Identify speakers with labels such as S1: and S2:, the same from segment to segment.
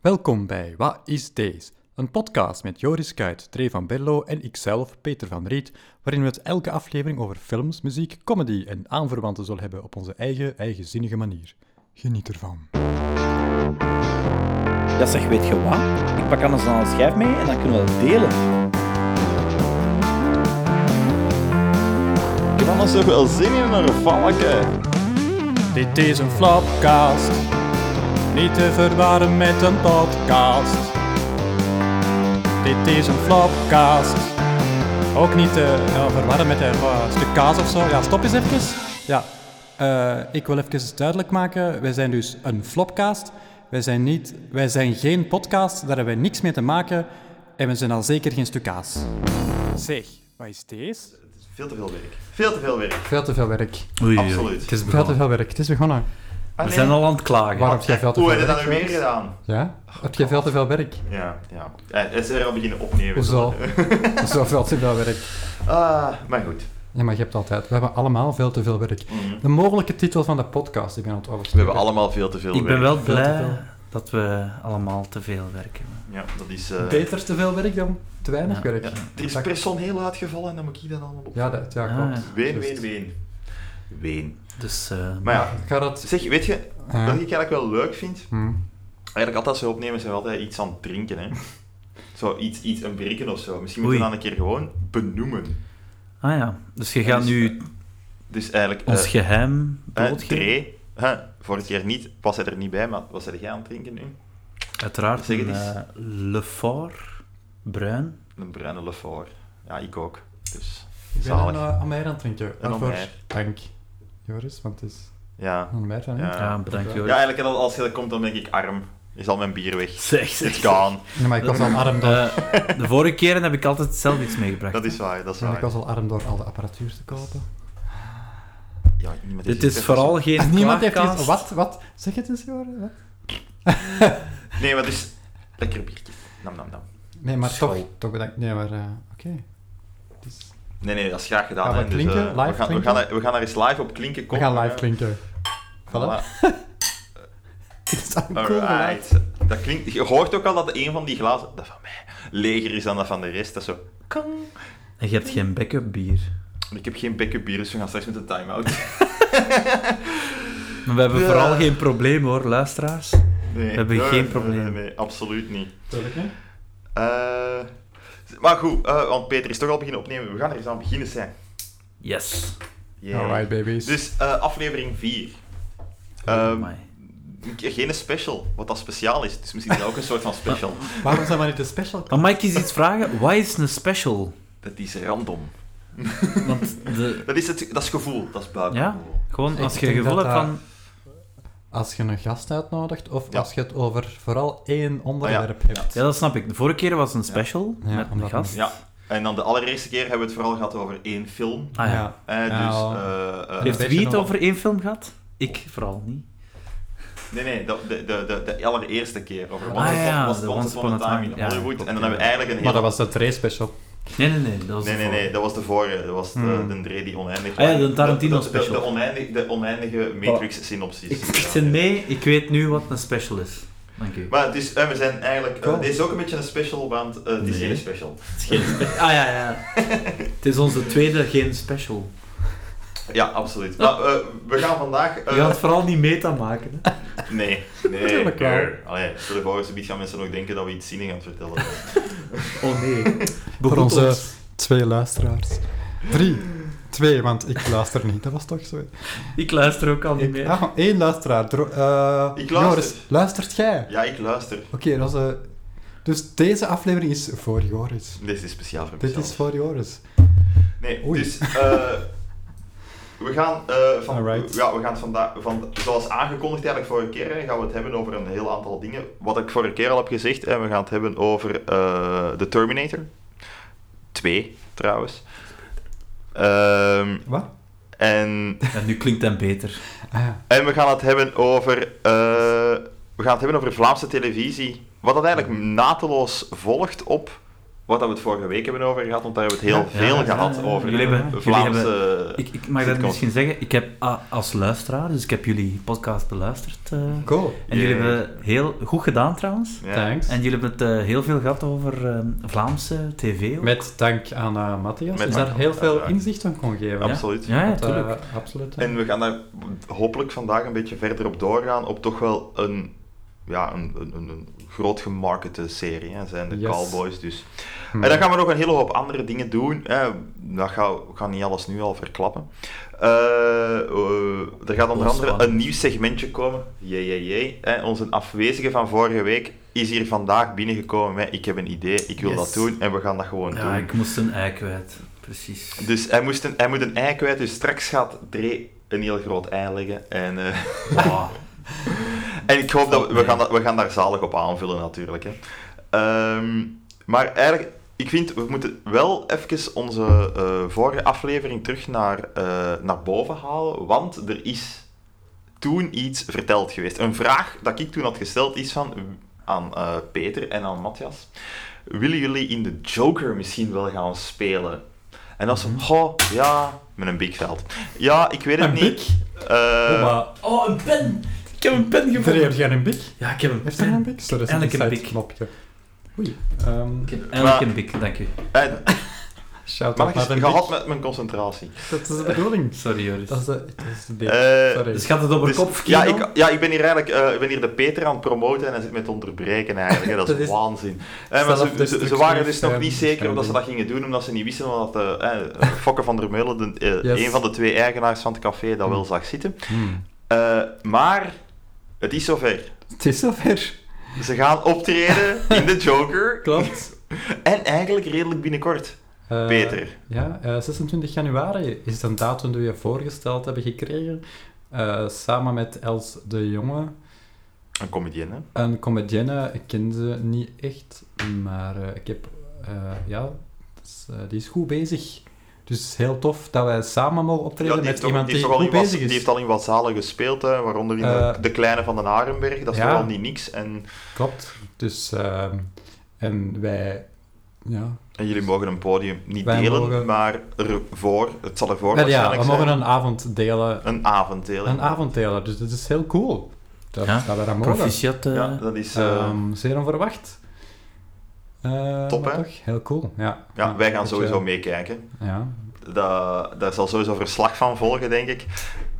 S1: Welkom bij Wat is Deze? Een podcast met Joris Kuit, Trey van Berlo en ikzelf, Peter van Riet, waarin we het elke aflevering over films, muziek, comedy en aanverwanten zullen hebben op onze eigen, eigenzinnige manier. Geniet ervan.
S2: Ja zeg, weet je wat? Ik pak anders dan een schijf mee en dan kunnen we dat delen.
S3: Ik heb anders toch wel zin in een valken.
S1: Dit is een flopcast, niet te verwarren met een podcast. Dit is een flopcast, ook niet te ja, verwarren met een eh, stuk kaas of zo. Ja, stop eens even. Ja, eh, ik wil even duidelijk maken, wij zijn dus een flopcast. Wij zijn, niet, wij zijn geen podcast, daar hebben wij niks mee te maken. En we zijn al zeker geen stuk kaas. Zeg, wat is deze?
S3: Veel te veel werk. Veel te veel werk.
S1: Veel te veel werk.
S4: Oei, oei.
S3: Absoluut.
S4: Het is
S1: Veel te
S4: begonnen.
S1: veel werk. Het is begonnen.
S3: Ah,
S4: We
S3: nee.
S4: zijn al aan het klagen.
S1: Waarom heb jij veel te
S3: Hoe
S1: veel
S3: heb je
S1: werk?
S3: dat nu weer gedaan?
S1: Ja? Heb jij veel te veel werk?
S3: Ja, ja. Eh, Het is er al beginnen opnemen.
S1: Hoezo? Zo veel te veel werk.
S3: Ah, maar goed.
S1: Ja, maar je hebt altijd. We hebben allemaal veel te veel werk. De mogelijke titel van de podcast, ik ben aan het
S3: Mhm. We hebben
S1: oversteken.
S3: allemaal veel te veel
S4: Ik
S3: werk.
S4: ben wel
S1: Veel te
S4: blij dat we allemaal te veel werken.
S3: Ja, dat is... eh,
S1: Beter te veel werk dan te weinig
S4: Ja.
S1: werk.
S3: ja.
S1: Ja,
S3: Er is personeel uitgevallen en dan moet ik dat allemaal op.
S1: dat, ja
S4: Ah,
S1: klopt.
S4: ja.
S3: Ween,
S1: Juist.
S3: ween, ween. Ween.
S4: Dus eh,
S3: Maar ja,
S1: Ik ga dat... eh,
S3: zeg, weet je,
S1: Ja.
S3: wat ik eigenlijk wel leuk vind?
S1: Hm.
S3: Eigenlijk altijd als we opnemen zijn we altijd iets aan het drinken, hè. Zo, iets, iets een breken of zo. Misschien
S4: Oei.
S3: moeten we dat een keer gewoon benoemen.
S4: ah ja, dus je gaat
S3: Dus,
S4: nu
S3: Dus eigenlijk...
S4: ons
S3: eh,
S4: geheim
S3: Hè,
S4: blootgeven.
S3: Dre, hè, vorige keer niet, was hij er niet bij, maar was hij jij aan het drinken nu?
S4: Uiteraard
S3: Zeg
S4: een
S3: het eens.
S4: eh, Le Fort, bruin.
S3: Een bruine Lefort. Ja, ik ook. Dus,
S1: Ik ben een
S3: zalig.
S1: uh, amère aan het drinken.
S3: Een
S1: Waarvoor
S3: amère.
S1: dank, Joris, want het is
S3: Ja.
S1: een amère van
S3: Ja.
S1: ja.
S4: Ja, bedankt
S3: Ah. ja,
S4: Joris.
S3: eigenlijk al- als je dat komt, dan denk ik arm. Is al mijn bier weg.
S4: Zeg, zeg.
S3: It's gone.
S1: maar ik was al arm door,
S4: Eh, de vorige keren heb ik altijd zelf iets meegebracht.
S3: Dat is waar, dat is
S1: en ik
S3: waar.
S1: was al arm door al de apparatuur te kopen.
S3: Ja, niemand
S4: Dit
S3: heeft
S4: is
S3: iets
S4: vooral geen
S1: En Ah, niemand heeft iets...
S4: klaagkaas.
S1: Wat? Wat? Zeg het eens, Joris. Wat?
S3: gezegd. Nee, maar het is... Lekker biertje. Nam, nam, nam.
S1: Nee, maar
S4: School.
S1: toch, toch bedankt. Nee, maar... eh, Oké. Het is-
S3: Nee, nee, dat is graag gedaan.
S1: Gaan we
S3: hè. Dus,
S1: klinken?
S3: eh,
S1: Live
S3: we, gaan, we,
S1: klinken?
S3: gaan er, we gaan er eens live op klinken.
S1: We
S3: Kom,
S1: gaan
S3: eh,
S1: live klinken. Voilà.
S3: voilà.
S1: Het is al cool geluid.
S3: Alright. Dat klinkt... Je hoort ook al dat een van die glazen... Dat van mij leger is dan dat van de rest. Dat is zo... Kang.
S4: En je hebt geen backup bier.
S3: Ik heb geen backup bier, dus we gaan straks met een time-out.
S4: Maar we hebben
S3: Ja.
S4: vooral geen probleem hoor, luisteraars.
S3: Nee, Oh,
S4: We hebben geen probleem.
S3: Nee, nee, absoluut niet.
S1: Tuurlijk, hè?
S3: Eh, maar goed, eh, want Peter is toch al beginnen opnemen. We gaan er eens aan beginnen zijn.
S4: Yes.
S3: Yeah.
S1: Alright, babies.
S3: Dus eh, aflevering 4.
S4: Oh
S3: Ehm
S4: my.
S3: geen special, wat dat speciaal is. Dus misschien is dat ook een soort van special.
S1: Waarom zijn we niet een special?
S4: Maar mag ik eens iets vragen? Wat is een special?
S3: Dat is random.
S4: Want de...
S3: Dat is, het, dat is gevoel, dat is buikgevoel.
S4: Gewoon als
S1: Ik
S4: je
S1: denk
S4: gevoel
S1: dat
S4: hebt
S1: dat-
S4: van...
S1: Als je een gast uitnodigt of
S3: Ja.
S1: als je het over vooral één onderwerp
S3: Ah, ja.
S1: hebt.
S4: Ja, dat snap ik. De vorige keer was een special
S1: Ja,
S4: met een
S1: omdat-
S4: gast.
S3: Ja. En dan de allereerste keer hebben we het vooral gehad over één film.
S4: Ah, ja.
S3: Eh,
S1: Ja, Nou,
S3: dus,
S1: wel.
S3: eh, eh,
S4: Heeft
S1: Een
S4: wie het
S1: beetje
S4: over één film gehad? Ik vooral niet.
S3: Nee, nee, dat- de, de, de, de allereerste keer. Over Once,
S4: Ah,
S3: Upon-
S4: ja,
S3: was
S4: de
S3: Once, Upon a Time in
S4: ja,
S3: Hollywood.
S4: klopt,
S3: en dan
S4: ja.
S3: hebben we eigenlijk een
S1: Maar
S3: hele
S1: dat was de Trey special.
S4: Nee, nee, nee. Dat was
S3: Nee,
S4: de
S3: nee, nee,
S4: vorige.
S3: dat was de vorige. Dat was de,
S1: Hmm.
S3: de Dre die oneindig
S4: Ah ja, de
S3: was.
S4: Tarantino
S3: de, de, de,
S4: special.
S3: de oneindig, de oneindige Matrix-synopsis.
S4: Ik, ik zit mee, ik weet nu wat een special is. Dank u.
S3: Maar het is, eh, we zijn eigenlijk... eh,
S1: Cool.
S3: dit is ook een beetje een special, want eh, het is
S4: Nee.
S3: geen special.
S4: Het is geen spe- ah ja, ja. Het is onze tweede geen special.
S3: Ja, absoluut. Maar eh, we gaan vandaag... eh,
S4: Je gaat het vooral niet meta maken. Hè?
S3: Nee, nee.
S1: Natuurlijk wel.
S3: er. Allee, stel je voor, zoiets gaan mensen nog denken dat we iets zinnig aan het vertellen zijn.
S4: Oh nee.
S1: Voor
S4: Behoed
S1: onze
S4: ons.
S1: twee luisteraars. Drie. Twee, want ik luister niet. Dat was toch zo.
S4: Ik luister ook al niet
S1: Ik,
S4: meer.
S1: ah, één luisteraar. Dro- eh,
S3: Ik luister.
S1: Joris, luistert jij?
S3: Ja, ik luister.
S1: Oké, dat is... eh, dus deze aflevering is voor Joris.
S3: Dit is speciaal voor
S1: Dit
S3: mezelf.
S1: is voor Joris.
S3: Nee,
S1: Oei.
S3: dus eh, we, gaan, eh, van,
S1: Alright.
S3: ja, we gaan het vandaag, van, zoals aangekondigd eigenlijk vorige keer, hè, gaan we het hebben over een heel aantal dingen. Wat ik vorige keer al heb gezegd, en we gaan het hebben over eh The Terminator. Twee, trouwens. Ehm,
S1: Wat?
S3: en,
S4: En nu klinkt dat beter.
S1: Ah, ja.
S3: en we gaan het hebben over, eh, we gaan het hebben over Vlaamse televisie. Wat dat eigenlijk mateloos volgt op Wat dat we het vorige week hebben over gehad, want daar hebben we het heel
S4: Ja,
S3: veel
S4: ja,
S3: gehad
S4: ja, ja.
S3: over eh,
S4: Jullie hebben- jullie
S3: Vlaamse...
S4: Ik, ik mag dat
S3: Sitcoms.
S4: misschien zeggen. Ik heb ah, als luisteraar, dus ik heb jullie podcast beluisterd. eh,
S1: Cool.
S4: en jullie
S3: Yeah.
S4: hebben heel goed gedaan trouwens.
S3: Ja.
S1: Thanks.
S4: En jullie hebben het eh, heel veel gehad over eh, Vlaamse tv. ook.
S1: Met dank aan eh Matthias,
S3: Met
S1: die
S3: dank
S1: daar
S3: aan
S1: heel veel
S3: uiteraard.
S1: inzicht aan kon geven.
S4: Ja.
S3: Absoluut.
S4: Ja, ja,
S1: Dat, eh,
S4: tuurlijk.
S1: absoluut. ja.
S3: En we gaan daar hopelijk vandaag een beetje verder op doorgaan, op toch wel een, ja, een, een, een- een groot gemarkete serie, hè, zijn de
S1: Yes.
S3: Cowboys dus.
S1: Hmm.
S4: Hm.
S3: En dan gaan we nog een hele hoop andere dingen doen. Hè. Dat ga, ik ga niet alles nu al verklappen. Eh, eh, er gaat onder
S4: Oh,
S3: andere
S4: spannend.
S3: een nieuw segmentje komen. Jee, jee, jee. Hè, Onze afwezige van vorige week is hier vandaag binnengekomen met ik heb een idee, ik wil
S4: Yes.
S3: dat doen en we gaan dat gewoon
S4: Ja,
S3: doen.
S4: ik moest een ei kwijt. Precies.
S3: Dus hij, moest een, hij moet een ei kwijt, dus straks gaat Dree een heel groot ei leggen. En, eh,
S4: Wow.
S3: en ik hoop dat we, we, gaan, dat- we gaan daar zalig op aanvullen natuurlijk. Hè. Ehm, maar eigenlijk, ik vind, we moeten wel even onze eh, vorige aflevering terug naar, eh, naar boven halen. Want er is toen iets verteld geweest. Een vraag dat ik toen had gesteld is van, aan eh, Peter en aan Matthias. Willen jullie in de Joker misschien wel gaan spelen? En dan zo, goh, ja, met een big veld. Ja, ik weet het
S1: Mhm. Een
S3: niet.
S1: bik?
S3: Eh,
S1: Oh, maar
S4: Oh, een pen! Ik heb een pen
S1: Drie,
S4: gevonden.
S1: heb jij een bik?
S4: Ja, ik heb een
S1: Heeft hij een
S4: pen.
S1: bik? Zo, dat is
S4: Elke
S1: een
S4: bik.
S1: knopje. Oei. Ehm
S4: Ik heb Elk
S3: Maar-
S4: een bik, dank u.
S3: eh,
S1: Shout-out naar
S3: Maar ik
S1: de
S3: heb
S1: bik.
S3: gehad met mijn concentratie.
S1: Dat is de bedoeling.
S4: Sorry, Joris.
S1: Dat is de, dat is de bik.
S3: Eh,
S1: Sorry.
S4: Dus gaat het over
S3: Dus-
S4: kop of
S3: ja,
S4: kino?
S3: ik, ja, ik ben hier eigenlijk eh, ik ben hier de Peter aan het promoten en hij zit met onderbreken eigenlijk. hè. Dat is,
S1: Dat is
S3: waanzin. Eh, maar ze, ze, ze
S1: zelfdestructief,
S3: waren dus nog
S1: eh,
S3: niet zeker of dat ze dat gingen doen, omdat ze niet wisten omdat eh, eh, Fokke van der Meulen, de, eh,
S1: Yes. Mm.
S3: een van de twee eigenaars van het café, dat wel zag zitten.
S1: Hmm.
S3: Eh, maar het is zover.
S1: Het is zover.
S3: Ze gaan optreden in de Joker.
S1: Klopt.
S3: En eigenlijk redelijk binnenkort,
S1: Eh,
S3: Peter.
S1: Ja, eh, 26 januari is een datum die we voorgesteld hebben gekregen. eh, samen met Els de Jonge.
S3: Een comedienne.
S1: Een comedienne, ik ken ze niet echt, maar eh, ik heb, eh, ja, dat is, eh, die is goed bezig. Dus het is heel tof dat wij samen mogen optreden
S3: Ja, die
S1: met
S3: heeft,
S1: iemand
S3: toch- die, heeft
S1: die
S3: toch al
S1: goed
S3: in wat,
S1: bezig
S3: die
S1: is.
S3: heeft al in wat zalen gespeeld, hè, waaronder in de,
S1: Eh,
S3: de Kleine van den Harenberg. Dat is
S1: ja.
S3: toch al niet niks. En,
S1: Klopt. Dus, ehm, en wij, ja,
S3: en jullie mogen een podium niet
S1: Wij
S3: delen,
S1: mogen-
S3: maar ervoor, het zal ervoor
S1: Wel ja,
S3: waarschijnlijk
S1: we mogen
S3: zijn.
S1: een avond delen,
S3: Een avond delen.
S1: een avond delen. Dus dat is heel cool dat,
S4: Ja,
S1: dat we dat mogen.
S4: Proficiat. eh,
S3: Ja, dat is... eh,
S1: Ehm, zeer onverwacht. Eh,
S3: Top,
S1: maar
S3: hè?
S1: Toch? Heel cool, ja.
S3: ja, wij gaan
S1: dat je-
S3: sowieso meekijken.
S1: Ja,
S3: Da- daar zal sowieso verslag van volgen, denk ik.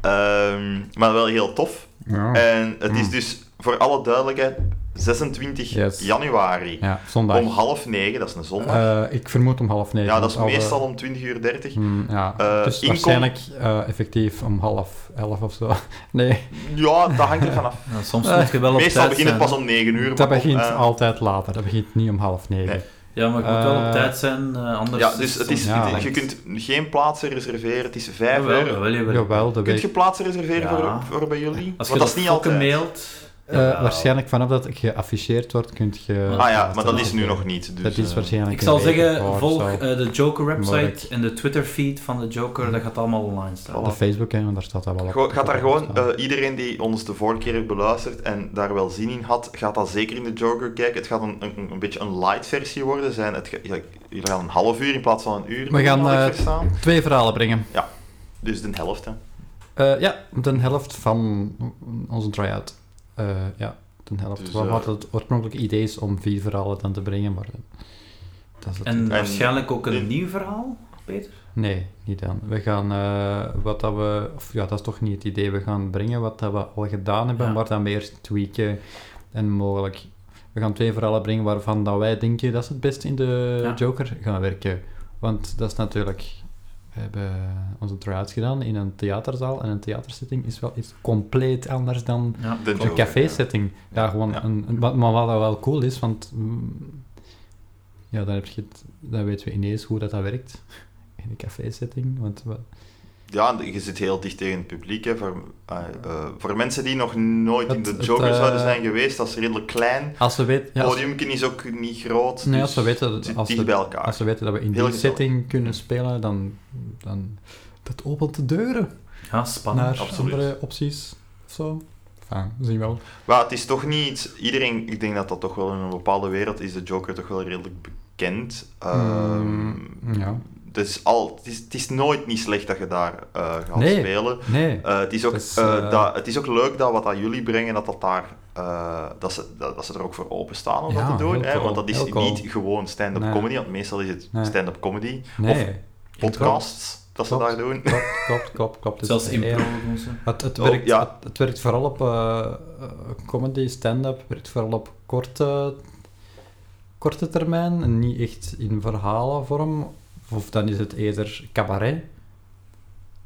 S3: Ehm, maar wel heel tof.
S1: ja.
S3: En het is
S1: Mm.
S3: dus, voor alle duidelijkheid, 26
S1: Yes.
S3: januari.
S1: ja zondag.
S3: Om half negen, dat is een zondag.
S1: Eh, ik vermoed om half negen.
S3: ja, dat is
S1: want al
S3: meestal
S1: de-
S3: om 20 uur 30.
S1: Hmm, ja.
S3: Eh,
S1: dus
S3: inkom-
S1: waarschijnlijk eh, effectief om half elf of zo. Nee,
S3: Ja, dat hangt er vanaf.
S4: nou, soms moet je wel op
S3: Meestal
S4: tijd
S3: begint het
S4: zijn.
S3: pas om 9 uur.
S1: dat
S3: maar
S1: begint
S3: eh,
S1: altijd later. Dat begint niet om half negen.
S3: Nee.
S4: Ja, maar ik moet wel op
S1: Eh,
S4: tijd zijn, eh, anders...
S3: Ja, dus het is,
S1: Ja,
S3: het-
S1: dat-
S3: je kunt geen plaatsen reserveren. Het is 5
S4: Jawel,
S3: euro.
S4: jawel, jawel.
S1: Jawel, de
S3: Kunt
S1: week.
S3: je plaatsen reserveren
S4: Ja.
S3: voor, voor bij jullie?
S4: Als je
S3: Want dat is niet altijd.
S4: mailt...
S1: Eh, waarschijnlijk vanaf dat het geafficheerd wordt, kunt je...
S3: Ah ja, maar dat is nu nog niet. Dus,
S1: Dat is
S3: eh,
S1: waarschijnlijk
S4: Ik
S1: een
S4: zal
S1: week
S4: zeggen,
S1: voor,
S4: volg
S1: Oh, zo.
S4: eh, de Joker-website
S1: Mogelijk.
S4: en de Twitter-feed van de
S1: Mhm.
S4: Joker. Dat gaat allemaal online staan.
S1: De Facebook, hè, want daar staat dat wel op.
S3: Gewoon- Gaat daar gewoon, eh, iedereen die ons de vorige keer heeft beluisterd en daar wel zin in had, gaat dat zeker in de Joker kijken. Het gaat een, een, een beetje een light versie worden. Zijn. Het, ga- ja, jullie gaan een half uur in plaats van een uur.
S1: We gaan,
S3: had ik
S1: eh,
S3: verstaan.
S1: Twee verhalen brengen.
S3: Dus de helft. Hè.
S1: Eh, ja, de helft van onze try-out. Eh, ja, de helft.
S3: Dus,
S1: Wat
S3: eh,
S1: wat het oorspronkelijke idee is om vier verhalen dan te brengen, maar... eh, Dat is het
S4: En
S1: idee.
S4: waarschijnlijk ook
S3: en-
S4: een nieuw verhaal, Peter?
S1: Nee, niet dan. We gaan eh, wat dat we... Of ja, dat is toch niet het idee. We gaan brengen wat dat we al gedaan hebben,
S4: Ja.
S1: maar dan weer tweaken en mogelijk... We gaan twee verhalen brengen waarvan dat wij denken dat ze het best in de
S4: Ja.
S1: Joker gaan werken. Want dat is natuurlijk... We hebben onze try-outs gedaan in een theaterzaal en een theatersetting is wel iets compleet anders dan
S4: Ja.
S3: De
S1: een
S3: Joker, ja.
S1: café-setting. Ja, gewoon
S3: Ja.
S1: Een, een- wat- maar wat dat wel cool is, want mm, ja, dan, heb je het, dan weten we ineens hoe dat, dat werkt in een café-setting. Want we-
S3: Ja, je zit heel dicht tegen het publiek. Hè. Voor, eh, eh, voor mensen die nog nooit in
S1: Het-
S3: de
S1: het,
S3: Joker
S1: eh,
S3: zouden zijn geweest, dat is redelijk klein.
S1: als we weten... Ja,
S3: Het
S1: als-
S3: podium is ook niet groot.
S1: nee,
S3: dus
S1: als we
S3: het
S1: weten,
S3: zit
S1: als
S3: dicht
S1: we,
S3: bij elkaar.
S1: als we weten dat we in
S3: Heel
S1: die
S3: gezellig.
S1: setting kunnen spelen, dan, dan... Dat opent de deuren
S4: Ja, spannend.
S1: naar
S3: absoluut.
S1: andere opties of zo. Enfin, we zien wel.
S3: Maar het is toch niet... Iedereen, ik denk dat dat toch wel in een bepaalde wereld is de Joker toch wel redelijk kent. Ehm,
S1: Mm, ja.
S3: Dus al, het, is, het is nooit niet slecht dat je daar eh, gaat
S1: Nee.
S3: spelen.
S1: Nee.
S3: Eh, het, is ook,
S1: Het is,
S3: eh,
S1: eh,
S3: dat, het is ook leuk dat wat dat jullie brengen, dat, dat, daar, eh, dat, ze, dat, dat ze er ook voor openstaan om
S1: Ja,
S3: dat te doen.
S1: heel
S3: Hè?
S1: cool,
S3: Want dat is
S1: heel cool.
S3: niet gewoon stand-up
S1: Nee.
S3: comedy, want meestal is het
S1: Nee.
S3: stand-up comedy.
S1: Nee.
S3: Of podcasts dat ze
S1: Klopt.
S3: daar doen.
S1: Klopt, klopt, klopt. klopt. Het
S4: Zelfs
S1: is
S4: impro.
S1: heel- Het, het,
S3: Oh,
S1: werkt,
S3: ja.
S1: het, het werkt vooral op eh, eh, comedy, stand-up, werkt vooral op korte, korte termijn en niet echt in verhalenvorm. Of dan is het eerder cabaret,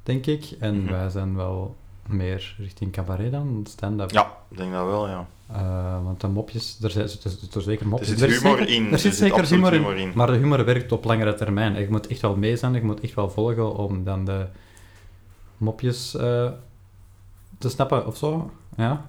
S1: denk ik. En
S3: Mhm.
S1: wij zijn wel meer richting cabaret dan stand-up.
S3: Ja, ik denk dat wel, ja.
S1: Eh, want de mopjes, er zijn er zitten zeker
S3: Er
S1: mopjes.
S3: zit
S1: is
S3: humor
S1: zeker-
S3: in.
S1: Er zit zeker
S3: absoluut
S1: humor in.
S3: in.
S1: Maar de humor werkt op langere termijn. Ik moet echt wel mee zijn, ik moet echt wel volgen om dan de mopjes eh, te snappen of zo. Ja.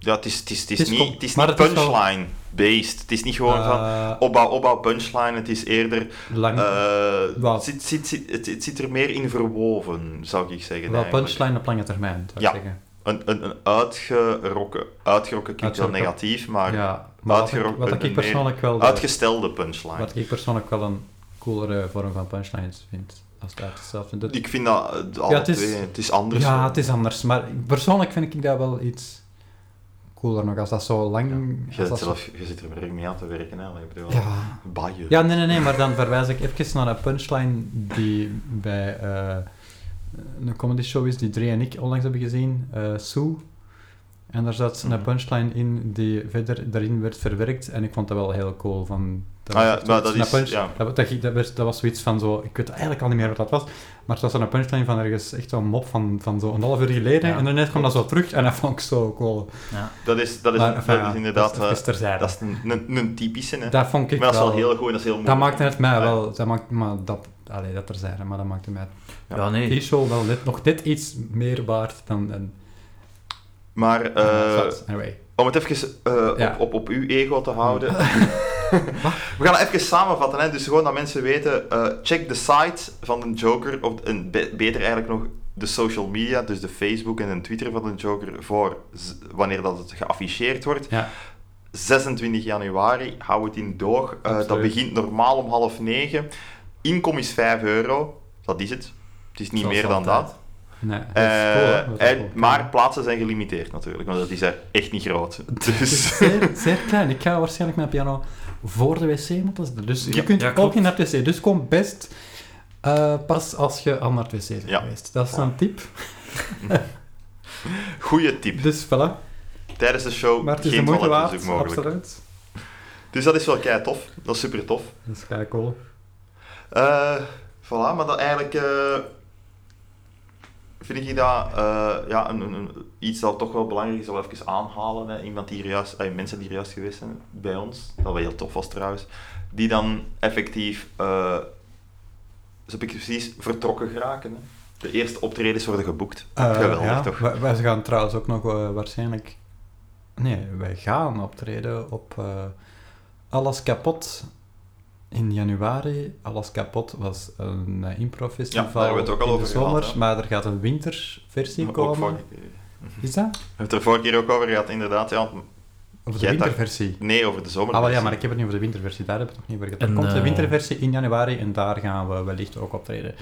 S3: Ja, het is, het is, het is,
S1: Het is
S3: niet,
S1: kom-
S3: het is
S1: maar
S3: niet
S1: het is wel-
S3: punchline-based. Het is niet gewoon van
S1: Eh,
S3: opbouw, opbouw, punchline. Het is eerder...
S1: lang,
S3: eh,
S1: Wat?
S3: het, zit, zit, zit- het, het zit er meer in verwoven, zou ik zeggen.
S1: wel
S3: eigenlijk.
S1: punchline op lange termijn, zou ik
S3: Ja.
S1: zeggen.
S3: Een, een, een uitgerokken... Uitgerokken klinkt wel
S1: Uitgerokken.
S3: negatief, maar...
S1: ja, maar wat, ik-
S3: uitgerookt
S1: wat
S3: en
S1: ik
S3: meer
S1: persoonlijk wel de-
S3: Uitgestelde punchline.
S1: wat ik persoonlijk wel een coolere vorm van punchlines vind, als het uitgesteld vindt.
S3: Ik vind dat... eh, alle
S1: het is-
S3: twee, het is anders.
S1: Ja, het is anders. Maar persoonlijk vind ik dat wel iets cooler nog, als dat zo lang...
S3: Je,
S1: als
S3: zit
S1: dat zo-
S3: zelf, je zit er mee aan te werken, hè. Ik bedoel,
S1: Ja,
S3: baaien.
S1: Ja, nee, nee, nee, maar dan verwijs ik even naar een punchline die bij eh, een comedy show is die Dre en ik onlangs hebben gezien, eh Sue. En daar zat een
S3: Mhm.
S1: punchline in die verder daarin werd verwerkt en ik vond dat wel heel cool. Van, dat
S3: Ah ja,
S1: was echt
S3: maar
S1: zoiets,
S3: dat is-
S1: een punch-
S3: ja.
S1: dat, dat, ging- dat werd- dat was zoiets van zo, ik weet eigenlijk al niet meer wat dat was, maar het was een punchline van ergens echt zo'n mop van, van zo'n half uur geleden
S4: Ja.
S1: en daarnet kwam dat zo terug en dat vond ik zo cool.
S3: Dat is, dat is,
S1: Maar, enfin,
S3: dat
S1: ja,
S3: is inderdaad...
S1: dat is even
S3: eh,
S1: terzijde.
S3: Dat is een, een, een typische, hè.
S1: Dat vond ik
S3: maar dat is wel
S1: wel-
S3: heel goed en dat is heel
S1: dat
S3: moeilijk.
S1: maakte het mij
S3: Ja.
S1: wel, dat maakt, maar dat, allee, dat terzijde, maar dat maakte mij
S3: Ja.
S4: Ja, nee.
S1: Die show wel net, nog net iets meer waard dan een...
S3: Maar
S1: Ah,
S3: eh,
S1: zat. Anyway.
S3: om het even eh,
S1: Ja. Mm.
S3: op, op, op uw ego te houden. We gaan het even samenvatten, hè. dus gewoon dat mensen weten. eh, check de site van de Joker, of een, be- beter eigenlijk nog de social media, dus de Facebook en de Twitter van de Joker, voor z- wanneer dat het geafficheerd wordt.
S1: Ja.
S3: 26 januari, hou het in doog. Eh, dat
S1: Absoluut.
S3: begint normaal om half negen. Inkom is 5 euro, dat is het. Het is niet
S4: Zoals
S3: meer dan
S4: altijd.
S3: dat.
S1: Nee, dat is
S3: Eh,
S1: cool, hè, wat dat
S3: en,
S1: ook kan.
S3: maar plaatsen zijn gelimiteerd natuurlijk, want dat is er echt niet groot.
S1: Het is
S3: Dus
S1: zeer, zeer klein. Ik ga waarschijnlijk mijn piano voor de wc moeten zetten. Dus je
S3: Ja,
S1: kunt
S4: ja,
S1: ook
S4: klopt.
S1: in naar het wc. Dus kom best eh, pas als je al naar het wc bent
S3: Ja.
S1: geweest. Dat is een tip.
S3: goede tip.
S1: Dus voilà.
S3: Tijdens de show
S1: Maar het is de
S3: geen
S1: moeite
S3: toiletbezoek
S1: waard.
S3: mogelijk.
S1: Absoluut.
S3: Dus dat is wel kei tof. Dat is super tof.
S1: Dat is kei cool.
S3: Eh, voilà, maar dat eigenlijk eh, vind ik dat eh, ja, een, een- een- iets dat toch wel belangrijk is dat we even aanhalen. Hè. Iemand die hier juist, eh, mensen die hier juist geweest zijn bij ons, dat wel heel tof was trouwens, die dan effectief, eh zo heb ik het precies, vertrokken geraken. Hè. De eerste optredens worden geboekt.
S1: Eh,
S3: Geweldig
S1: ja,
S3: toch?
S1: Wij, wij gaan trouwens ook nog eh, waarschijnlijk... Nee, wij gaan optreden op eh, Alles Kapot in januari. Alles Kapot was een eh, improfestival
S3: Ja, daar hebben we het ook al
S1: in
S3: over
S1: de
S3: gehad,
S1: zomer,
S3: hè.
S1: maar er gaat een winterversie
S3: Maar ook
S1: komen.
S3: vorige keer. We
S1: Is dat?
S3: hebben het er vorige keer ook over gehad, inderdaad. Ja, want-
S1: Of de
S3: Jij dacht-
S1: winterversie?
S3: nee, over de zomer.
S1: Ah, wel ja, maar ik heb het niet over de winterversie, daar heb ik het nog niet over gehad. Er
S4: En,
S1: komt de
S4: eh,
S1: winterversie in januari en daar gaan we wellicht ook optreden.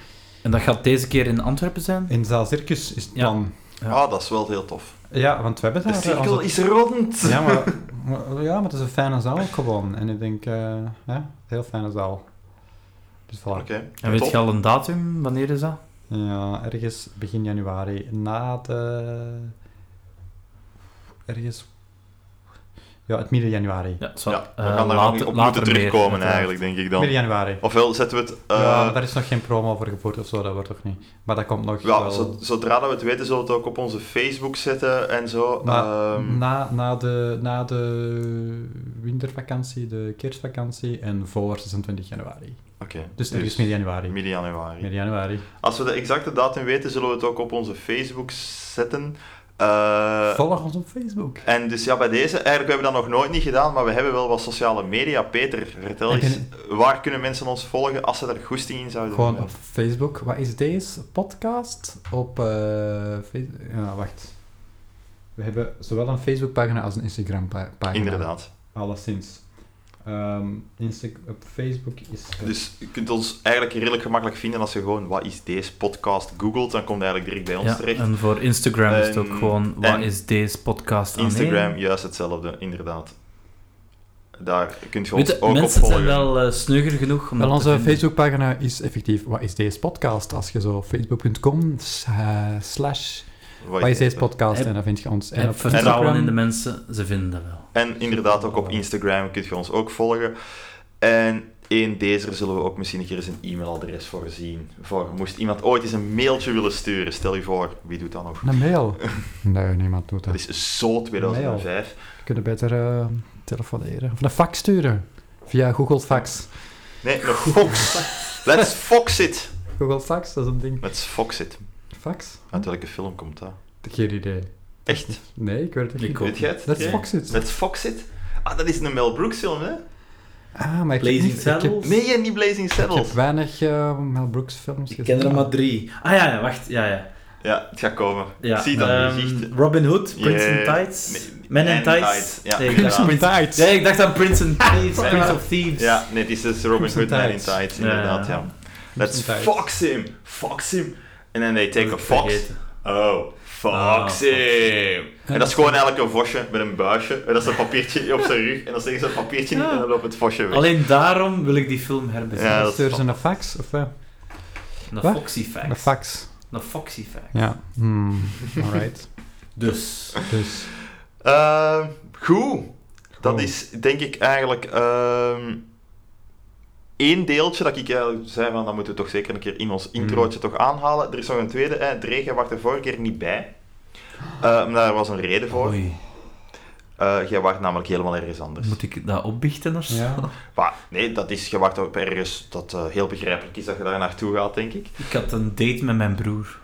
S4: En dat gaat deze keer in Antwerpen zijn?
S1: In Zaal Circus is het
S4: Ja.
S1: plan.
S4: Ja.
S3: Ah, dat is wel heel tof.
S1: Ja, want we hebben
S3: De
S1: daar... eh, onze
S3: cirkel is rond.
S1: Ja, maar, maar- ja, maar het is een fijne zaal ook gewoon. En ik denk, eh ja, heel fijne zaal. Dus voilà.
S3: Oké.
S4: En weet
S3: top.
S4: je al een datum? Wanneer is dat?
S1: Ja, ergens begin januari, na de... Ergens... Ja, het midden januari.
S4: Ja, zo,
S3: Ja, we
S4: eh,
S3: gaan daar nog
S4: later-
S3: niet op
S4: later
S3: moeten terugkomen
S4: meer,
S3: eigenlijk, denk ik
S1: Midden
S3: dan.
S1: januari.
S3: Ofwel zetten we het... eh,
S1: ja, maar
S3: ja,
S1: daar is nog geen promo voor gevoerd of zo, dat wordt toch niet. Maar dat komt nog wel...
S3: zo- zodra dat we het weten, zullen we het ook op onze Facebook zetten en zo.
S1: Maar
S3: Ehm,
S1: na, na, de, na de wintervakantie, de kerstvakantie en voor 26 januari.
S3: Oké.
S1: Dus ergens midden januari.
S3: midden januari.
S1: Midden januari.
S3: Als we de exacte datum weten, zullen we het ook op onze Facebook zetten. Eh,
S1: Volg ons op Facebook.
S3: en dus ja, bij deze, eigenlijk hebben we dat nog nooit niet gedaan, maar we hebben wel wat sociale media. Peter, vertel
S1: Ik
S3: eens, waar kunnen mensen ons volgen als ze er goesting in zouden
S1: Gewoon op
S3: hebben?
S1: Facebook. Wat is deze podcast? Op eh Facebook. Ja, wacht. We hebben zowel een Facebookpagina als een Instagrampagina.
S3: Inderdaad.
S1: Alleszins. Eh, Ehm, Insta op Facebook is... eh,
S3: Dus je kunt ons eigenlijk redelijk gemakkelijk vinden als je gewoon wat is deze podcast googelt, dan komt je eigenlijk direct bij ons
S4: Ja, Ah,
S3: terecht.
S4: en voor Instagram is het ook
S3: En-
S4: gewoon, wat
S3: en-
S4: is deze podcast aan
S3: Instagram,
S4: één?
S3: juist hetzelfde, inderdaad. Daar kunt je
S4: Weet
S3: ons
S4: je,
S3: ook op
S4: mensen zijn
S3: volgen.
S4: wel eh, sneuger genoeg om
S1: Wel,
S4: dat
S1: onze
S4: te vinden.
S1: Facebookpagina is effectief Wat is deze podcast? Als je zo op facebook.com s- eh, slash
S3: Wat
S1: Wat is deze
S3: het?
S1: podcast?
S4: Heb-
S1: En dan vind je ons. En
S4: Heb
S1: op
S4: vertrouwen
S1: Instagram-
S4: in de mensen, ze vinden dat wel.
S3: En inderdaad, ook op Instagram kunt je ons ook volgen. En in deze zullen we ook misschien een keer eens een e-mailadres voorzien. Voor moest iemand ooit eens een mailtje willen sturen, stel je voor, wie doet dat nog?
S1: Een mail. Nee, niemand doet dat.
S3: Dat is zo 2005.
S1: We kunnen beter eh, telefoneren. Of een fax sturen. Via Google Fax.
S3: Nee, nog Fox. Let's Fox it.
S1: Google Fax, dat is een ding.
S3: Let's Fox it.
S1: Fax?
S3: Uit welke film komt Ah, dat?
S1: Geen idee.
S3: Echt?
S1: Nee, ik weet het
S4: Ik
S1: niet.
S4: ook.
S3: Weet jij het?
S1: Let's
S3: Ja.
S1: Fox it.
S3: Let's Fox it? Ah, dat is een Mel Brooks film, hè?
S1: Ah, maar ik heb,
S4: Blazing
S1: niet, ik heb,
S4: Saddles?
S1: ik
S3: Nee, niet
S1: heb
S3: Blazing Saddles.
S1: weinig eh, Mel Brooks films
S2: Ik ken er maar drie.
S4: Ah ja, ja, wacht, ja, ja.
S3: Ja, het gaat komen.
S4: ja.
S3: Ik zie dat in
S4: Ehm,
S3: je gezicht.
S4: Robin Hood, Prince
S3: Yeah.
S4: in Tights,
S3: Nee,
S4: Men in
S3: Men
S4: Tights.
S3: Tights, ja,
S4: Nee, ik dacht,
S3: inderdaad.
S1: Tijd.
S4: nee, ik dacht aan Prince in Thieves,
S3: Ja.
S4: Prince of Thieves.
S3: Ja, nee, het is dus Robin
S1: Crimson
S3: Hood Man in
S1: Tides.
S3: Tights, inderdaad,
S4: Ja.
S3: ja. Let's
S1: Tides.
S3: fox him! Fox him! And then they take a
S4: Vergeten.
S3: fox. Oh,
S4: Ah,
S3: fox
S4: fox.
S3: him! En dat is gewoon eigenlijk een vosje met een buisje. En dat is een papiertje op zijn rug. En dan zeggen ze dat papiertje niet en dan loopt het vosje weg.
S4: Alleen daarom wil ik die film herbezien.
S3: Ja, dat is
S1: Stuur ze
S3: van-
S1: een fax? Of eh,
S4: Een
S1: Wat?
S4: Foxy
S1: een
S4: Fact.
S1: fax?
S4: Een Foxy Fact.
S1: Ja. Hmm. Alright.
S4: Dus,
S1: dus.
S3: Ehm, goed. Dat
S4: Oh.
S1: Goed.
S3: is denk ik eigenlijk ehm, één deeltje dat ik eigenlijk zei van dat moeten we toch zeker een keer in ons
S4: Hmm.
S3: introotje toch aanhalen. Er is nog een tweede. Hè. Dregen was er vorige keer niet bij. Eh, maar daar was een reden voor.
S4: oei,
S3: Eh, jij wacht namelijk helemaal ergens anders.
S4: moet ik dat opbiechten of zo?
S1: Ja.
S3: Maar nee, dat is, je wacht op ergens dat eh, heel begrijpelijk is dat je daar naartoe gaat, denk ik.
S4: Ik had een date met mijn broer.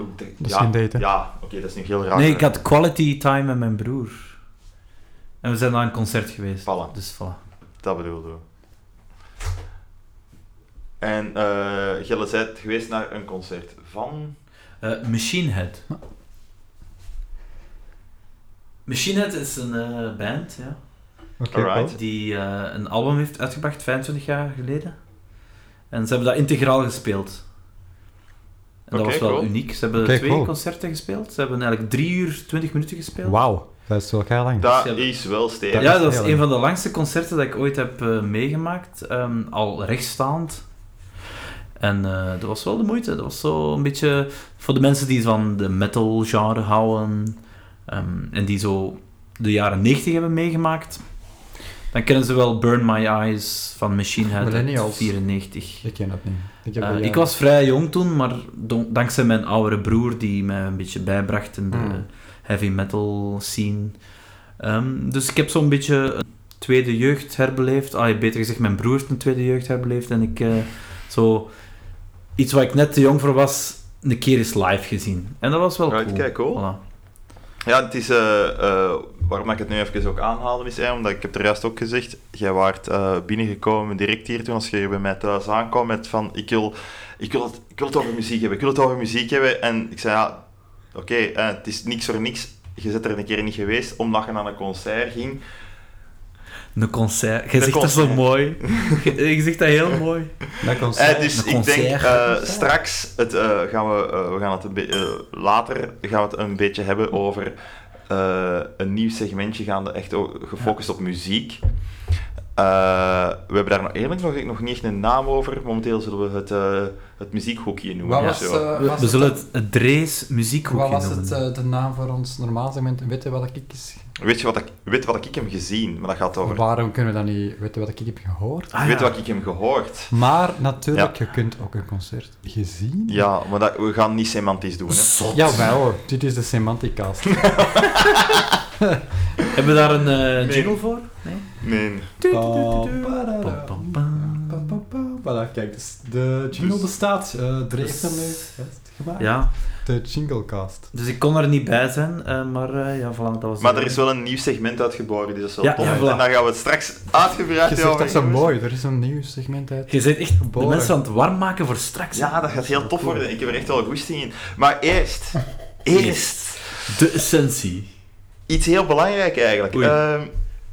S3: Ook de-
S1: Dat is
S3: ja,
S1: geen date, hè?
S3: Ja, oké, dat is nu heel raar.
S4: Nee, ik had quality time met mijn broer. En we zijn naar een concert geweest.
S3: Voilà.
S4: Dus voilà.
S3: Dat bedoelde we. En eh Gelle bent geweest naar een concert van...
S4: Eh, Machine Head. Machine Head is een eh, band, ja.
S1: Oké.
S3: Alright.
S1: cool.
S4: die eh, een album heeft uitgebracht 25 jaar geleden. En ze hebben dat integraal gespeeld. En
S3: Oké,
S4: dat was wel
S3: cool.
S4: uniek. Ze hebben
S1: Oké,
S4: twee
S1: cool.
S4: concerten gespeeld. Ze hebben eigenlijk 3 uur 20 minuten gespeeld.
S1: Wauw. Dat is wel heel lang.
S3: Dat
S4: Gelle.
S3: is wel stevig.
S1: Dat
S4: Ja,
S1: is
S4: dat was
S1: heel
S4: een van de langste concerten dat ik ooit heb eh, meegemaakt. Ehm, al rechtstaand. En eh, dat was wel de moeite. Dat was zo een beetje voor de mensen die van de metal genre houden. ehm, en die zo de jaren 90 hebben meegemaakt. Dan kennen ze wel Burn My Eyes van Machine Head uit
S1: Millennials.
S4: 94.
S1: Ik ken dat niet. Ik, heb
S4: Eh,
S1: dat
S4: ik
S1: jaar-
S4: was vrij jong toen, maar don- dankzij mijn oudere broer die mij een beetje bijbracht in de
S1: Hmm.
S4: heavy metal scene. Ehm, dus ik heb zo'n beetje een tweede jeugd herbeleefd. Ah, beter gezegd, mijn broer heeft een tweede jeugd herbeleefd. En ik eh, zo iets waar ik net te jong voor was, een keer eens live gezien. En dat was wel
S3: Right,
S4: cool. Ah.
S3: kijk, cool.
S4: Voilà.
S3: Ja, het is... eh, eh, waarom ik het nu even ook aanhaalde is, hè, omdat ik heb er juist ook gezegd, jij waart eh, binnengekomen direct hier toen als je hier bij mij thuis aankwam met van, ik wil, ik, wil het, ik wil het over muziek hebben, ik wil het over muziek hebben. En ik zei, ja, oké, eh, het is niks voor niks. Je bent er een keer niet geweest, omdat je naar een concert ging.
S4: Een concert. Jij
S3: Een
S4: zegt dat zo
S3: concert.
S4: mooi. Je je zegt dat heel mooi.
S1: Dat
S3: Eh,
S1: concert.
S3: dus
S4: Een
S3: ik denk
S4: concert.
S3: eh, straks het, eh, gaan we, eh, we gaan het een be- eh, later gaan we het een beetje hebben over eh, een nieuw segmentje gaande echt o- gefocust op muziek. Eh, we hebben daar nog eerlijk nog, nog niet echt een naam over. Momenteel zullen we het, eh het muziekhoekje noemen.
S1: Wat
S3: of
S1: was,
S3: zo.
S1: eh,
S4: We,
S1: was
S4: we
S1: het-
S4: zullen het, het Drees muziekhoekje
S1: Wat was
S4: noemen.
S1: het, eh, de naam voor ons normaal segment? Weet je wat ik is?
S3: Weet je wat ik, weet wat ik hem gezien? Maar dat gaat over.
S1: Waarom kunnen we dat niet? Weet je wat ik heb gehoord?
S4: Ah,
S3: weet
S4: ja.
S3: je wat ik hem gehoord?
S1: Maar natuurlijk, je kunt ook een concert gezien.
S3: Ja, maar dat, we gaan niet semantisch doen. Hè.
S4: Zot.
S1: Jawel, dit is de semanticast.
S4: Hebben we daar een eh, jingle voor? Nee?
S3: Nee.
S4: Pam, pam, pam.
S1: Voilà, kijk, dus de jingle
S3: Dus-
S1: bestaat. eh er heeft hem nu
S4: Dus-
S1: gemaakt.
S4: Ja,
S1: De jinglecast.
S4: dus ik kon er niet bij zijn, eh, maar eh, ja, voilà, dat was...
S3: Maar er is wel een nieuw segment uitgeboren, dus dat is wel
S4: Ja,
S3: tof.
S4: ja, voilà.
S3: En daar gaan we het straks uitgebreid
S1: Je zegt dat zo
S3: hebben.
S1: mooi, er is een nieuw segment uit.
S4: Je bent echt
S1: Geboren.
S4: de mensen aan het warm maken voor straks.
S3: Ja, dat gaat heel tof worden. Ik heb er echt wel goesting in. Maar eerst, eerst,
S4: De essentie.
S3: iets heel belangrijk eigenlijk.
S4: Oei.
S3: Ehm,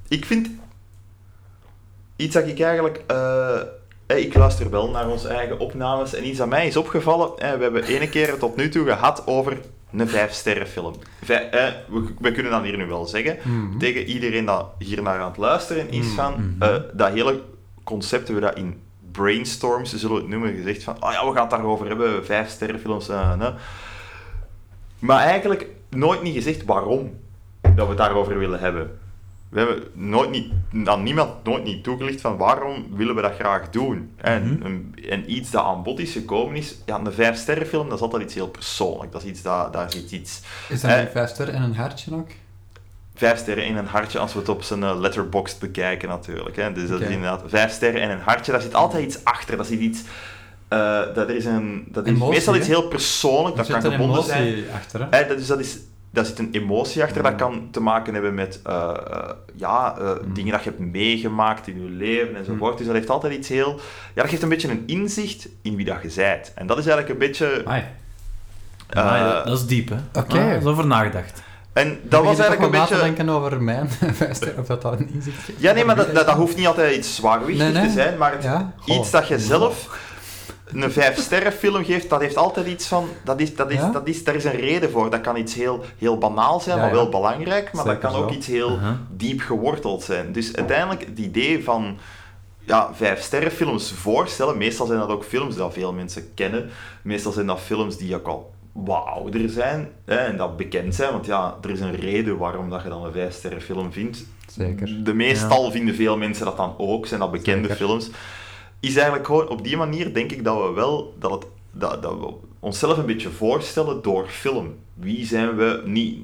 S3: ik vind Ehm, iets dat ik eigenlijk... eh, eh, ik luister wel naar onze eigen opnames en iets dat mij is opgevallen. eh, we hebben ene keer tot nu toe gehad over een vijfsterrenfilm. Vij- eh, we, we kunnen dat hier nu wel zeggen.
S1: Mhm.
S3: Tegen iedereen dat hier naar aan het luisteren is
S1: Mhm.
S3: van... eh, dat hele concept hebben we dat in brainstorms, zullen we het noemen, gezegd van... Oh ja, we gaan het daarover hebben, vijfsterrenfilms... eh, nee. Maar eigenlijk nooit niet gezegd waarom dat we het daarover willen hebben. We hebben nooit niet, aan niemand nooit niet toegelicht van waarom willen we dat graag doen. En,
S4: Mhm.
S3: een- en iets dat aan bod is gekomen is, ja, een vijfsterrenfilm, dat is altijd iets heel persoonlijk. Dat is iets, dat, daar zit iets.
S1: Is dat
S3: Eh.
S1: een vijf sterren en een hartje ook?
S3: Vijf sterren en een hartje, als we het op zijn eh, letterbox letterboxd bekijken natuurlijk. Hè. Dus dat
S1: Oké.
S3: is inderdaad vijf sterren en een hartje, daar zit altijd iets achter. Dat zit iets... eh, dat is, een, dat is
S1: Emotie,
S3: meestal iets
S1: hè?
S3: heel
S1: Er
S3: persoonlijk, dat kan
S1: zit een
S3: gebonden
S1: emotie
S3: zijn.
S1: achter, hè?
S3: Hè, dat, dus dat is, daar zit een emotie achter.
S1: Mm.
S3: Dat kan te maken hebben met eh, eh, ja, eh, dingen dat je hebt meegemaakt in je leven
S1: Mm.
S3: enzovoort. Dus dat heeft altijd iets heel... Ja, dat geeft een beetje een inzicht in wie dat je zijt. En dat is eigenlijk een beetje...
S1: Amai.
S3: eh,
S4: Amai, dat, dat is diep, hè?
S1: Oké.
S4: Ah, dat is over nagedacht.
S3: en dat was eigenlijk een beetje...
S1: Ik denken over mijn vijf sterren, of dat dat een inzicht geeft.
S3: Ja, nee, maar dat, dat, dat hoeft niet altijd iets zwaarwichtig
S1: Nee, nee.
S3: te zijn, maar het-
S1: Ja?
S3: iets
S1: Goh.
S3: dat je zelf een vijfsterrenfilm geeft, dat heeft altijd iets van... Dat is, dat is,
S1: Ja?
S3: dat is, daar is een reden voor. Dat kan iets heel, heel banaal zijn,
S1: Ja,
S3: maar
S1: ja.
S3: wel belangrijk, maar
S1: Zeker
S3: dat kan ook
S1: zo.
S3: iets heel
S4: Uh-huh.
S3: diep geworteld zijn. Dus uiteindelijk, het idee van ja, vijfsterrenfilms voorstellen, meestal zijn dat ook films die veel mensen kennen, meestal zijn dat films die ook al wat ouder zijn hè, en dat bekend zijn, want ja, er is een reden waarom dat je dan een vijfsterrenfilm vindt.
S1: Zeker.
S3: De meestal vinden veel mensen dat dan ook, zijn dat bekende
S1: Zeker.
S3: films. Is eigenlijk gewoon op die manier denk ik dat we wel dat het, dat, dat we onszelf een beetje voorstellen door film. Wie zijn we? Niet,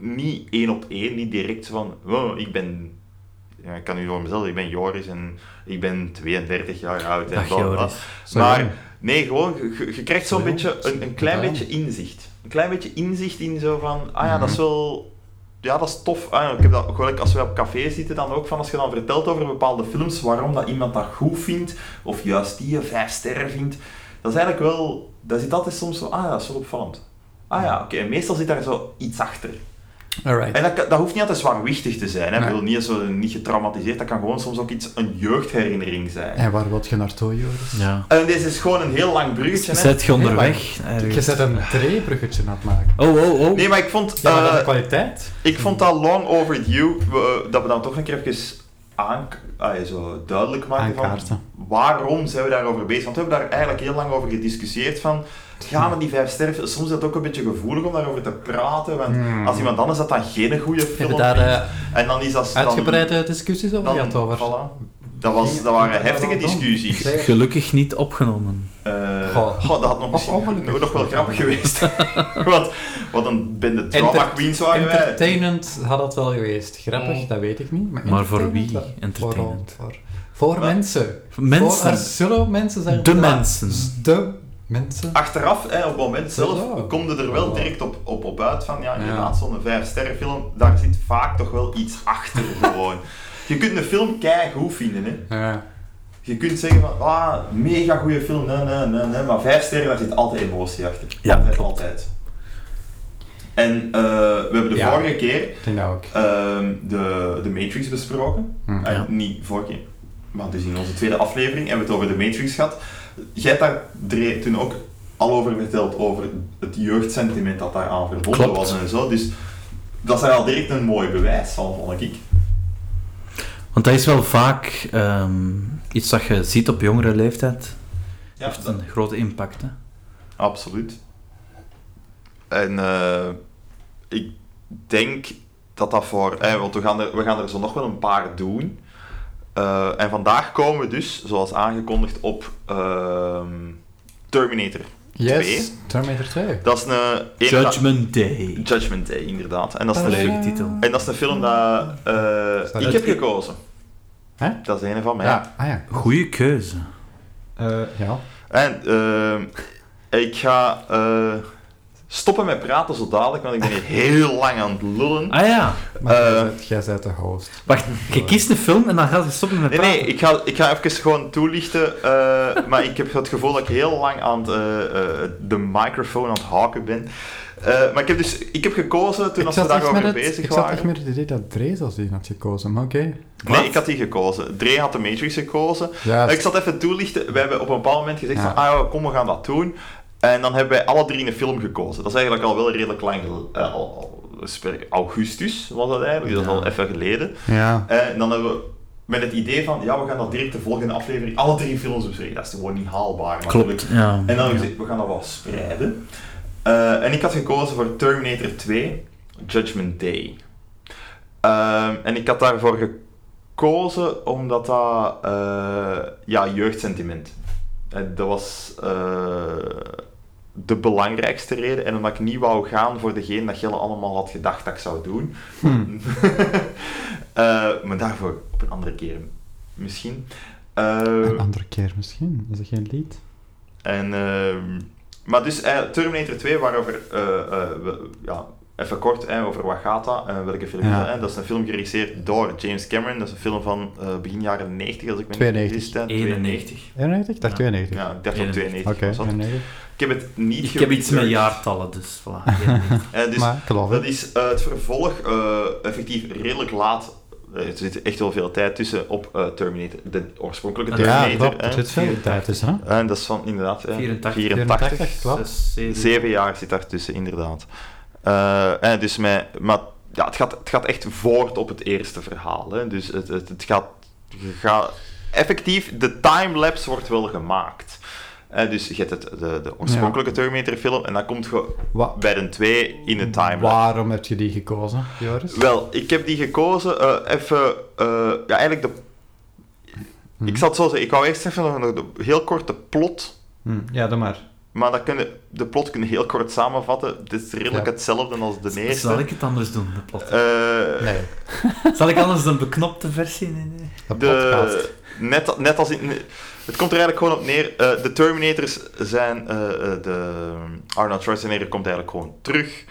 S3: niet één op één, niet direct van "Wow, ik ben. Ja, ik kan nu voor mezelf, ik ben Joris en ik ben 32 jaar oud. En
S4: Dag,
S3: bla, bla.
S4: Joris.
S1: Zo jong.
S3: Maar nee, gewoon, je- je, je krijgt zo'n
S1: Zo jong.
S3: beetje een, een klein
S1: Ja.
S3: beetje inzicht. Een klein beetje inzicht in zo van, ah
S1: Mhm.
S3: ja, dat is wel ja, dat is tof. Ah, ik heb dat, gelijk als we op café zitten, dan ook van als je dan vertelt over bepaalde films, waarom dat iemand dat goed vindt, of juist die een vijf sterren vindt. Dat is eigenlijk wel, daar zit altijd soms zo, ah ja, dat is wel opvallend. Ah ja, oké, en meestal zit daar zo iets achter.
S1: Alright.
S3: En dat, kan- dat hoeft niet altijd zwaarwichtig te zijn, hè. Ik
S1: Nee.
S3: bedoel, niet, zo, niet getraumatiseerd, dat kan gewoon soms ook iets, een jeugdherinnering zijn.
S1: En waar wilt je naartoe, Joris?
S4: Ja.
S3: En deze is gewoon een heel lang bruggetje, hè.
S4: Zet je onderweg?
S1: Je
S4: ergens?
S1: zet een treebruggetje aan het maken.
S4: Oh, oh, oh.
S3: Nee, maar ik vond...
S1: Ja, maar dat is
S3: eh,
S1: de kwaliteit.
S3: Ik vond dat long overdue, we, eh, dat we dan toch een keer even aan, ah, ja, zo duidelijk maken van
S1: Aankaarten.
S3: waarom zijn we daarover bezig. Want we hebben daar eigenlijk heel lang over gediscussieerd van,
S1: Hmm.
S3: gaan we die vijf sterren, soms is het ook een beetje gevoelig om daarover te praten, want
S1: Hmm.
S3: als iemand anders dat dan geen goede film
S1: Hebben daar
S3: vindt,
S1: eh,
S3: en dan is dat... dan-
S1: uitgebreide discussies over
S3: dan,
S1: gehad over?
S3: voilà. dat, was, dat waren heftige discussies.
S1: Zeg.
S4: Gelukkig niet opgenomen.
S3: Eh,
S1: Goh. Oh,
S3: goh, dat had nog,
S1: Of
S3: misschien,
S1: ongelukkig.
S3: nog wel grappig geweest. Want wat een bende trauma
S1: Enter-
S3: queens waren wij.
S1: Entertainend had het wel geweest. Grappig,
S3: Mm.
S1: dat weet ik niet. Maar,
S4: Maar voor
S1: entertainend
S4: wie
S1: wel.
S4: entertainend?
S1: Voor, voor, voor
S3: Wat?
S1: mensen. Voor, er
S4: Mensen.
S1: zullen mensen zijn.
S4: De
S1: Ja,
S4: mensen.
S1: De mensen.
S3: achteraf, hè, op het moment zelf,
S1: Ja.
S3: kom je er wel direct op, op, op uit van, ja, inderdaad,
S1: Ja.
S3: zo'n vijfsterrenfilm, daar zit vaak toch wel iets achter gewoon. Je kunt een film goed vinden, hè.
S1: Ja.
S3: Je kunt zeggen van, ah, mega goede film, nee, nee, nee, nee, maar vijf sterren, daar zit altijd emotie achter.
S4: Ja,
S3: altijd,
S4: klopt.
S3: altijd. En eh, we hebben de
S1: Ja.
S3: vorige keer
S1: Ik denk dat ook.
S3: ehm, de, de Matrix besproken.
S1: Hm.
S3: Eh,
S4: Ja.
S3: Niet vorige keer, maar dus in onze tweede aflevering hebben we het over de Matrix gehad. Jij hebt daar dre- toen ook al over verteld, over het jeugdsentiment dat daaraan verbonden
S4: Klopt.
S3: was en zo. Dus dat is daar al direct een mooi bewijs van, vond ik.
S4: Want dat is wel vaak ehm, iets dat je ziet op jongere leeftijd.
S3: Ja,
S4: heeft een grote impact, hè.
S3: Absoluut. En eh, ik denk dat dat voor... eh, want we gaan, er, we gaan er zo nog wel een paar doen. Eh, en vandaag komen we dus, zoals aangekondigd, op ehm, Terminator.
S1: Yes, Terminator 2.
S3: Dat is een... een-
S4: Judgment Day.
S3: Judgment Day, inderdaad. En dat is
S4: Een
S3: een,
S4: leuke titel.
S3: en dat is een film dat eh,
S1: Is dat
S3: ik
S1: uit-
S3: heb gekozen.
S1: Hè?
S3: Dat is een van mij.
S1: Ja, ah ja.
S4: Goeie keuze.
S1: Eh, ja.
S3: En ehm, ik ga eh, stoppen met praten zo dadelijk, want ik ben hier heel lang aan het lullen.
S4: Ah ja.
S1: Maar jij
S3: Eh.
S1: bent- jij bent de host.
S4: Wacht, je kiest een film en dan gaat je stoppen met
S3: Nee,
S4: praten.
S3: nee, ik ga, ik ga even gewoon toelichten, eh, maar ik heb het gevoel dat ik heel lang aan het, eh, eh, de microfoon aan het haken ben. Eh, maar ik heb dus ik heb gekozen toen
S1: Ik
S3: als we
S1: zat echt met
S3: daarover
S1: het-
S3: bezig
S1: ik zat echt
S3: waren.
S1: met het idee dat Dre zelfs die had gekozen, maar oké.
S3: Nee, ik had die gekozen. Dre had de Matrix gekozen.
S1: Ja,
S3: Ik zal het even toelichten. We hebben op een bepaald moment gezegd
S1: Ja.
S3: van, ah, kom, we gaan dat doen. En dan hebben wij alle drie een film gekozen. Dat is eigenlijk al wel redelijk lang gel- eh, al- al- we spreken- augustus was dat eigenlijk, Dus dat is
S4: Ja.
S3: al even geleden.
S1: ja.
S3: En Eh, dan hebben we met het idee van, ja, we gaan dat direct de volgende aflevering alle drie films bespreken. Dat is gewoon niet haalbaar. natuurlijk.
S4: Klopt, ja.
S3: En dan heb ik gezegd, we gaan dat wel spreiden. Eh, en ik had gekozen voor Terminator 2, Judgment Day. Ehm, en ik had daarvoor gekozen omdat dat eh, ja, jeugdsentiment. En dat was eh, de belangrijkste reden. En omdat ik niet wou gaan voor degene dat Gelle allemaal had gedacht dat ik zou doen.
S1: Hm.
S3: Eh, maar daarvoor op een andere keer misschien. Eh,
S1: Een andere keer misschien. Is dat geen lied?
S3: En, ehm, maar dus eh, Terminator 2, waarover, eh, eh, we- ja, even kort, eh, over wat gaat dat, en welke film
S1: Ja.
S3: is dat? eh? Dat is een film geregisseerd door James Cameron, dat is een film van eh, begin jaren 90, als ik me
S1: 92.
S3: vergis, eh,
S4: 91.
S1: 91? Ik dacht
S4: Ja.
S1: 92.
S3: Ja, ik dacht op 92.
S1: Oké,
S3: was dat.
S1: 91.
S3: Ik heb het niet
S4: Ik heb iets met
S3: geresearched.
S4: jaartallen, dus voilà. 91.
S3: Eh, dus
S1: Maar ik geloof
S3: dat
S1: het.
S3: is eh, het vervolg, eh, effectief redelijk laat, eh, er zit echt wel veel tijd tussen op eh, Terminator, de oorspronkelijke
S1: Ah, Ja,
S3: Terminator.
S1: klopt.
S3: eh.
S1: Er zit veel tijd tussen, hè?
S3: En dat is van inderdaad eh,
S4: 84.
S3: 84.
S1: 84, klopt.
S4: Zes, zeven.
S3: Zeven jaar zit daartussen, inderdaad. Eh, en dus met, maar ja, het, gaat, het gaat echt voort op het eerste verhaal. Hè. Dus het, het, het gaat, je gaat... Effectief, de timelapse wordt wel gemaakt. Eh, dus je hebt het, de, de oorspronkelijke Terminator film en dan komt je
S1: Wa-
S3: bij de twee in de timelapse.
S1: Waarom heb je die gekozen, Joris?
S3: Wel, ik heb die gekozen eh, even... eh, ja, eigenlijk de...
S1: Mhm.
S3: Ik zal het zo zeggen, ik wou eerst even nog, nog de, heel kort de plot
S1: Hm, Ja, doe maar.
S3: Maar dat kunnen, de plot kunnen heel kort samenvatten. Het is redelijk
S1: Ja.
S3: hetzelfde als de eerste.
S4: Zal ik het anders doen, de plot?
S3: Eh,
S1: Nee,
S4: Zal ik anders een beknopte versie? Nee, nee.
S1: de podcast.
S3: de, net, net als in, het komt er eigenlijk gewoon op neer. eh, de Terminators zijn. eh, eh, de Arnold Schwarzenegger komt eigenlijk gewoon terug.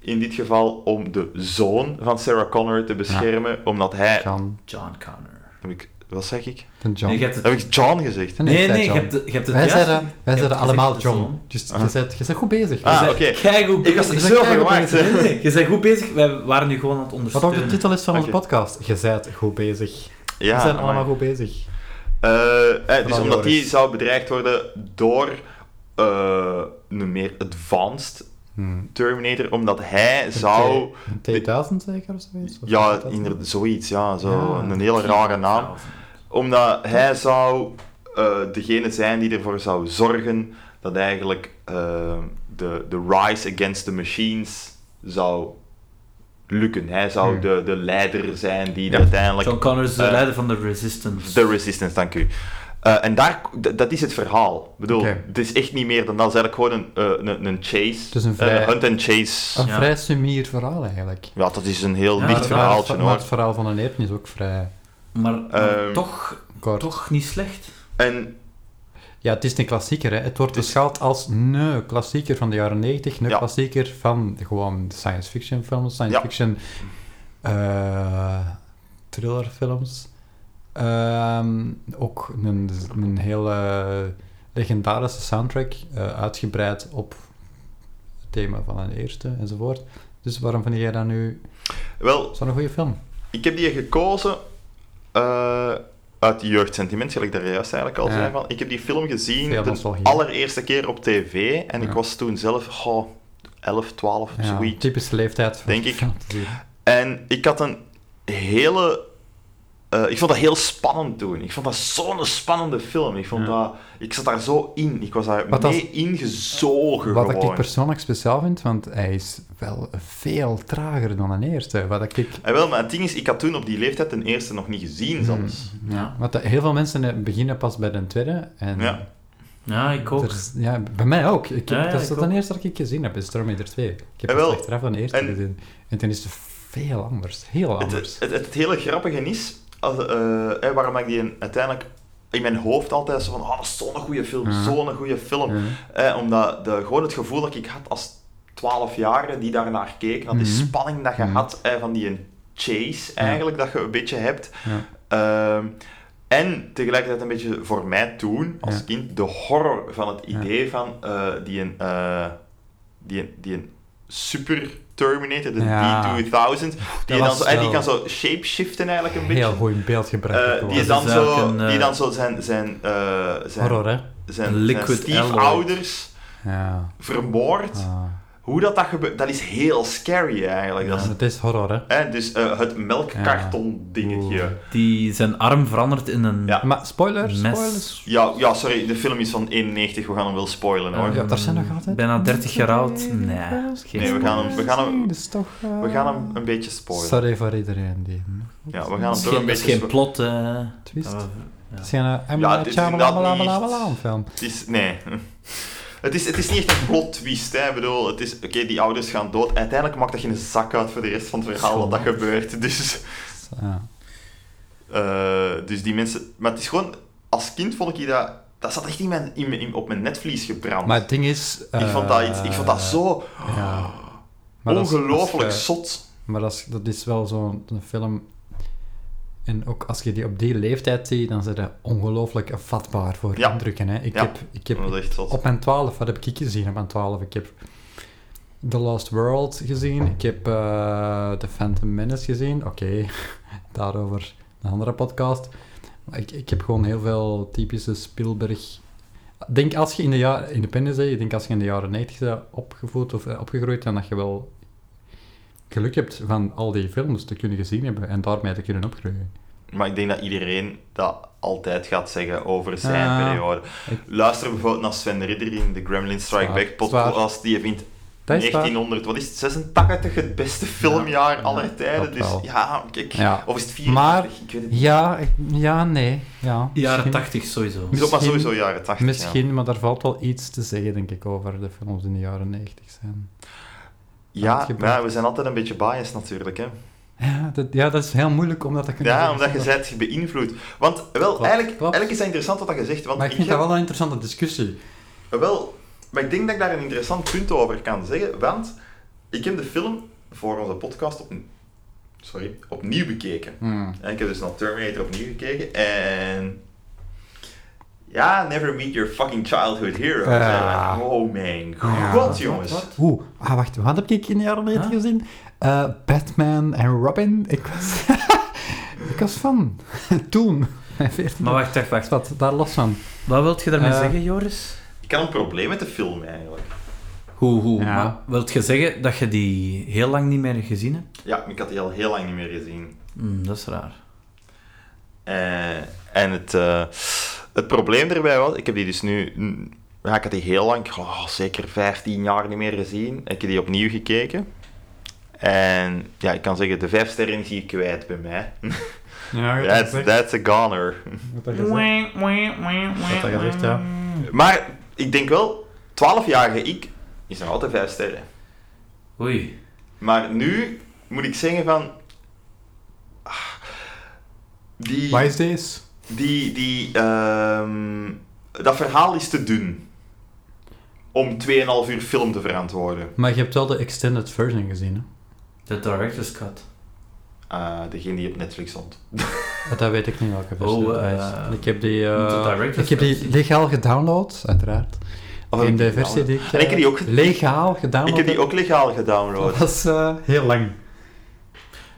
S3: In dit geval om de zoon van Sarah Connor te beschermen. Omdat hij.
S1: John.
S4: John Connor.
S3: Heb ik, wat zeg ik?
S1: De John.
S4: Nee, je hebt het...
S3: Heb ik John gezegd?
S4: Nee,
S1: ik zei
S4: nee, je
S1: John.
S4: hebt, het- je hebt het
S1: Wij
S4: juist-
S1: zeiden,
S4: je
S1: wij
S4: hebt
S1: zeiden
S4: gezegd
S1: allemaal
S4: de
S1: John.
S4: zoon.
S1: Dus
S3: Ah.
S1: je bent je bent goed bezig.
S3: Ah,
S1: Je
S3: oké.
S1: bent-
S4: Keigoed
S3: Ik was
S4: bezig.
S3: zo
S1: kijk, ik
S3: verwaard.
S4: Nee, nee, Je bent goed bezig. Wij waren nu gewoon aan het
S1: Wat ook
S4: ondersteunen.
S1: de titel is van onze
S3: dus, Oké.
S1: podcast. Je bent goed bezig.
S3: Ja,
S1: We zijn
S3: amai.
S1: allemaal goed bezig.
S3: Eh, eh, dus
S1: Van
S3: omdat
S1: Joris.
S3: die zou bedreigd worden door eh, een meer advanced
S1: Hmm.
S3: Terminator, omdat hij zou...
S1: Een T1000 zeker of zoiets? Of
S3: Ja,
S1: is dat-
S3: inderdaad, zoiets, ja, zo,
S1: Ja.
S3: een hele rare naam. Omdat hij zou eh, degene zijn die ervoor zou zorgen dat eigenlijk eh, de, de rise against the machines zou lukken. Hij zou
S1: Hmm.
S3: de, de leider zijn die
S1: Ja.
S3: uiteindelijk
S4: John Connor is de
S3: Eh,
S4: leider van de Resistance.
S3: de Resistance, dank u. Eh, en daar, d- dat is het verhaal. Ik bedoel,
S1: Oké.
S3: het is echt niet meer dan dat. Het is eigenlijk gewoon een, eh, een, een chase.
S1: is een vrij- Oh.
S3: hunt and chase.
S1: Een
S4: Ja.
S1: vrij sumier verhaal eigenlijk.
S3: Ja, dat is een heel
S4: Ja,
S3: licht
S1: Maar-
S3: verhaaltje
S1: maar,
S3: hoor.
S1: maar het verhaal van een Eertje is ook vrij
S4: maar maar
S3: Ehm,
S4: toch,
S1: kort.
S4: toch niet slecht.
S3: En
S1: Ja, het is een klassieker. Hè. Het wordt
S3: Dus-
S1: beschaald als een klassieker van de jaren 90, een
S3: Ja.
S1: klassieker van gewoon science fiction films, science
S3: Ja.
S1: fiction eh thrillerfilms. Ehm, ook een, een hele legendarische soundtrack, eh, uitgebreid op het thema van een eerste enzovoort. Dus waarom vind jij dat nu
S3: wel,
S1: zo'n goede film?
S3: Ik heb die gekozen eh, uit jeugdsentiment, gelijk daar juist eigenlijk al
S1: Ja.
S3: zei van. Ik heb die film gezien
S1: Veel
S3: de
S1: nostalgie.
S3: allereerste keer op tv en ik
S1: Ja.
S3: was toen zelf goh, 11, 12 of
S1: Ja,
S3: zoiets.
S1: typische leeftijd. van-
S3: Denk ik.
S1: van te zien.
S3: En ik had een hele. eh, ik vond dat heel spannend toen. Ik vond dat zo'n spannende film. Ik, vond
S4: Ja.
S3: dat, ik zat daar zo in. Ik was daar
S1: Wat
S3: mee ingezogen
S1: Wat ik
S3: gewoon.
S1: persoonlijk speciaal vind, want hij is wel veel trager dan een eerste. Wat ik,
S3: En wel, maar het ding is, ik had toen op die leeftijd ten eerste nog niet gezien
S1: Hmm.
S3: zelfs.
S4: Ja.
S1: want heel veel mensen eh, beginnen pas bij de tweede. En
S3: Ja.
S4: ja, ik ook.
S1: er is- ja, bij mij ook. Ik,
S4: Ja, ja,
S1: dat is
S4: ik
S1: het
S4: ook.
S1: de eerste dat ik gezien heb, is Terminator 2. Ik heb
S3: Jawel.
S1: het achteraf van de eerste
S3: En-
S1: gezien. En toen is het veel anders. Heel
S3: Het,
S1: anders.
S3: het, het hele grappige is, als, eh, hè, waarom ik die uiteindelijk in mijn hoofd altijd zo van, oh, dat is zo'n goede film,
S1: Ja.
S3: zo'n goede film.
S1: Ja.
S3: Eh, omdat de, gewoon het gevoel dat ik had als 12-jarige die daar naar keek, dat die
S1: Mhm.
S3: spanning dat je
S1: Mhm.
S3: had eh, van die chase eigenlijk, dat je een beetje hebt.
S1: Ja.
S3: Ehm, en tegelijkertijd een beetje voor mij toen, als
S1: Ja.
S3: kind, de horror van het
S1: Ja.
S3: idee van eh, die een... eh, die, een- die een super Terminator, de
S1: Ja.
S3: D2000. Die, dan
S1: was
S3: zo, en die
S1: wel
S3: kan zo shapeshiften eigenlijk een
S1: Heel
S3: beetje.
S1: goed in beeld
S3: Eh,
S1: gebracht.
S3: die,
S4: is
S3: dan
S4: dus
S3: zo,
S4: eigenlijk een, eh,
S3: die dan zo zijn, zijn, eh, zijn,
S1: Horror, hè?
S3: zijn,
S4: Liquid
S3: zijn stiefouders
S1: Ja.
S3: vermoord.
S1: Ah.
S3: Hoe dat, dat gebeurt, dat is heel scary eigenlijk. Dat is,
S1: Het is horror, hè?
S3: hè, dus eh, het melkkarton dingetje.
S4: Die zijn arm verandert in een
S3: Ja.
S1: Maar spoilers,
S4: mes.
S1: spoilers.
S3: Ja, ja, sorry, de film is van 91, we gaan hem wel spoilen hoor.
S1: Ja, daar zijn nog altijd...
S4: Bijna 30 jaar oud? Nee. geen
S3: Nee, we gaan hem, we gaan hem,
S1: Dat is toch... eh,
S3: we gaan hem een beetje spoilen.
S1: Sorry voor iedereen die... hem
S3: Ja, we gaan
S4: Het
S3: hem
S4: is
S3: toch
S4: geen,
S3: een
S4: het is
S3: beetje...
S4: geen
S3: spo-
S4: plot. eh,
S1: Twist.
S4: dat we-
S1: Het is geen... eh,
S3: Ja, dit is
S1: tjabala,
S3: inderdaad
S1: bala, bala, bala,
S3: niet-
S1: film.
S3: Het is, nee. Het is, het is niet echt een plot twist, hè. Ik bedoel, het is... Oké, die ouders gaan dood. Uiteindelijk maakt dat geen zak uit voor de rest van het verhaal dat dat gebeurt. Dus...
S1: Ja.
S3: eh, dus die mensen... Maar het is gewoon... Als kind vond ik dat... Dat zat echt in mijn, in, mijn- in- op mijn netvlies gebrand.
S1: Maar het ding is...
S3: ik,
S1: eh,
S3: vond dat iets, ik vond dat zo
S1: Ja. Maar dat is-
S3: ongelooflijk
S1: als je-
S3: zot.
S1: Maar dat is, dat is wel zo'n een film... En ook als je die op die leeftijd ziet, dan zijn ze ongelooflijk vatbaar voor
S3: Ja.
S1: indrukken. Hè. Ik,
S3: Ja.
S1: heb, ik heb
S3: Dat was echt zot.
S1: Op mijn twaalf, wat heb ik gezien op mijn twaalf? Ik heb The Lost World gezien, ik heb eh, The Phantom Menace gezien. Oké, daarover een andere podcast. Maar ik, ik heb gewoon heel veel typische Spielberg... Ik Denk als je in de jaren... Independence Day, ik denk als je in de jaren 90 bent opgevoed of eh, opgegroeid, dan dat je wel geluk hebt van al die films te kunnen gezien hebben en daarmee te kunnen opgroeien.
S3: Maar ik denk dat iedereen dat altijd gaat zeggen over zijn
S1: Ah.
S3: periode.
S1: Ik-
S3: Luister bijvoorbeeld naar Sven Ridder in de Gremlin Strike
S1: Zwaar,
S3: Back podcast. Die vindt
S1: Dat is waar.
S3: 1900, wat is het, 86 het beste filmjaar aller tijden.
S1: dat
S3: Dus
S1: wel.
S3: ja, kijk.
S1: Ja.
S3: Of is het
S1: Maar-
S3: 84? Ik weet het niet.
S1: Ja, ik- ja, nee. Ja,
S4: Jaren
S1: misschien.
S4: 80 sowieso.
S3: Het is ook maar
S1: misschien-
S3: sowieso jaren 80. ja.
S1: Misschien, maar daar valt wel iets te zeggen, denk ik, over de films die in de jaren 90 zijn.
S3: Ja,
S1: uitgebracht.
S3: maar ja, we zijn altijd een beetje biased natuurlijk. Hè.
S1: Ja, dat, ja, dat is heel moeilijk om dat te kunnen
S3: Ja,
S1: zeggen,
S3: omdat je
S1: zonder-
S3: zijt beïnvloed. Want wel,
S1: Klopt,
S3: eigenlijk,
S1: klopt.
S3: eigenlijk is dat interessant wat dat je zegt. Want
S1: Maar ik
S3: in
S1: vind dat
S3: Grem-
S1: wel een interessante discussie.
S3: Eh, Wel, maar ik denk dat ik daar een interessant punt over kan zeggen, want ik heb de film voor onze podcast op, sorry, opnieuw bekeken.
S1: Hmm.
S3: En ik heb dus naar Terminator opnieuw gekeken en... Ja, never meet your fucking childhood hero.
S1: Ja.
S3: Oh man,
S1: Ja.
S3: god jongens.
S1: Oeh, ah, wacht, wat heb ik in de jaren 90
S4: Huh?
S1: gezien? Eh, Batman en Robin. Ik was, ik was van. Toen. Mijn 14.
S4: Maar wacht, wacht, wacht.
S1: Wat, daar los van.
S4: Wat wilt je daarmee
S1: Eh,
S4: zeggen, Joris?
S3: Ik had een probleem met de film eigenlijk.
S4: Hoe, hoe?
S1: Ja.
S4: Maar wilt je zeggen dat je die heel lang niet meer gezien hebt?
S3: Ja, ik had die al heel lang niet meer gezien.
S4: Hm, dat is raar.
S3: Eh, en het, eh, het probleem daarbij was, ik heb die dus nu, mm, ja, ik had die heel lang, oh, zeker 15 jaar niet meer gezien. Ik heb die opnieuw gekeken. En ja, ik kan zeggen, de vijf sterren is hier kwijt bij mij.
S1: Ja,
S3: That's, that's a goner.
S1: Wat dat gezegd, ja.
S3: Maar ik denk wel, 12-jarige ik is nog altijd vijf sterren.
S4: Oei.
S3: Maar nu moet ik zeggen van... ah, Die...
S1: Why is this?
S3: Die, die, ehm, dat verhaal is te dun. Om 2,5 uur film te verantwoorden.
S1: Maar je hebt wel de extended version gezien, hè?
S4: De director's cut.
S3: Eh, degene die op Netflix stond.
S1: Dat weet ik niet welke versie
S4: Oh,
S1: dat
S4: eh,
S1: is. Ik heb die, eh,
S4: de director's
S1: ik heb die
S4: cut.
S1: legaal gedownload, uiteraard.
S3: Of heb
S1: in
S3: ik
S1: de
S3: die
S1: versie
S3: gedownload?
S1: die ik...
S3: En ik heb die ook
S1: eh,
S3: ge-
S1: Legaal gedownload.
S3: Ik heb die ook legaal
S1: Dat
S3: gedownload.
S1: was eh, heel lang.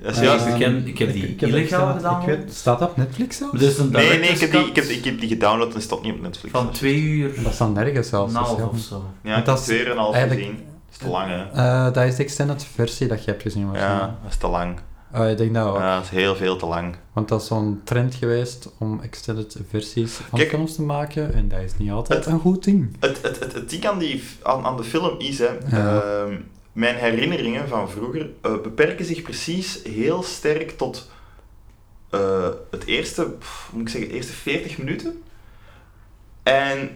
S3: Dat is
S4: Ja,
S3: juist-
S4: ik
S1: Ehm,
S4: ken- ik heb die
S1: heb
S4: illegaal
S1: extended- ik
S4: gedownload.
S1: weet- Staat dat op Netflix zelfs?
S4: Er is een
S3: nee, nee, ik
S4: director's
S3: heb, die,
S4: cut
S3: ik, heb, ik heb die gedownload en stond niet op Netflix.
S4: van twee uur
S1: Dat staat nergens
S4: en een
S1: zelfs. dus dat is
S4: half
S1: heel-
S4: of zo.
S3: ja, ik heb
S1: dat is
S3: 2,5
S1: eigenlijk-
S3: gezien. Dat is te lang, hè.
S1: Eh, dat is de extended versie dat je hebt gezien. waarschijnlijk.
S3: Ja, dat is te lang.
S1: Eh, ik denk dat ook.
S3: Ja, dat is heel veel te lang.
S1: Want dat is zo'n trend geweest om extended versies van
S3: Kijk.
S1: films te maken. En dat is niet altijd een goed ding.
S3: Het, het, het, het ding aan, die, aan, aan de film is, hè,
S1: Ja.
S3: ehm, mijn herinneringen van vroeger eh, beperken zich precies heel sterk tot eh, het eerste, pff, moet ik zeggen, eerste 40 minuten. En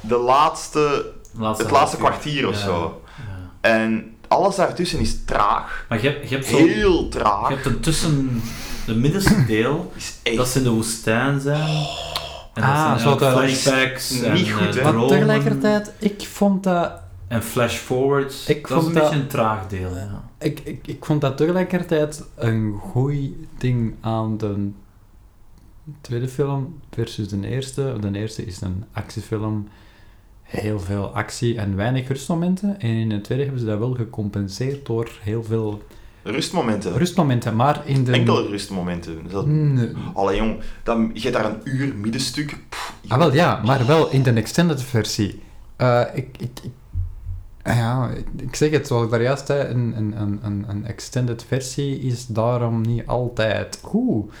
S3: de laatste,
S4: Laatste
S3: het laatste
S4: half uur.
S3: kwartier of
S4: Ja,
S3: zo.
S4: ja.
S3: En alles daartussen is traag.
S4: Maar je, hebt- je hebt zo...
S3: Heel
S4: Je
S3: traag.
S4: hebt een tussen... De middenste deel,
S3: Is echt
S4: dat ze in de woestijn zijn. En dat
S1: Ah,
S4: zijn
S1: zo dat-
S4: eigenlijk flashbacks
S3: Niet
S4: en eh,
S3: goed, hè.
S1: Maar
S4: dromen.
S1: tegelijkertijd, ik vond dat
S4: En flash-forwards.
S1: Ik
S4: Dat is een
S1: vond dat-
S4: beetje een traag deel, ja.
S1: Ik, ik, ik vond dat tegelijkertijd een goed ding aan de tweede film versus de eerste. De eerste is een actiefilm. heel veel actie en weinig rustmomenten. En in het tweede hebben ze dat wel gecompenseerd door heel veel
S3: Rustmomenten.
S1: rustmomenten. Maar in de... Mm,
S3: Enkele rustmomenten. Dus dat-
S1: Nee.
S3: Allee jong, dan, je hebt daar een uur middenstuk. Pff,
S1: Ah, wel ja, maar wel in de extended versie. Eh, ik, ik, ik- ah ja, ik- ik zeg het zoals ik daar juist zei, een, een, een- een, een extended versie is daarom niet altijd goed.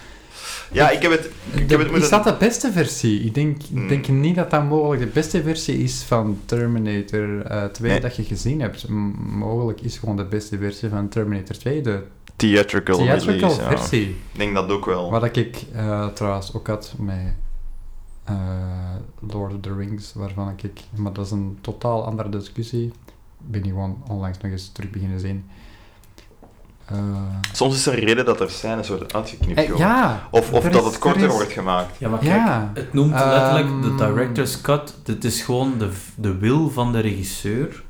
S3: Ja, ik heb het, ik heb het
S1: is
S3: moeten...
S1: dat de beste versie? Ik denk, ik
S3: Hmm.
S1: denk niet dat dat mogelijk de beste versie is van Terminator eh 2
S3: Nee.
S1: dat je gezien hebt. M- mogelijk is gewoon de beste versie van Terminator 2 de
S3: Theatrical,
S1: theatrical
S3: release, ja.
S1: versie.
S3: Ik denk dat ook wel.
S1: Wat ik eh, trouwens ook had met eh, Lord of the Rings, waarvan ik... Maar dat is een totaal andere discussie. Ik ben die gewoon onlangs nog eens terug beginnen zien. Eh,
S3: Soms is er een reden dat er scènes worden uitgeknipt.
S1: eh,
S3: joh.
S1: ja!
S3: Of, of
S1: er
S3: dat
S1: is-
S3: het korter
S1: er is-
S3: wordt gemaakt.
S4: Ja, maar kijk,
S1: Ja.
S4: het noemt letterlijk de
S1: Ehm.
S4: director's cut. Dit is gewoon de, de wil van de regisseur.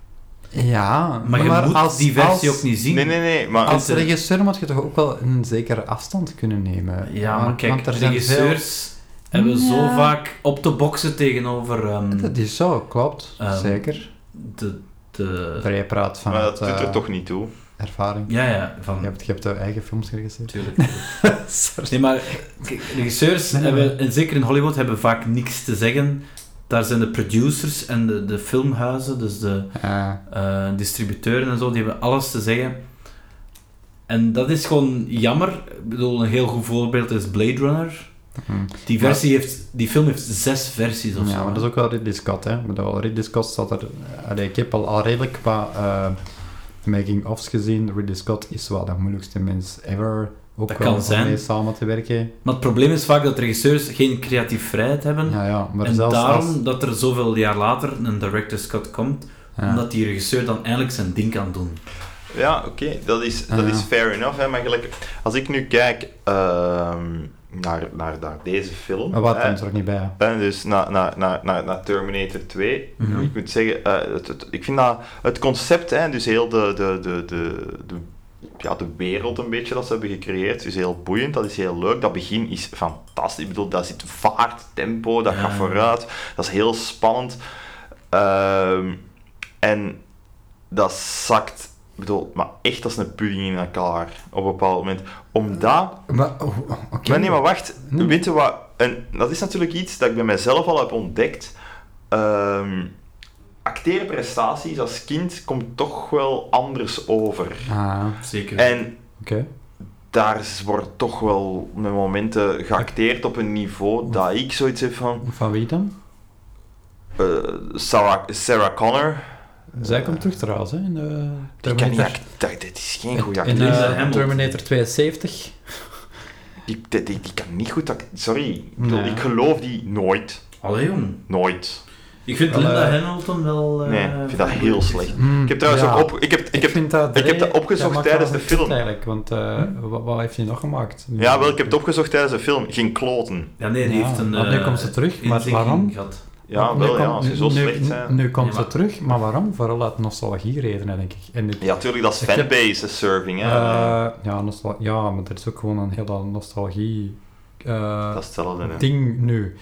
S1: Ja,
S4: Maar, je moet
S1: als,
S4: die versie
S1: als,
S4: ook niet zien.
S3: Nee, nee, nee. Maar
S1: Als
S4: eh,
S1: regisseur moet je toch ook wel een zekere afstand kunnen nemen.
S4: Ja, maar
S1: Want-
S4: kijk,
S1: want er zijn
S4: regisseurs hebben zo
S1: Ja.
S4: vaak op de boksen tegenover ehm,
S1: veel- Dat is zo, klopt.
S4: Ehm,
S1: zeker.
S4: de, de...
S1: Vrij praat van eh,
S3: maar dat doet er toch niet toe.
S1: ervaring.
S4: Ja, ja, van...
S1: Je hebt, je hebt de eigen films geregisseerd.
S4: Tuurlijk. Nee, maar kijk, regisseurs,
S1: Nee, nee,
S4: hebben, en zeker in Hollywood, hebben vaak niks te zeggen. Daar zijn de producers en de, de filmhuizen, dus de
S1: Eh,
S4: eh, distributeuren en zo, die hebben alles te zeggen. En dat is gewoon jammer. Ik bedoel, een heel goed voorbeeld is Blade Runner.
S1: hm.
S4: Die, versie heeft, die film heeft zes versies of zo.
S1: Ja, maar dat is ook wel Ridley Scott, hè. Ik bedoel, Ridley Scott staat er... Allee, ik heb al, al redelijk qua making-ofs gezien. Ridley Scott is wel de moeilijkste mens ever. Ook
S4: Dat
S1: wel
S4: kan
S1: om
S4: zijn.
S1: mee samen te werken.
S4: Maar het probleem is vaak dat regisseurs geen creatief vrijheid hebben.
S1: Ja, ja. Maar
S4: en
S1: zelfs
S4: daarom
S1: als...
S4: dat er zoveel jaar later een director's cut komt,
S1: Ja.
S4: omdat die regisseur dan eindelijk zijn ding kan doen.
S3: Ja, oké, dat, is, dat
S1: Ah, ja.
S3: is fair enough. Hè, maar gelijk, als ik nu kijk ehm, naar, naar, naar deze film.
S1: Maar wat,
S3: hè,
S1: komt er ook niet bij. hè.
S3: hè, dus naar, naar, naar, naar, naar Terminator 2.
S4: Mhm.
S3: Ik moet zeggen, eh, het, het- ik vind dat het concept, hè, dus heel de, de, de, de, de, ja, de wereld een beetje dat ze hebben gecreëerd, is heel boeiend. Dat is heel leuk. Dat begin is fantastisch. Ik bedoel, daar zit vaart, tempo, dat
S4: Ja.
S3: gaat vooruit. Dat is heel spannend. Ehm, en dat zakt, ik bedoel, maar echt als een pudding in elkaar op een bepaald moment. Omdat
S1: Maar, oh, oh, oké.
S3: maar nee, maar wacht.
S1: Nee.
S3: Weet je wat? En dat is natuurlijk iets dat ik bij mezelf al heb ontdekt. Ehm acteerprestaties als kind komt toch wel anders over.
S1: Ah,
S4: Zeker.
S3: En
S1: oké.
S3: daar is- wordt toch wel met momenten geacteerd op een niveau dat ik zoiets heb van...
S1: Van wie dan?
S3: eh, Sarah, Sarah Connor.
S1: Zij komt terug trouwens, hè. In, de
S3: Die kan niet
S1: Terminator.
S3: act- dat- Dit is geen goede
S1: in
S3: acteur.
S1: eh,
S4: Linda Hamilton.
S1: Terminator 72.
S3: Die, die, die- die kan niet goed acteren. Sorry. Ik bedoel,
S1: Nee.
S3: Ik geloof die nooit.
S4: Allee, jong.
S3: Nooit.
S4: Ik vind
S1: Wel,
S4: Linda
S1: eh,
S4: Hamilton wel... eh,
S3: Nee, ik vind dat heel slecht.
S1: Mm,
S3: Hmm. Ik heb trouwens
S1: ja.
S3: ook op... Ik heb, ik heb
S1: vind dat
S3: ik heb
S1: Dre-
S3: dat opgezocht
S1: maakt
S3: tijdens
S1: wel
S3: de
S1: goed
S3: film. Hmm.
S1: Eigenlijk, want eh, wa- wat, heeft hij nog gemaakt?
S3: Ja, wel, ik heb het opgezocht tijdens de film. Geen kloten.
S4: Ja, nee, die
S1: Ja,
S4: heeft een...
S1: want nu
S4: eh,
S1: komt ze terug, maar
S4: inzinking
S1: waarom?
S4: gehad.
S3: Ja, wel, ja, als
S1: nu,
S3: ze zo
S1: nu-
S3: slecht
S1: Nu,
S3: zijn.
S1: komt
S4: Ja,
S1: ze
S4: maar-
S1: terug, maar waarom? Vooral uit nostalgie-redenen, denk ik. En ik
S3: Ja, tuurlijk, dat is
S1: Ik heb-
S3: fanbase-serving, hè.
S1: eh, ja, nostal- ja, maar er is ook gewoon een hele nostalgie-ding
S3: dat is hetzelfde, hè.
S1: nu.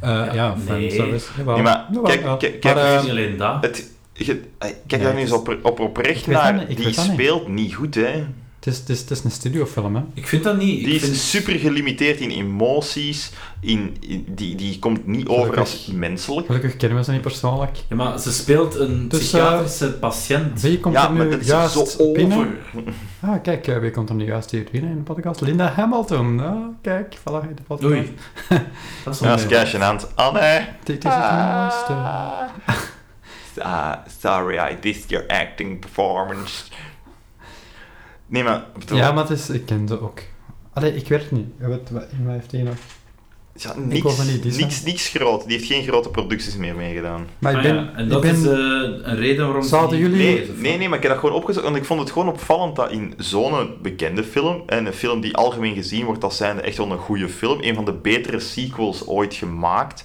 S1: Eh, ja,
S4: nee.
S1: fanservice. Jawel.
S3: Nee, maar
S1: Jawel,
S3: kijk-
S1: ja.
S3: kijk-
S1: Maar,
S3: kijk,
S1: eh,
S4: Niet alleen dat.
S3: Het, je- eh,
S1: Nee,
S3: kijk daar
S1: het
S3: nu eens
S1: is-
S3: op, op oprecht
S1: Ik weet dat
S3: naar.
S1: niet, ik
S3: Die
S1: weet dat niet.
S3: speelt niet goed, hè.
S1: het, is, het, is, het is een studiofilm, hè.
S4: Ik vind dat niet.
S3: Die
S4: ik vind...
S3: is super gelimiteerd in emoties. In, in- die, die komt niet over als menselijk.
S1: Gelukkig kennen we ze niet persoonlijk.
S4: Ja, maar ze speelt een
S1: Dus, eh,
S4: psychiatrische patiënt.
S1: Wie komt
S3: Ja,
S1: er
S3: maar
S1: nu
S3: dat is
S1: juist
S3: zo over.
S1: binnen? Ah, kijk, eh, wie komt er nu juist hier binnen in de podcast? Linda Hamilton. Ah, kijk, voilà, in de podcast.
S4: Oei. dat is
S3: Ja,
S4: wel
S3: dat is keisjenant. Anne!
S1: Dit is het mooiste.
S3: Ah, sorry, I dissed your acting performance. Nee, maar... bedoel-
S1: Ja, maar het is, ik ken ze ook. Allee, ik weet het niet. Wat, wat, wat heeft hij nog?
S3: Ja,
S1: wil
S3: niks,
S1: van die Disney.
S3: niks, niks groot. Die heeft geen grote producties meer meegedaan.
S1: Maar ik
S4: Ah
S1: ben...
S4: ja, en
S1: ik
S4: dat
S1: ben
S4: is eh, een reden waarom ze
S1: Zouden
S4: niet
S1: jullie-
S3: Nee,
S4: lezen,
S3: nee, nee, maar ik heb dat gewoon opgezocht. Want ik vond het gewoon opvallend dat in zo'n bekende film, en een film die algemeen gezien wordt als zijnde echt wel een goede film, een van de betere sequels ooit gemaakt.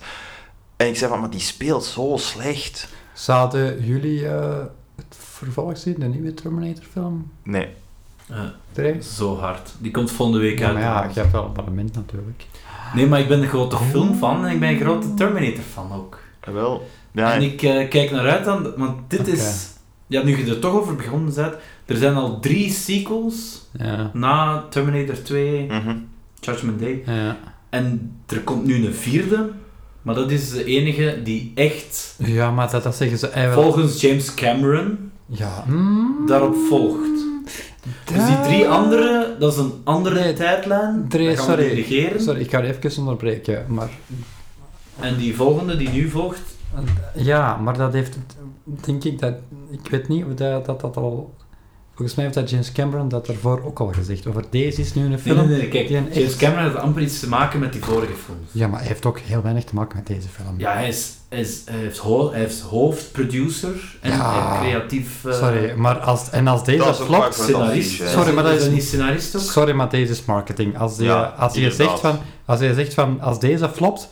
S3: En ik zei van, maar die speelt zo slecht.
S1: Zouden jullie eh, het vervolg zien, de nieuwe Terminator-film?
S3: Nee,
S4: van.
S1: Drees?
S4: Eh, Zo hard. Die komt volgende week
S1: Ja,
S4: uit.
S1: maar ja, Oh. je hebt wel een abonnement natuurlijk.
S4: Nee, maar ik ben een grote filmfan en ik ben een grote Terminator-fan ook.
S3: Ah, wel. Ja,
S4: En ik eh, kijk naar uit aan, want dit
S1: Oké.
S4: is, ja, nu je er toch over begonnen bent, er zijn al drie sequels
S1: Ja.
S4: na Terminator 2,
S3: mhm.
S4: Judgment Day.
S1: Ja.
S4: En er komt nu een vierde, maar dat is de enige die echt,
S1: ja, maar dat, dat zeggen ze eigenlijk...
S4: volgens James Cameron,
S1: Ja. Mm.
S4: daarop volgt. Dus die drie andere, dat is een andere
S1: Ah. Nee,
S4: tijdlijn.
S1: drie,
S4: dat gaan we
S1: sorry.
S4: negeren.
S1: Sorry, ik ga je even onderbreken, maar...
S4: En die volgende die nu volgt,
S1: Ja, maar dat heeft... Denk ik dat... Ik weet niet of dat, dat, dat al... Volgens mij heeft dat James Cameron dat ervoor ook al gezegd. Over deze is nu een
S4: nee,
S1: film.
S4: nee, nee, kijk,
S1: die een
S4: James
S1: echt-
S4: Cameron heeft amper iets te maken met die vorige film.
S1: Ja, maar hij heeft ook heel weinig te maken met deze film.
S4: Ja, hij is, hij is, hij is, ho- hij is hoofdproducer en
S1: Ja.
S4: en creatief eh,
S1: Sorry, maar als, en als deze
S3: Dat is ook
S1: flopt...
S3: waar voor het
S4: scenarist.
S3: advies, hè.
S1: Sorry, maar dat
S4: Is
S1: is-
S4: niet scenarist ook?
S1: Sorry, maar deze is marketing. Als je,
S3: Ja,
S1: als je, zegt,
S3: inderdaad.
S1: van, als je zegt van, als deze flopt,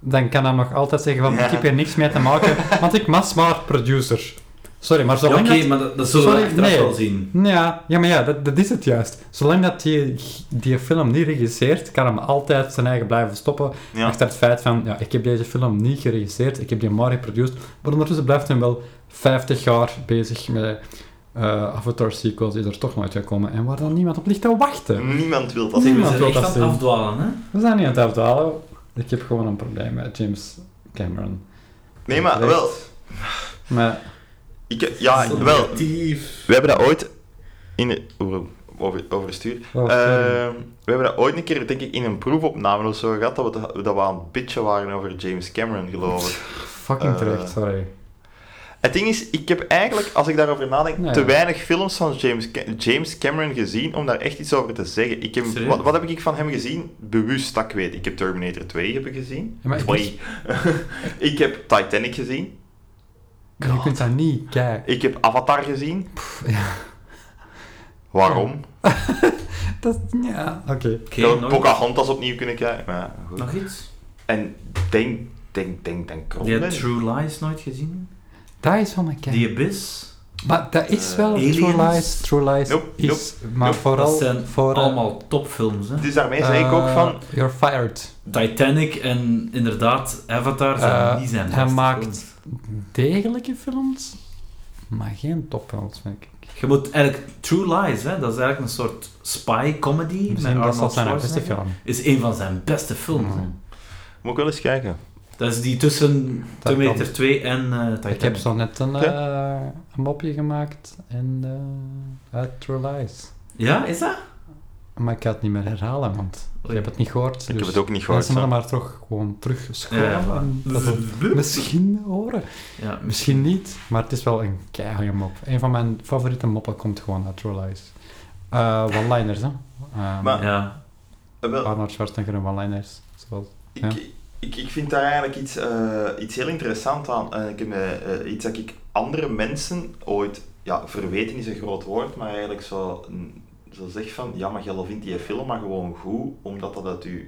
S1: dan kan hij nog altijd zeggen van, ik heb hier niks mee te maken, want ik was maar producer. Sorry, maar
S4: Ja, Oké,
S1: zolang dat...
S4: maar dat, dat zullen we
S1: Sorry,
S4: achteraf
S1: nee.
S4: wel zien.
S1: Ja, ja, maar ja, dat, dat is het juist. Zolang dat die, die film niet regisseert, kan hem altijd zijn eigen blijven stoppen.
S3: Ja.
S1: Achter het feit van, ja, ik heb deze film niet geregisseerd, ik heb die maar geproduced. Maar ondertussen blijft hij wel 50 jaar bezig met eh, Avatar-sequels die er toch nooit gaan komen. En waar dan niemand op ligt te
S3: Mm.
S1: wachten.
S3: Niemand wil
S1: eh,
S3: dat.
S1: Nee.
S4: We
S1: Niemand
S4: zijn
S1: wil
S4: echt
S1: dat
S4: aan het
S1: zien.
S4: afdwalen, hè?
S1: We zijn niet aan het afdwalen. Ik heb gewoon een probleem met James Cameron.
S3: Nee, maar
S1: Terecht.
S3: wel.
S1: Maar
S3: Ik, ja,
S4: Zo
S3: wel.
S4: creatief.
S3: We hebben dat ooit in de, oeh, over, overstuur.
S1: Oh, sorry.
S3: Ehm, we hebben dat ooit een keer, denk ik, in een proefopname of zo gehad, dat we, te- dat we aan het bitchen waren over James Cameron, geloof ik.
S1: fucking
S3: Eh,
S1: terecht, sorry.
S3: Het ding is, ik heb eigenlijk, als ik daarover nadenk,
S1: Nee.
S3: te weinig films van James, Ca- James Cameron gezien om daar echt iets over te zeggen. Ik heb,
S4: Serieus?
S3: wat, wat heb ik van hem gezien? Bewust, dat ik weet. Ik heb Terminator 2 heb ik gezien.
S1: Ja, maar ik-
S3: Twee. ik heb Titanic gezien.
S1: Maar je
S3: God.
S1: kunt dat niet kijken.
S3: Ik heb Avatar gezien.
S1: ja.
S3: Waarom?
S1: Dat, ja, oké.
S4: Oké,
S3: Ik had ook
S4: nog,
S3: Pocahontas opnieuw kunnen kijken. Maar ja, goed.
S4: nog iets?
S3: En denk, denk, denk, denk.
S4: Die
S3: Cronenberg.
S4: had True Lies nooit gezien.
S1: Dat is wel mijn kijk.
S4: The Abyss.
S1: Maar dat is wel
S4: Aliens.
S1: True Lies. True Lies
S3: eh, Nope,
S1: is... Maar
S3: nope.
S1: vooral...
S4: dat zijn
S1: voor, eh,
S4: allemaal topfilms, hè?
S3: Dus daarmee zei ik ook
S1: eh,
S3: van...
S1: You're fired.
S4: Titanic en inderdaad Avatar, zijn,
S1: Eh,
S4: die zijn
S1: hij
S4: beste
S1: maakt-
S4: films.
S1: Degelijke films, maar geen topfilms, vind ik.
S4: Je moet eigenlijk... True Lies, hè? Dat is eigenlijk een soort spy-comedy met
S1: Misschien dat
S4: Arnold
S1: zal zijn beste
S4: Schwarzenegger.
S1: film.
S4: Is een van zijn beste films, hè.
S1: Mm.
S3: Moet ik wel eens kijken.
S4: Dat is die tussen Terminator
S1: kan.
S4: 2 en eh, Titanic.
S1: Ik heb zo net een, eh, een mopje gemaakt en eh uit True Lies.
S4: Ja, is dat?
S1: Maar ik ga het niet meer herhalen, want je hebt het niet gehoord.
S3: Ik
S1: dus
S3: heb het ook niet gehoord.
S1: Mensen
S3: hè.
S1: moeten maar toch gewoon terug scrollen.
S4: Ja, ja,
S1: en
S4: voilà.
S1: dat het misschien horen.
S4: Ja,
S1: Misschien niet, maar het is wel een keiharde mop. Een van mijn favoriete moppen komt gewoon uit True Lies. Eh, one-liners, hè. Ehm,
S3: Maar-
S4: Ja.
S3: Eh, wel,
S1: Arnold Schwarzenegger en one-liners. Zoals... ja.
S3: ik, ik, ik vind daar eigenlijk iets, eh, iets heel interessants aan. En ik heb, eh, eh, iets dat ik andere mensen ooit... Ja, verweten is een groot woord, maar eigenlijk zo, mm, zo zeg van... Ja, maar jij vindt die film maar gewoon goed, omdat dat uit je...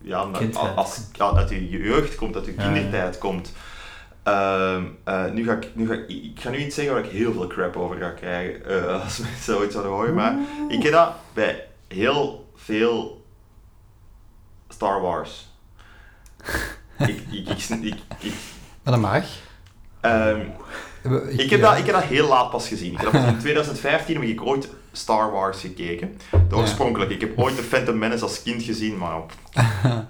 S3: Ja, omdat-
S4: Kindheid.
S3: als, ja, uit je jeugd komt, uit je
S4: Ja,
S3: kindertijd komt. Ehm, eh, nu ga ik, nu ga ik, ik ga nu iets zeggen waar ik heel veel crap over ga krijgen, eh, als mensen ooit zouden horen, maar ik heb dat bij heel veel Star Wars. ik, ik, ik, ik, ik,
S1: Maar dat mag.
S3: ehm,
S1: We-
S3: ik, heb
S1: ja.
S3: dat, ik heb dat heel laat pas gezien. Ik heb dat pas in 2015 heb ik ooit Star Wars gekeken. De
S1: Ja.
S3: oorspronkelijke. Ik heb ooit de Phantom Menace als kind gezien, maar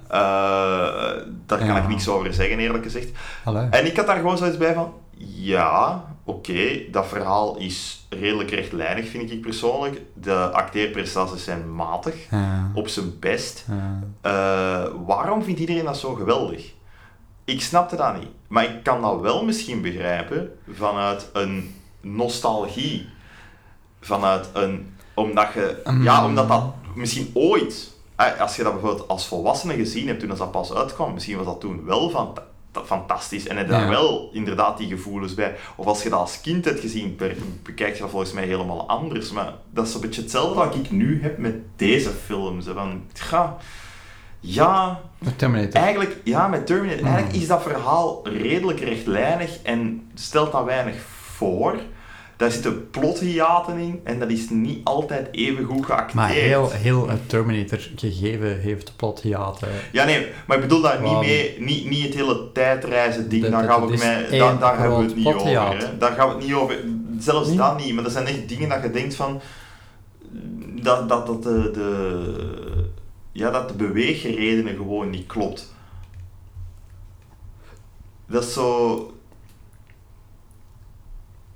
S3: eh, daar kan
S1: Ja.
S3: ik niks over zeggen, eerlijk gezegd.
S1: Hallo.
S3: En ik had daar gewoon zoiets bij van, ja, oké, dat verhaal is redelijk rechtlijnig, vind ik persoonlijk. De acteerprestaties zijn matig,
S1: Ja.
S3: op zijn best.
S1: Ja.
S3: Eh, waarom vindt iedereen dat zo geweldig? Ik snapte dat niet. Maar ik kan dat wel misschien begrijpen vanuit een nostalgie. Vanuit een... Omdat je... Ja, omdat dat misschien ooit... eh, Als je dat bijvoorbeeld als volwassene gezien hebt toen dat pas uitkwam, misschien was dat toen wel van, fantastisch en heb je daar
S1: Ja.
S3: wel inderdaad die gevoelens bij. Of als je dat als kind hebt gezien, per- bekijk je dat volgens mij helemaal anders. Maar dat is een beetje hetzelfde wat ik nu heb met deze films. hè, Van, ga, ja,
S1: Terminator.
S3: eigenlijk, ja, met Terminator,
S1: Hmm.
S3: eigenlijk is dat verhaal redelijk rechtlijnig en stelt dat weinig voor. Daar zitten plothiaten in en dat is niet altijd even goed geacteerd.
S1: Maar heel, heel het Terminator gegeven heeft plot hiaten.
S3: Ja, nee, maar ik bedoel daar
S1: Waarom?
S3: niet mee, niet, niet het hele tijdreizen ding,
S1: Dat-
S3: daar,
S1: dat-
S3: gaan
S1: dat
S3: we
S1: is
S3: mij,
S1: één
S3: da- daar hebben we het
S1: groot
S3: niet over.
S1: plottheater.
S3: Hè. Daar gaan we het niet over, zelfs
S1: Nee.
S3: dat niet, maar dat zijn echt dingen dat je denkt van, dat, dat, dat, de, de, ja, dat de beweegredenen gewoon niet klopt. Dat is zo,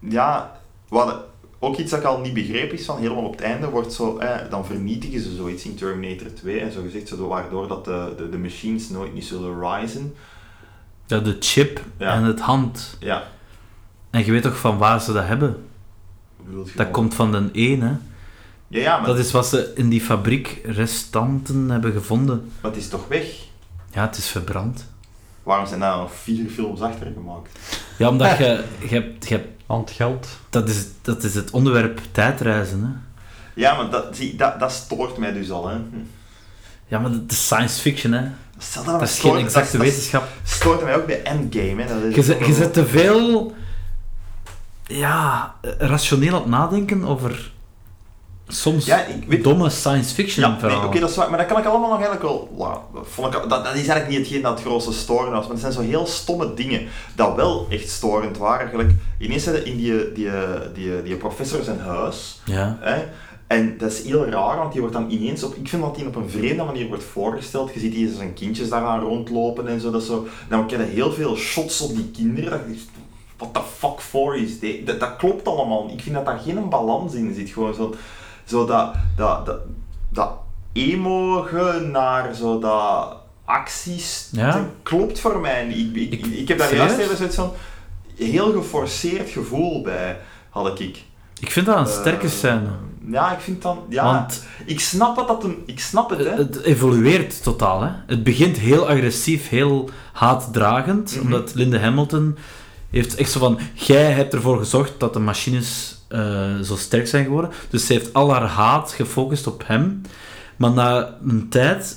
S3: ja, wat ook iets dat ik al niet begreep is van helemaal op het einde wordt zo, eh, dan vernietigen ze zoiets in Terminator 2 en zo gezegd, zo, waardoor dat de, de, de machines nooit niet zullen risen.
S4: Ja, de chip
S3: Ja.
S4: en het hand.
S3: Ja,
S4: En je weet toch van waar ze dat hebben?
S3: bedoel je
S4: Dat
S3: gewoon-
S4: komt van de één, hè.
S3: Ja, ja maar,
S4: Dat is wat ze in die fabriek restanten hebben gevonden.
S3: maar het is toch weg?
S4: Ja, het is verbrand.
S3: Waarom zijn daar nog vier films achter gemaakt?
S4: Ja, omdat je... je, hebt, je hebt-
S1: Want geld.
S4: dat, is, dat is het onderwerp tijdreizen, hè.
S3: Ja, maar dat, zie, dat, dat stoort mij dus al. Hè. Hm.
S4: Ja, maar dat is science fiction, hè.
S3: Stel
S4: Ah, Dat is geen exacte wetenschap.
S3: stoort mij ook bij Endgame. Hè. Dat is
S4: Je, zet- je
S3: ook-
S4: zet te veel... Ja, rationeel aan het nadenken over... Soms
S3: Ja, ik weet-
S4: domme science fiction
S3: Ja, nee,
S4: verhalen.
S3: oké, dat is waar. Maar dat kan ik allemaal nog eigenlijk wel... ja, dat, vond ik, al- dat, dat is eigenlijk niet hetgeen dat het grootste storen was. Maar het zijn zo heel stomme dingen dat wel echt storend waren. Gelijk, ineens zitten in die, die, die, die professor zijn huis.
S4: Ja.
S3: Hè? En dat is heel raar, want die wordt dan ineens op... Ik vind dat die op een vreemde manier wordt voorgesteld. Je ziet hier zijn kindjes daaraan rondlopen en zo. Dat is zo Nou, dan krijg je heel veel shots op die kinderen. Dat is, what the fuck for is dit? Dat, dat klopt allemaal. niet. Ik vind dat daar geen balans in zit. Gewoon zo, zo dat, dat, dat, dat emoge naar zo dat acties...
S4: Ja.
S3: dat klopt voor mij niet. Ik, ik,
S4: Ik-
S3: ik, heb daar juist
S4: serieus?
S3: even zoiets van... Heel geforceerd gevoel bij, had ik.
S4: Ik vind dat een sterke
S3: Eh,
S4: scène.
S3: Ja, ik vind dan... Ja,
S4: Want-
S3: ik snap wat dat hem... Ik snap het, hè.
S4: Het, Eh, het evolueert totaal. Hè? Het begint heel agressief, heel haatdragend.
S3: Mhm.
S4: Omdat Linda Hamilton heeft echt zo van... Jij hebt ervoor gezorgd dat de machines eh, zo sterk zijn geworden. Dus ze heeft al haar haat gefocust op hem. Maar na een tijd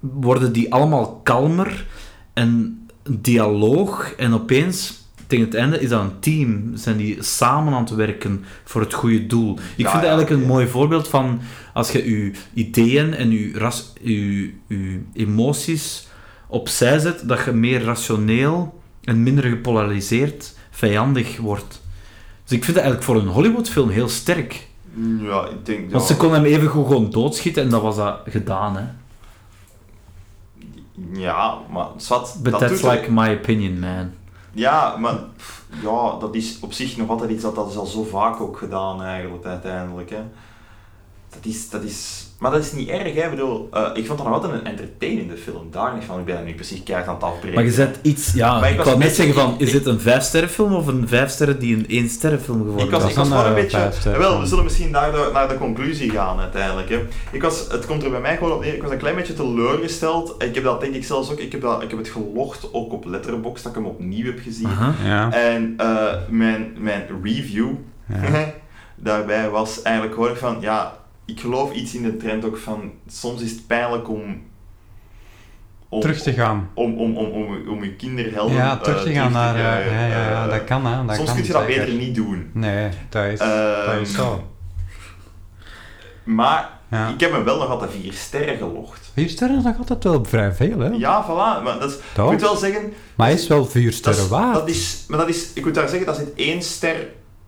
S4: worden die allemaal kalmer. En een dialoog. En opeens... Tegen het einde is dat een team. Zijn die samen aan het werken voor het goede doel? Ik vind
S3: Ja,
S4: dat
S3: ja,
S4: eigenlijk een
S3: ja.
S4: mooi voorbeeld van als je je ideeën en je, ras, je, je emoties opzij zet, dat je meer rationeel en minder gepolariseerd vijandig wordt. Dus ik vind dat eigenlijk voor een Hollywoodfilm heel sterk.
S3: Ja, ik denk...
S4: eh, Want
S3: ja,
S4: ze kon hem even goed gewoon doodschieten en dat was dat gedaan. Hè.
S3: Ja, maar... Zwart,
S4: But
S3: dat
S4: that's
S3: doet er-
S4: like my opinion, man.
S3: Ja, maar... pff, Ja, dat is op zich nog altijd iets dat... Dat is al zo vaak ook gedaan, eigenlijk, uiteindelijk, hè. Dat is... Dat is maar dat is niet erg, hè. Ik bedoel, eh, ik vond dat nog altijd een entertainende film. Daar niet van. Ik ben dat nu precies keihard aan het afbreken.
S4: Maar je zet iets... Ja,
S3: Maar ik
S4: ik
S3: was
S4: wou
S3: een
S4: net
S3: beetje-
S4: zeggen van,
S3: ik-
S4: is
S3: ik-
S4: dit een vijfsterrenfilm of een vijfsterren die een éénsterrenfilm geworden
S3: Ik was,
S1: dat
S3: ik
S1: is
S3: was
S1: dan,
S3: gewoon een
S1: eh,
S3: beetje...
S1: vijf sterren.
S3: wel, we zullen misschien daar de- naar de conclusie gaan uiteindelijk. Hè. Ik was, het komt er bij mij gewoon op neer. Ik was een klein beetje teleurgesteld. Ik heb dat denk ik zelfs ook... Ik heb, dat, ik heb het gelogd ook op Letterboxd, dat ik hem opnieuw heb gezien.
S4: Aha.
S5: Ja.
S3: En eh, mijn, mijn review
S5: ja.
S3: daarbij was eigenlijk gewoon van... Ja, ik geloof iets in de trend ook van... Soms is het pijnlijk om... om
S5: Terug te gaan.
S3: om, om, om, om, om je kinderhelden...
S5: Ja,
S3: eh,
S5: terug te gaan naar...
S3: eh,
S5: eh, Ja, ja, ja,
S3: eh,
S5: dat kan, hè. Dat
S3: Soms
S5: kan
S3: kun je dat
S5: zeker.
S3: beter niet doen.
S5: Nee, dat is, dat is
S3: Ehm,
S5: zo.
S3: Maar
S5: Ja.
S3: ik heb hem wel nog altijd vier sterren gelogd.
S1: Vier sterren is nog altijd wel vrij veel, hè?
S3: Ja, voilà. Maar dat is, ik
S1: Toch?
S3: moet wel zeggen...
S1: Maar hij is wel vier
S3: Dat
S1: sterren
S3: is,
S1: waard.
S3: dat is, maar dat is... Ik moet daar zeggen, dat zit één ster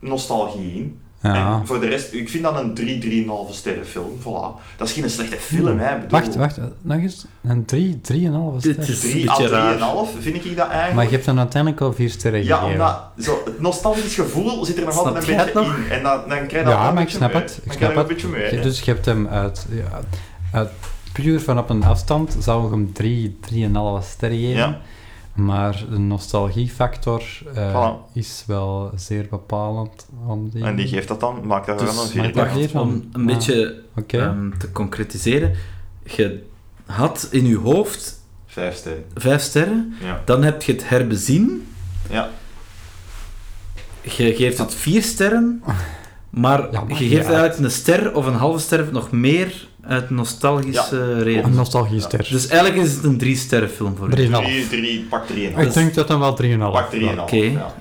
S3: nostalgie in.
S5: Ja.
S3: En voor de rest... Ik vind dat een 3, 3,5 sterren film. Voilà. Dat is geen slechte film, hè. ik Bedoel,
S1: Wacht, wacht. eh, Nog eens. Een drie, drieënhalve
S4: Dit
S1: ster.
S4: is- een
S3: 3 à
S4: beetje raar.
S3: 3,5 vind ik dat eigenlijk.
S1: Maar je hebt dan uiteindelijk al vier sterren
S3: ja,
S1: gegeven.
S3: omdat zo, het nostalgisch gevoel zit er nog
S4: Snap
S3: altijd een
S4: jij het
S3: beetje
S4: nog?
S3: in. En dan, dan krijg je dat wel
S1: Ja,
S3: een
S1: maar ik
S3: beetje
S1: snap
S3: mee.
S1: het.
S3: Dan
S1: Ik
S3: krijg
S1: snap
S3: je een
S1: het.
S3: beetje mee.
S1: Je-
S3: hè.
S1: Dus je hebt hem uit, ja, uit puur van op een afstand zou ik hem drie, drieënhalve sterren geven.
S3: Ja.
S1: Maar de nostalgiefactor eh,
S3: Voilà.
S1: is wel zeer bepalend. Om die...
S3: En die geeft dat dan. Maakt dat
S4: Dus
S3: wel een
S1: maakt dat-
S3: vier.
S4: Wacht,
S1: hiervan.
S4: om een
S1: Ja.
S4: beetje
S1: Oké.
S4: ehm, te concretiseren. Je had in je hoofd
S3: Vijf sterren.
S4: vijf sterren,
S3: Ja.
S4: dan heb je het herbezien.
S3: Ja.
S4: Je geeft het vier sterren, maar,
S1: Ja, maar
S4: je
S1: ja.
S4: geeft eigenlijk een ster of een halve ster nog meer uit nostalgische
S1: Een
S4: reden.
S1: nostalgiester.
S4: Dus eigenlijk is het een drie sterren film voor u.
S1: Drie-
S3: Drie, drie, pak 3,5.
S1: ik denk dat hem wel 3,5
S3: Pak 3,5.
S1: was.
S4: Oké.
S3: Ja.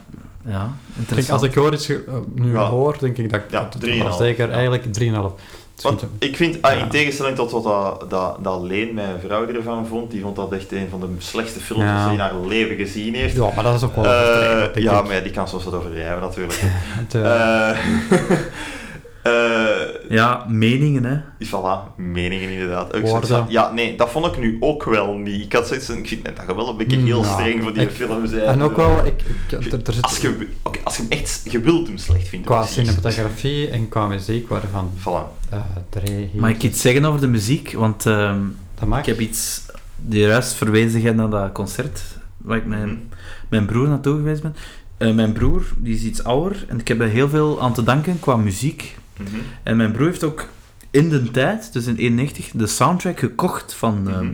S4: Ja,
S1: Kijk, als
S4: interessant.
S1: ik hoor iets ge- eh, nu
S3: Ja.
S1: hoor, denk ik dat ik
S3: Ja,
S1: dat- dat-
S3: 3,5.
S1: zeker
S3: Ja.
S1: eigenlijk 3,5. Dus
S3: Want
S1: goed,
S3: ik vind, ah,
S1: Ja.
S3: in tegenstelling tot wat dat, dat, dat Leen, mijn vrouw, ervan vond, die vond dat echt een van de slechtste films
S1: Ja.
S3: die ze in haar leven gezien heeft.
S1: Ja, maar dat is ook wel
S3: Eh,
S1: overdreven, denk
S3: ja,
S1: ik.
S3: maar ja, die kan soms wat overdrijven natuurlijk.
S1: Het, eh,
S3: Eh eh,
S4: Ja, meningen, hè.
S3: Voilà, meningen inderdaad. Ook zoiets
S1: Woorden.
S3: van- ja, nee, dat vond ik nu ook wel niet. Ik had zoiets van, ik vind net dat je wel een beetje heel
S1: Mm, Ja.
S3: streng voor die
S1: Ik-
S3: film bent.
S1: en ook wel, ik, ik, er, er zit
S3: Eh, Als je, oké, als je hem echt, je wilt hem slecht vinden.
S1: qua
S3: precies.
S1: cinematografie en qua muziek waarvan
S3: Voilà.
S1: eh drie hier.
S4: Mag ik iets zeggen over de muziek? Want ehm,
S1: dat mag.
S4: ik heb iets... Juist verwezen jij naar dat concert waar ik
S3: Mhm.
S4: mijn, mijn broer naartoe geweest ben. Eh, mijn broer, die is iets ouder en ik heb er heel veel aan te danken qua muziek.
S3: Mhm.
S4: En mijn broer heeft ook in de tijd, dus in 91, de soundtrack gekocht van ehm,
S3: Mhm.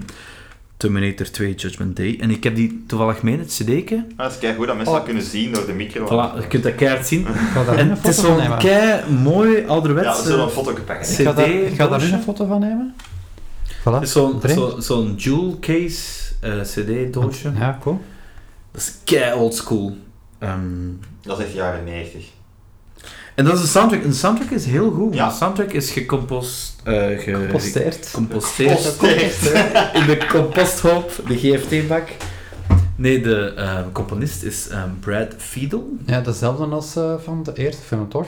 S4: Terminator 2 Judgment Day. En ik heb die toevallig mee in het cd'ke.
S3: Ah, Dat is kijk goed dat mensen
S1: Oh.
S3: dat kunnen zien door de micro.
S4: Voilà, je kunt dat keihard zien.
S1: Ik ga daar
S4: En
S1: een
S4: het is
S1: foto van
S4: zo'n
S1: nemen.
S4: kei mooi
S3: Ja,
S4: ouderwets.
S3: we zullen een foto pakken.
S1: Ik ga daar, ik ga daar
S4: CD-doosje.
S1: nu een foto van nemen. Voilà.
S4: eh, Zo'n
S1: drie.
S4: zo, zo'n jewel case eh, CD-doosje.
S1: Ja, cool.
S4: Dat is kei old school. Ehm,
S3: Dat is echt jaren 90.
S4: en dat is een soundtrack. Een soundtrack is heel goed.
S3: Ja.
S4: Een soundtrack is gecompost, eh ge-
S1: Geposteerd.
S4: gecomposteerd in de composthoop, de GFT-bak. Nee, de ehm, componist is ehm, Brad Fiedel,
S1: Ja, dezelfde als eh, van de eerste film, toch?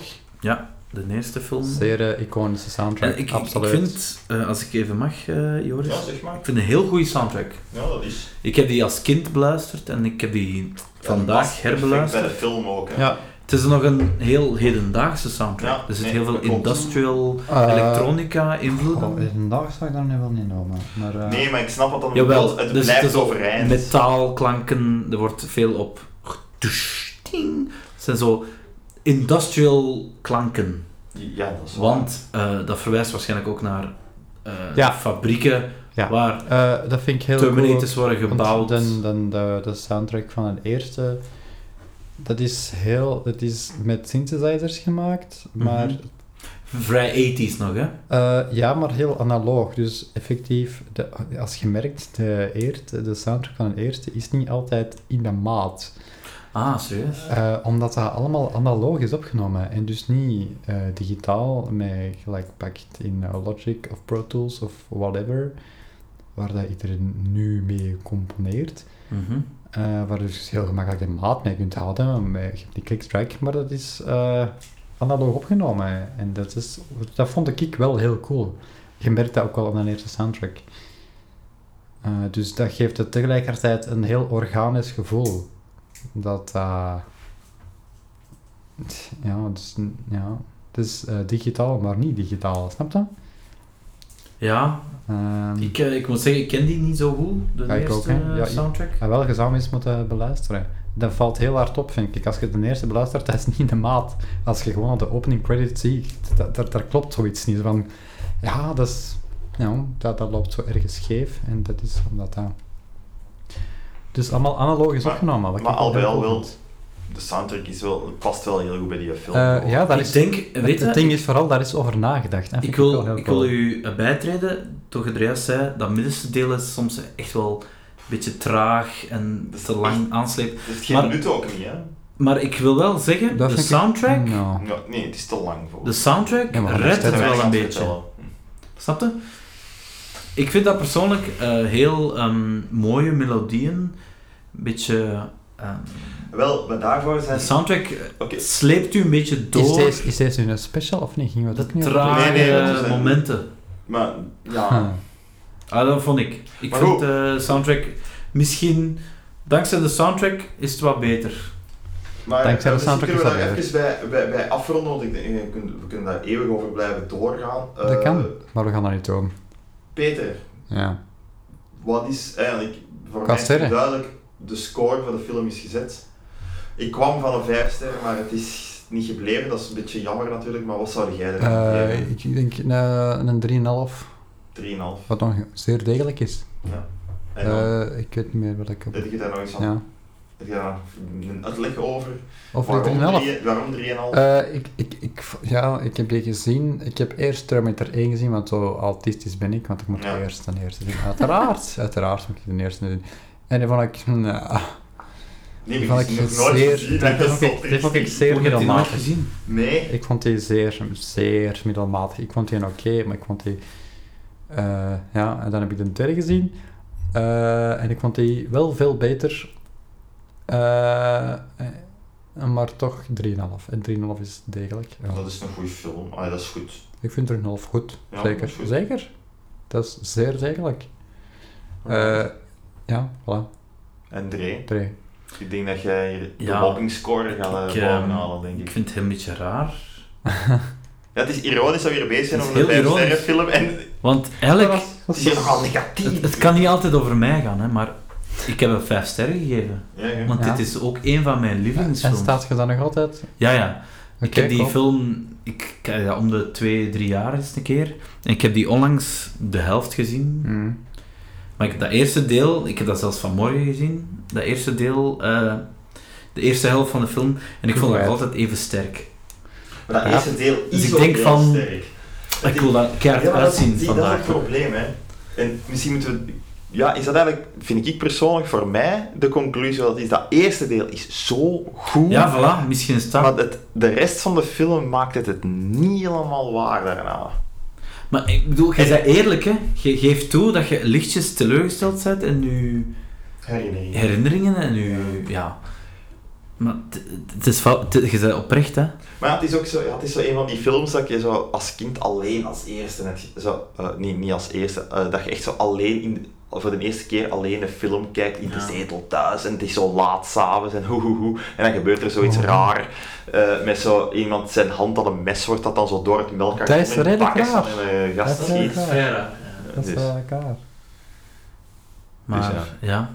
S4: de eerste film.
S1: Zeer eh, iconische soundtrack,
S4: En ik, ik
S1: absoluut.
S4: vind, eh, als ik even mag, eh, Joris,
S3: Ja, zeg maar.
S4: ik vind een heel goede soundtrack.
S3: Ja, dat is.
S4: Ik heb die als kind beluisterd en ik heb die vandaag
S3: Dat past perfect Bij
S4: herbeluisterd.
S3: de film ook. Hè.
S1: Ja.
S4: Het is nog een heel hedendaagse soundtrack.
S3: Ja,
S4: er zit
S3: nee,
S4: heel veel
S3: dat klopt.
S4: industrial,
S1: Eh,
S4: elektronica invloeden.
S1: Oh, vandaag zou ik daar nu wel niet noemen. Maar, eh,
S3: Nee, maar ik snap wat dat
S4: Jawel,
S3: bedoelt. Het
S4: dus
S3: blijft
S4: het is al
S3: overeind.
S4: metaalklanken, er wordt veel op gedoesh, ting. Het zijn zo industrial klanken.
S3: Ja, dat is waar.
S4: Want eh, dat verwijst waarschijnlijk ook naar eh,
S1: Ja.
S4: fabrieken
S1: Ja.
S4: waar
S1: eh, dat vind ik heel cool.
S4: Terminators worden
S1: Want
S4: gebouwd.
S1: De, de, de, de soundtrack van de eerste, dat is heel, dat is met synthesizers gemaakt, maar
S4: Mhm. Vrij 80s nog, hè?
S1: eh, ja, maar heel analoog. Dus effectief, de, als je merkt, de, eerste, de soundtrack van de eerste is niet altijd in de maat,
S4: Ah, serieus?
S1: Eh, omdat dat allemaal analoog is opgenomen en dus niet eh, digitaal met gelijk pakt in eh, Logic of Pro Tools of whatever, waar dat iedereen nu mee componeert.
S4: Mhm.
S1: Eh, waar je dus heel gemakkelijk de maat mee kunt houden. Maar Je hebt die clicktrack, maar dat is eh, analoog opgenomen. En dat, is, dat vond ik wel heel cool. Je merkt dat ook wel aan de eerste soundtrack. Eh, dus dat geeft het tegelijkertijd een heel organisch gevoel. Dat... eh, t- ja, dus, ja, het is eh, digitaal, maar niet digitaal. Snap je?
S4: Ja,
S1: Ehm,
S4: Ik, eh, ik moet zeggen, ik ken die niet zo goed, de
S1: Ja, ik
S4: eerste
S1: ook, hè.
S4: eh,
S1: Ja, ik-
S4: soundtrack.
S1: Maar wel, je zou eens moeten beluisteren. Dat valt heel hard op, vind ik. Als je de eerste beluistert, dat is niet de maat. Als je gewoon de opening credits ziet, dat, dat, daar klopt zoiets niet. Van, ja, dat, is, ja dat, dat loopt zo ergens scheef. En dat is omdat dat... Dus allemaal analoog is
S3: Maar-
S1: opgenomen. wat ik
S3: maar al
S1: heel
S3: bij al
S1: cool
S3: wel
S1: vind.
S3: De soundtrack is wel, past wel heel goed bij die film.
S1: Eh, ja, daar
S4: ik
S1: is...
S4: denk,
S1: het-
S4: weet
S1: het,
S4: je,
S1: ding is vooral, daar is over nagedacht. hè.
S4: ik
S1: Vind wel
S4: wil,
S1: heel
S4: ik
S1: cool.
S4: wil u eh, bijtreden, toch het juist zei, dat middenste deel is soms echt wel een beetje traag en
S3: Dat is
S4: te lang aansleept.
S3: Het heeft geen
S4: maar-
S3: nut ook niet, hè?
S4: Maar ik wil wel zeggen,
S1: Dat
S4: de
S1: vind ik- Mm,
S4: soundtrack,
S1: Ja.
S3: Ja, nee, het is te lang voor.
S4: de soundtrack
S1: Ja, maar dat is
S4: redt het
S1: te
S4: wel
S3: weinig
S4: een
S3: aan te
S4: beetje.
S3: vertellen.
S4: Snap je? Ik vind dat persoonlijk eh, heel ehm, mooie melodieën, een beetje... ehm,
S3: Wel, maar daarvoor
S4: de
S3: zijn...
S4: soundtrack eh,
S3: Oké.
S4: sleept u een beetje door.
S1: Is deze, is deze nu een special of niet? Gingen we
S4: De
S1: dat niet
S4: trage
S3: Nee, nee, dat is een-
S4: momenten.
S3: Maar, ja...
S1: Huh.
S4: Ah, dat vond ik. Ik
S3: Maar
S4: vind
S3: goed.
S4: de soundtrack misschien... Dankzij de soundtrack is het wat beter.
S3: Maar
S1: Dankzij de
S3: eh, misschien
S1: soundtrack
S3: kunnen we
S1: is
S3: daar
S1: dat
S3: even bij, bij, bij afronden, want ik denk, eh, we kunnen- we kunnen daar eeuwig over blijven doorgaan. Eh,
S1: Dat kan, maar we gaan daar niet om.
S3: Peter,
S1: Ja.
S3: wat is eigenlijk voor
S1: Qua
S3: mij
S1: sterren.
S3: duidelijk de score van de film is gezet? Ik kwam van een 5 ster, maar het is niet gebleven. Dat is een beetje jammer natuurlijk, maar wat zou jij ervan
S1: Eh,
S3: geven?
S1: ik denk eh, een 3,5,
S3: 3,5.
S1: wat dan zeer degelijk is.
S3: En dan,
S1: Eh, ik weet niet meer wat ik op.
S3: heb je daar nog iets van?
S1: Ja.
S3: Heb je daar nog een uitleg over?
S1: Of
S3: Waarom
S1: 3,5?
S3: drie- waarom 3,5?
S1: Eh, ik, ik, ik, v- ja, ik heb die gezien. Ik heb eerst Terminator 1 gezien, want zo autistisch ben ik, want ik moet
S3: Ja.
S1: eerst hmm, de eerste zien. Uiteraard, uiteraard moet ik de eerste zien. En dan vond ik, nou,
S3: Nee,
S1: Die
S3: maar
S1: vond
S3: die
S1: ik
S3: is nog nooit gezien.
S1: zeer... Dat
S3: Dat is
S1: vond ik,
S3: al
S1: die vond ik
S3: triest.
S1: zeer
S4: Hoe heb je die nooit
S1: middelmatig.
S4: gezien?
S3: Nee.
S1: Ik vond die zeer, zeer middelmatig. Ik vond die oké, maar ik vond die... eh, ja, en dan heb ik de derde gezien. Eh, en ik vond die wel veel beter. Eh, eh, maar toch 3,5. En 3,5 is degelijk. Ja.
S3: Dat is een goede film. Allee, dat is goed.
S1: Ik vind 3,5 goed.
S3: Ja,
S1: zeker.
S3: dat is goed.
S1: Zeker. Dat is zeer degelijk. Eh, ja, voilà.
S3: en Dre,
S1: 3.
S3: ik denk dat jij hier de
S4: Ja.
S3: walking score gaat
S4: Ik,
S3: eh,
S4: ehm,
S3: bovenhalen, denk
S4: Ik
S3: ik.
S4: vind het een beetje raar.
S3: Ja, het is ironisch dat we hier bezig zijn
S4: Het is
S3: over de
S4: heel
S3: vijf sterren
S4: ironisch.
S3: film en
S4: Want elk...
S3: het is hier nogal negatief.
S4: Het, het kan niet altijd over mij gaan, hè, maar ik heb een vijf sterren gegeven.
S3: Ja, ja.
S4: Want
S1: Ja.
S4: dit is ook een van mijn
S1: En
S4: lievelingsfilms.
S1: staat je dan nog altijd?
S4: Ja, ja. ik
S1: Oké,
S4: heb die
S1: cool.
S4: film ik, ik- ja, om de twee, drie jaar eens een keer. En ik heb die onlangs de helft gezien.
S1: Mm.
S4: Maar ik heb dat eerste deel, ik heb dat zelfs vanmorgen gezien. Dat eerste deel, eh, de eerste helft van de film. En ik vond het
S1: Right.
S4: altijd even sterk.
S3: Maar dat
S1: Ja.
S3: eerste deel is
S4: Dus ik
S3: ook
S4: denk
S3: heel
S4: van-
S3: sterk.
S4: Ik wil dat keihard
S3: Ja, maar dat-
S4: uitzien
S3: die- Dat
S4: vandaag.
S3: is het probleem, hè. En misschien moeten we... Ja, is dat eigenlijk, vind ik persoonlijk, voor mij de conclusie wel, dat is dat eerste deel is zo goed,
S4: Ja, voilà, misschien is dat.
S3: maar het, de rest van de film maakt het het niet helemaal waar daarna.
S4: Maar ik bedoel, je bent eerlijk, hè? Je geeft toe dat je lichtjes teleurgesteld bent en nu
S3: Herinnering.
S4: herinneringen en nu. Ja. Maar het- het is fout, het- je bent oprecht, hè?
S3: Maar ja, het is ook zo, ja, het is zo een van die films dat je zo als kind alleen als eerste net, zo, eh, nee, niet als eerste, eh, dat je echt zo alleen in, voor de eerste keer alleen een film kijkt in de
S4: Ja.
S3: zetel thuis en het is zo laat s'avonds en hoe hoe hoe en dan gebeurt er
S1: Oh.
S3: zoiets raar eh, met zo iemand zijn hand aan een mes wordt dat dan zo door het melk
S1: Dat is redelijk raar.
S3: en eh,
S1: Dat
S3: gast
S1: is redelijk
S3: schiet.
S1: raar. Dat is
S3: Dus.
S1: wel elkaar.
S4: Maar
S3: Dus
S4: ja.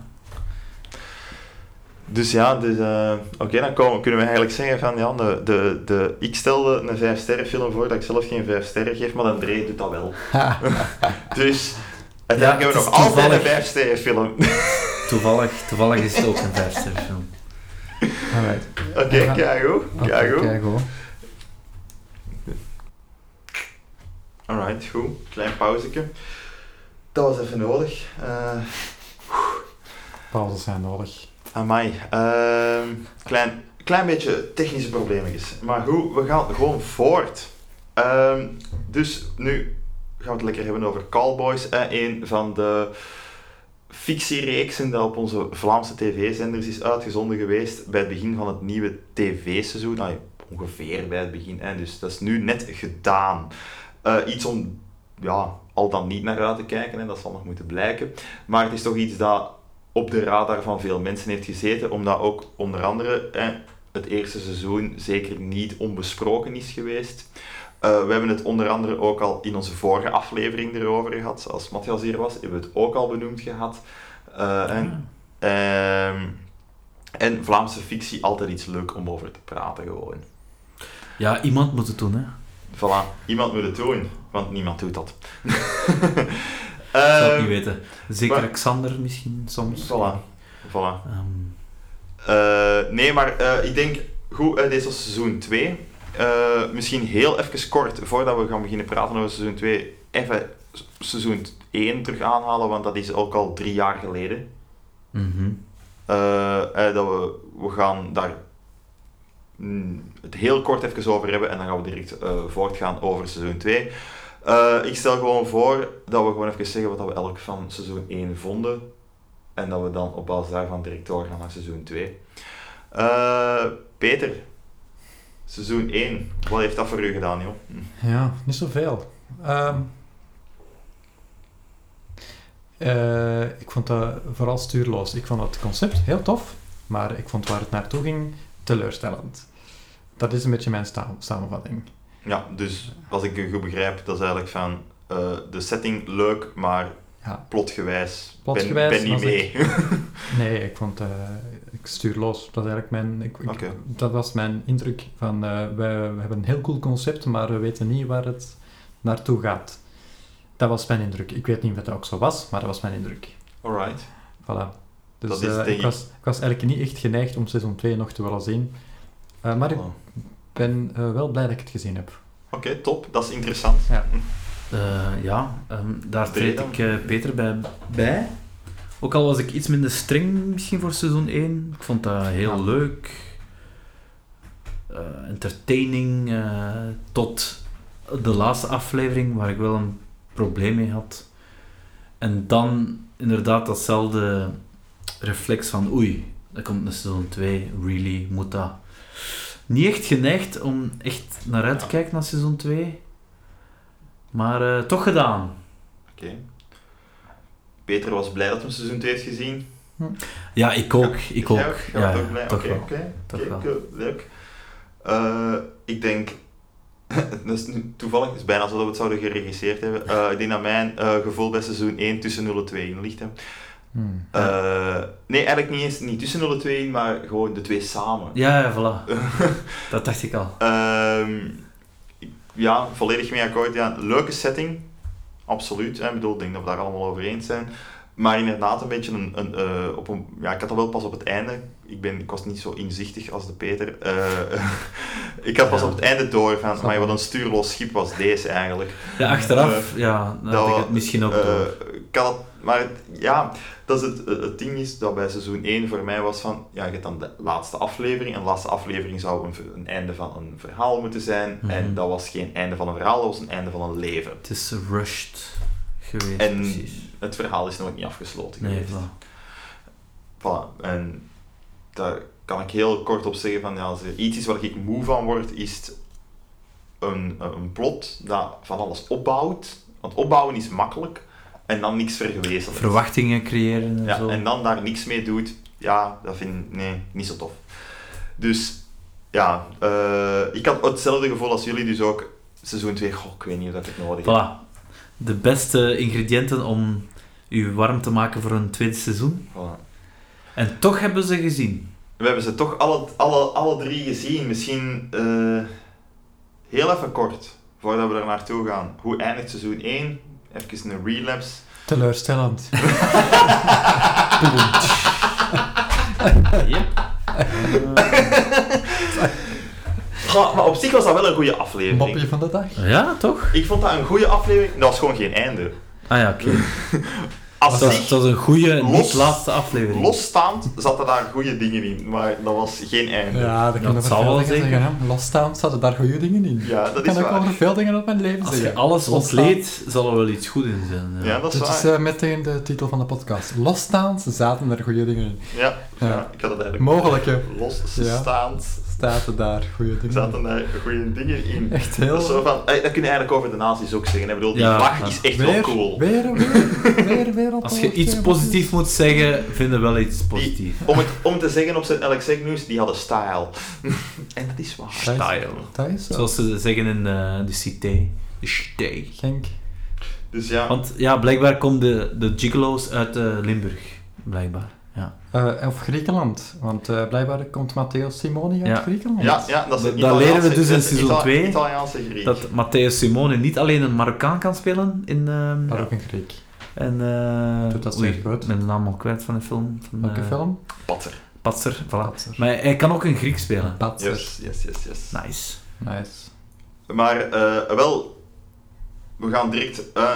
S3: Dus ja, dus, eh, oké, dan komen, kunnen we eigenlijk zeggen van ja, de, de, de, ik stelde een 5 sterren film voor dat ik zelf geen 5 sterren geef, maar André doet dat wel. dus
S4: Ja, het
S3: uiteindelijk hebben we
S4: is
S3: nog altijd een
S4: toevallig.
S3: 5 sterren film.
S4: Toevallig, toevallig is het ook een vijfsterrenfilm.
S1: Alright.
S3: Oké,
S1: Ja.
S3: kijk hoor. Kijk
S1: Oké,
S3: hoor.
S1: kijk hoor.
S3: Alright, goed. Klein pauzeke. Dat was even nodig. Eh
S1: Pauzes zijn nodig.
S3: amai. Ehm, klein, klein beetje technische problemen. Maar goed, we gaan gewoon voort. Ehm, dus nu gaan we het lekker hebben over Callboys. eh, een van de fictiereeksen die op onze Vlaamse tv-zenders is uitgezonden geweest bij het begin van het nieuwe tv-seizoen. Nou, ongeveer bij het begin. En dus dat is nu net gedaan. Eh, iets om ja, al dan niet naar uit te kijken, en dat zal nog moeten blijken. Maar het is toch iets dat op de radar van veel mensen heeft gezeten, omdat ook onder andere eh, het eerste seizoen zeker niet onbesproken is geweest. Eh, we hebben het onder andere ook al in onze vorige aflevering erover gehad. Als Matthias hier was, hebben we het ook al benoemd gehad. Eh, en, ehm, en Vlaamse fictie, altijd iets leuk om over te praten gewoon.
S4: Ja, iemand moet het doen, hè?
S3: Voilà, iemand moet het doen, want niemand doet dat.
S4: Ik zou het
S3: Ehm,
S4: niet weten. Zeker
S3: maar-
S4: Alexander misschien soms.
S3: Voilà, voilà.
S4: Ehm,
S3: Eh, nee, maar eh, ik denk, goed, eh, dit was seizoen 2. Eh, misschien heel even kort, voordat we gaan beginnen praten over seizoen 2, even s- seizoen 1 terug aanhalen, want dat is ook al drie jaar geleden.
S4: mhm.
S3: Eh, eh, dat we, we gaan daar mm, het heel kort even over hebben en dan gaan we direct eh, voortgaan over seizoen 2. Eh, ik stel gewoon voor dat we gewoon even zeggen wat we elk van seizoen 1 vonden. En dat we dan op basis daarvan direct doorgaan naar seizoen 2. Eh, Peter, seizoen 1, wat heeft dat voor u gedaan, joh? Hm.
S1: Ja, niet zoveel. Ehm, eh, ik vond dat vooral stuurloos. Ik vond het concept heel tof, maar ik vond waar het naartoe ging teleurstellend. Dat is een beetje mijn sta- samenvatting.
S3: Ja, dus als ik u goed begrijp, dat is eigenlijk van eh, de setting leuk, maar
S1: Ja.
S3: plotgewijs, ben-
S1: Plotgewijs
S3: ben, niet
S1: was
S3: mee.
S1: ik- Nee, ik vond eh, ik stuurloos. Dat, is eigenlijk mijn, ik, ik-
S3: Oké.
S1: dat was mijn indruk van eh, we, we hebben een heel cool concept, maar we weten niet waar het naartoe gaat. Dat was mijn indruk. Ik weet niet of dat ook zo was, maar dat was mijn indruk.
S3: Alright.
S1: Voilà. Dus
S3: Dat is
S1: eh,
S3: denk
S1: ik,
S3: ik-
S1: was, ik was eigenlijk niet echt geneigd om seizoen 2 nog te willen zien. Eh, maar ik
S3: Voilà.
S1: ben eh, wel blij dat ik het gezien heb.
S3: Oké, top. Dat is interessant.
S4: Eh, ja, ehm, daar
S3: Peter
S4: treed
S3: dan?
S4: ik eh, Peter bij, bij. Ook al was ik iets minder streng misschien voor seizoen 1. Ik vond dat heel
S1: Ja.
S4: leuk. Eh, entertaining eh, tot de laatste aflevering waar ik wel een probleem mee had. En dan inderdaad datzelfde reflex van oei, er komt een seizoen 2, really, moet dat. Niet echt geneigd om echt naar uit te kijken naar seizoen 2. Maar eh, toch gedaan.
S3: Oké. Peter was blij dat hij seizoen 2 heeft gezien.
S4: Ja, ik ook. Ik ook.
S3: Jij Jij
S4: Ja,
S3: bent
S4: ja,
S3: ook blij?
S4: toch
S3: Oké,
S4: wel.
S3: oké.
S4: Toch
S3: Oké,
S4: wel.
S3: oké, leuk. Eh, ik denk... dat is nu toevallig, het is bijna alsof we het zouden geregisseerd hebben. Eh, ik denk dat mijn eh, gevoel bij seizoen 1 tussen 0 en 2 in ligt. Hè.
S1: Hmm.
S3: Eh, nee, eigenlijk niet eens niet tussen 0 en 2 in, maar gewoon de twee samen.
S4: Ja, ja, voilà. Dat dacht ik al.
S3: Ehm, ik- ja, volledig mee akkoord. Ja, leuke setting, absoluut. Hè. Ik bedoel, ik denk dat we daar allemaal over eens zijn. Maar inderdaad, een beetje een. een eh, op een ja, ik had dat wel pas op het einde. Ik, ben, ik was niet zo inzichtig als de Peter. Eh, ik had pas
S4: Ja.
S3: op het einde door van.
S1: Snap
S3: Maar
S1: ik.
S3: wat een stuurloos schip was deze eigenlijk.
S4: Ja, achteraf, ja, dan had ik
S3: wa-
S4: het misschien ook
S3: eh,
S4: door.
S3: ik had het- maar het- ja, dat is het, het ding is dat bij seizoen 1 voor mij was van, ja, je hebt dan de laatste aflevering en de laatste aflevering zou een, ver- een einde van een verhaal moeten zijn
S4: Mhm.
S3: en dat was geen einde van een verhaal, dat was een einde van een leven.
S4: Het is rushed geweest,
S3: En
S4: precies.
S3: het verhaal is nog niet afgesloten
S4: Nee,
S3: geweest.
S4: voilà.
S3: Voilà. En daar kan ik heel kort op zeggen van, ja, als er iets is waar ik moe van word, is het een, een plot dat van alles opbouwt. Want opbouwen is makkelijk en dan niks vergewezenlijkt.
S4: Verwachtingen creëren en
S3: Ja,
S4: zo.
S3: en dan daar niks mee doet, ja, dat vind ik nee, niet zo tof. Dus ja, eh, ik had hetzelfde gevoel als jullie, dus ook seizoen 2, goh, ik weet niet of dat ik het nodig heb.
S4: Voilà. De beste ingrediënten om u warm te maken voor een tweede seizoen.
S3: Voilà.
S4: En toch hebben ze gezien.
S3: We hebben ze toch alle, alle, alle drie gezien, misschien eh, heel even kort, voordat we er naartoe gaan. Hoe eindigt seizoen 1? Even een relapse.
S1: Teleurstellend.
S3: Goh, maar op zich was dat wel een goede aflevering.
S1: Mopje van de dag.
S4: Ja, toch?
S3: Ik vond dat een goede aflevering, dat was gewoon geen einde.
S4: Ah ja, oké.
S3: Als
S4: Het was, het was een goede,
S3: Los-
S4: niet laatste aflevering.
S3: Losstaand zaten daar goede dingen in, maar dat was geen einde. Ja,
S1: Ja, dat kan
S4: dat
S1: ik
S4: zal
S1: over
S4: wel
S1: veel dingen
S4: zeker.
S1: zeggen. hè. Losstaan zaten daar goede dingen in.
S3: dat
S1: kan
S3: is
S1: ik
S3: waar.
S1: over veel dingen op mijn leven
S4: Als je
S1: zeggen.
S4: alles
S1: Losstaan.
S4: ontleedt, zal er wel iets goed in zijn. ja.
S3: Ja, dat is
S1: Dit is
S3: waar.
S1: eh, meteen de titel van de podcast. Losstaand zaten er goede dingen in.
S3: ja, eh, ja.
S1: ja.
S3: ik had het eigenlijk
S1: Mogelijke
S3: losstaand.
S1: zaten daar goede dingen in.
S3: Zaten daar goede dingen in.
S1: Echt heel...
S3: Dat, is zo van, eh, dat kun je eigenlijk over de nazi's ook zeggen. hè. Ik bedoel, die
S4: Ja,
S3: vlag
S4: ja.
S3: is echt wel
S1: weer,
S3: cool.
S1: weer, weer, weer, weer op
S4: Als je
S1: oorlog,
S4: iets
S1: eh,
S4: positiefs moet zeggen, vinden we wel iets
S3: Die,
S4: positiefs.
S3: om, het, om te zeggen op zijn Alex News, die hadden style. en dat is waar.
S1: Dat is-
S4: Style.
S1: Dat is zo.
S4: Zoals ze zeggen in eh, de cité. De cité.
S1: Genk.
S3: Dus ja,
S4: Want ja, blijkbaar komen de, de gigolo's uit eh, Limburg. Blijkbaar.
S1: Eh, of Griekenland. Want eh, blijkbaar komt Matteo Simoni uit
S4: Ja.
S1: Griekenland.
S3: ja, ja, dat is
S4: Dat
S3: een Italiaanse-
S4: leren we dus in
S3: dat is een
S4: seizoen
S3: Ita-
S4: twee.
S3: Italiaanse Griek.
S4: Dat Matteo Simone niet alleen een Marokkaan kan spelen in... ehm,
S1: Maar ook een Griek.
S4: en, eh,
S1: Doet dat
S4: oei,
S1: zeer goed.
S4: Ik ben de naam al kwijt van de film. Van,
S1: Welke
S4: eh,
S1: film?
S3: Patter.
S4: Patser, voilà.
S1: Patser.
S4: Maar hij kan ook een Griek spelen.
S1: Patser.
S3: Yes, yes, yes, yes.
S4: Nice.
S1: Nice.
S3: Maar eh, wel, we gaan direct eh,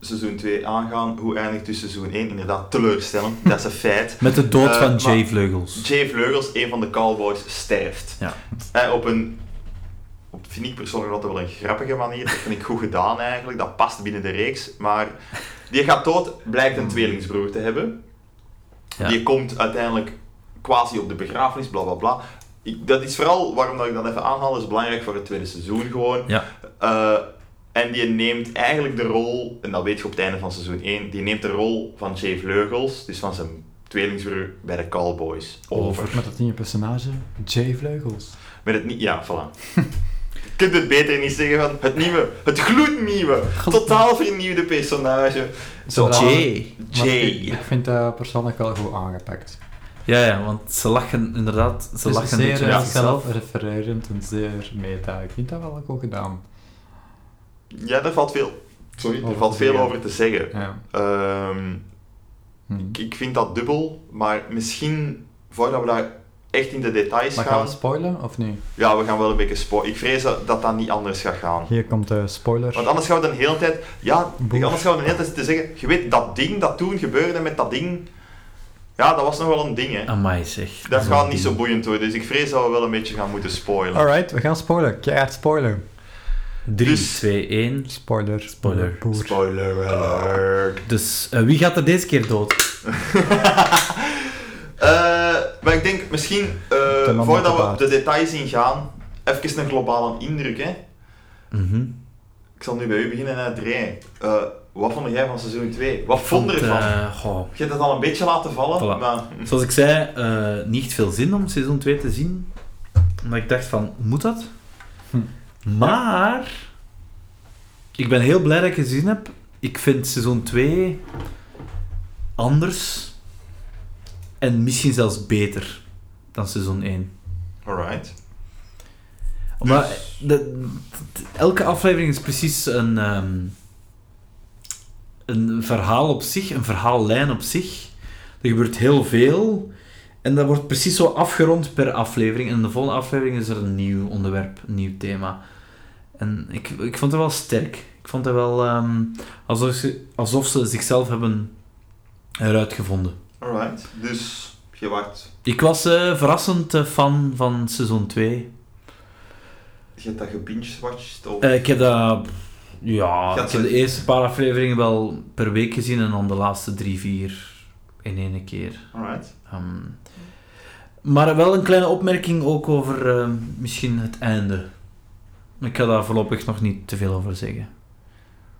S3: seizoen 2 aangaan. Hoe eindigt dus seizoen 1? Inderdaad, teleurstellend. dat is een feit.
S4: Met de dood
S3: Eh,
S4: van Jay
S3: maar-
S4: Vleugels.
S3: Jay Vleugels, een van de cowboys, sterft.
S4: Ja.
S3: Eh, op een, op, vind ik persoonlijk altijd wel een grappige manier. Dat vind ik goed gedaan eigenlijk. Dat past binnen de reeks. Maar die gaat dood, blijkt een tweelingsbroer te hebben.
S4: Ja.
S3: Die komt uiteindelijk quasi op de begrafenis, bla bla bla. Ik, dat is vooral waarom dat ik dat even aanhaal, is belangrijk voor het tweede seizoen gewoon.
S4: Ja.
S3: Eh, en die neemt eigenlijk de rol, en dat weet je op het einde van seizoen 1, die neemt de rol van Jay Vleugels, dus van zijn tweelingsbroer bij de Cowboys, over.
S1: Met het nieuwe personage, Jay Vleugels.
S3: Met het niet... Ja, voilà. Je kunt het beter niet zeggen van het nieuwe, het gloednieuwe, totaal vernieuwde personage. Zo,
S1: Inderdaad.
S4: Jay.
S1: Maar
S3: Jay.
S1: Ik, ik vind dat persoonlijk wel goed aangepakt.
S4: Ja, ja, want ze lachen inderdaad. Ze
S1: Het is
S4: lachen een
S1: zeer
S4: beetje naar
S1: eh,
S4: zichzelf.
S1: zelfrefererend en zeer meta. Ik vind dat wel goed gedaan.
S3: Ja, daar valt veel... Sorry, er
S1: Over
S3: valt
S1: te
S3: veel
S1: zeggen.
S3: over te zeggen.
S1: Ja.
S3: Ehm,
S1: Hm.
S3: ik, ik vind dat dubbel, maar misschien voordat we daar echt in de details
S1: Maar gaan
S3: gaan...
S1: we spoilen of niet?
S3: Ja, we gaan wel een beetje spoilen. Ik vrees dat dat dat niet anders gaat gaan.
S1: Hier komt de spoiler.
S3: Want anders gaan we de hele tijd... Ja,
S1: Boer.
S3: anders gaan we de hele tijd te zeggen... Je weet, dat ding dat toen gebeurde met dat ding... Ja, dat was nog wel een ding, hè.
S4: Amai zeg.
S3: Dat
S4: is
S3: gaat
S4: een
S3: niet
S4: ding.
S3: zo boeiend worden, dus ik vrees dat we wel een beetje gaan moeten spoilen.
S1: Alright, we gaan spoilen. Keihard spoilen.
S4: 3,
S3: Dus-
S4: 2, 1.
S1: Spoiler.
S4: Spoiler.
S1: Boer.
S3: Spoiler alert.
S4: Dus eh, wie gaat er deze keer dood?
S3: Eh, maar ik denk misschien, eh,
S1: man met de
S3: voordat we
S1: baard.
S3: de details ingaan, even een globale indruk. Hè.
S4: Mhm.
S3: Ik zal nu bij u beginnen, hè, Dre. Eh wat vond jij van seizoen 2? Wat vond je
S4: Want,
S3: ervan?
S4: eh, goh,
S3: Je hebt het al een beetje laten vallen,
S4: Voilà.
S3: maar
S4: Zoals ik zei, eh, niet veel zin om seizoen 2 te zien. Omdat ik dacht van, moet dat?
S1: Hm.
S4: Maar... Ik ben heel blij dat ik het gezien heb. Ik vind seizoen 2 anders. En misschien zelfs beter dan seizoen 1.
S3: alright.
S4: Omdat de- elke aflevering is precies een, ehm, een verhaal op zich, een verhaallijn op zich. Er gebeurt heel veel. En dat wordt precies zo afgerond per aflevering. En in de volgende aflevering is er een nieuw onderwerp, een nieuw thema. En ik, ik vond het wel sterk. Ik vond het wel ehm, alsof, ze, alsof ze zichzelf hebben eruit gevonden.
S3: Alright. Dus je wacht.
S4: Ik was eh, verrassend eh, fan van seizoen 2.
S3: Je hebt dat gebinge-watched? Of...
S4: Eh, ik heb dat... Ja,
S3: Gaat
S4: ik heb
S3: ze-
S4: de eerste paar afleveringen wel per week gezien en dan de laatste drie, vier in één keer.
S3: Alright.
S4: Ehm, maar wel een kleine opmerking ook over ehm, misschien het einde. Ik ga daar voorlopig nog niet te veel over zeggen.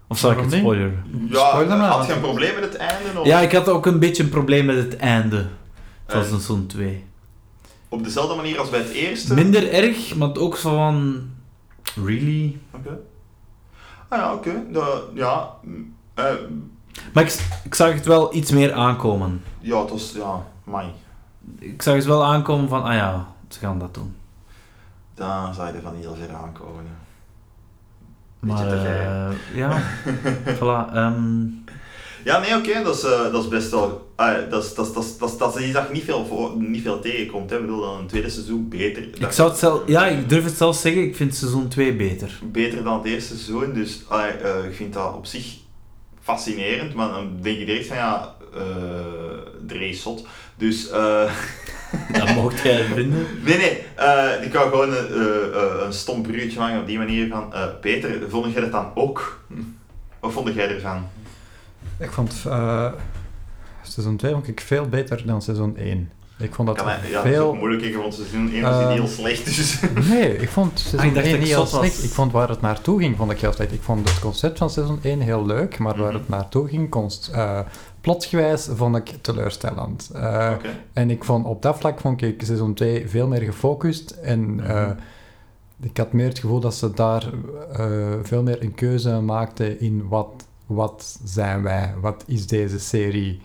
S4: Of zal ik
S1: Waarom
S4: het
S1: niet?
S4: spoileren?
S3: Ja,
S1: Spoiler maar,
S3: had
S1: want-
S3: je een probleem met het einde? Of...
S4: Ja, ik had ook een beetje een probleem met het einde
S3: Eh,
S4: van seizoen 2.
S3: op dezelfde manier als bij het eerste?
S4: Minder erg, maar ook zo van... Really?
S3: Oké. Ah ja, oké. De- Ja, mm, eh,
S4: Maar ik, ik zag het wel iets meer aankomen.
S3: ja, het was... Ja, mai.
S4: Ik zag het wel aankomen van, ah ja, ze gaan dat doen.
S3: Daar zou je er van heel ver aankomen. hè.
S4: Maar,
S3: Beetje te ver,
S4: eh, ja, voilà. ehm,
S3: Ja, nee, oké, dat, is, eh, dat is best wel. ah, dat, is, dat, is, dat, is, dat, is, dat is iets dat je niet veel, voor, niet veel tegenkomt. Hè. Ik bedoel, dan een tweede seizoen beter.
S4: ik zou het zelf, ja, ik durf het zelf zeggen, ik vind seizoen 2 beter.
S3: Beter dan het eerste seizoen, dus ah, eh, ik vind dat op zich fascinerend, maar dan denk je direct van ja, eh Dre is zot. Dus, eh,
S4: Dat mocht jij vinden.
S3: nee, nee, eh, ik wou gewoon een, eh, eh, een stom bruggetje maken op die manier van, eh, Peter, vond jij dat dan ook? Wat vond jij ervan?
S1: Ik vond eh, seizoen 2 vond ik veel beter dan seizoen 1. Ik vond dat
S3: Kan hij- ja, dus dat is ook
S1: veel...
S3: moeilijk, hè, want seizoen 1 was
S1: Eh,
S3: niet heel slecht, dus...
S1: Nee, ik vond
S4: Ah, ik
S1: seizoen
S4: dacht
S1: 1
S4: dat ik
S1: niet heel
S4: zot was.
S1: slecht. Ik vond waar het naartoe ging, vond ik heel slecht. Ik vond het concept van seizoen 1 heel leuk, maar waar
S3: Mhm.
S1: het naartoe ging, konst, eh, plotsgewijs, vond ik teleurstellend. Eh,
S3: Oké.
S1: En ik vond, op dat vlak vond ik seizoen 2 veel meer gefocust. En
S3: Mhm.
S1: eh, ik had meer het gevoel dat ze daar eh, veel meer een keuze maakten in wat, wat zijn wij, wat is deze serie.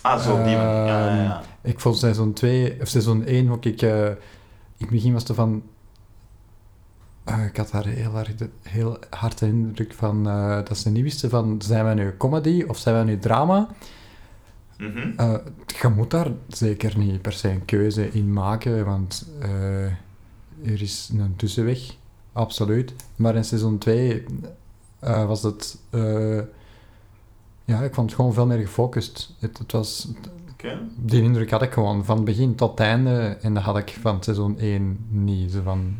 S3: Ah, zo, op die manier. Ja, ja, ja.
S1: Ehm, Ik vond seizoen 2, of seizoen 1 vond ik... eh, in het begin was er van... eh, ik had daar heel, erg de- heel hard de indruk van eh, dat ze niet wisten van... Zijn wij nu comedy of zijn wij nu drama?
S3: Mhm.
S1: Eh, je moet daar zeker niet per se een keuze in maken, want eh, er is een tussenweg, absoluut. Maar in seizoen 2 was het... eh, ja, ik vond het gewoon veel meer gefocust. Het, het was,
S3: Oké.
S1: die indruk had ik gewoon, van begin tot einde. En dat had ik van seizoen 1 niet. Zo van,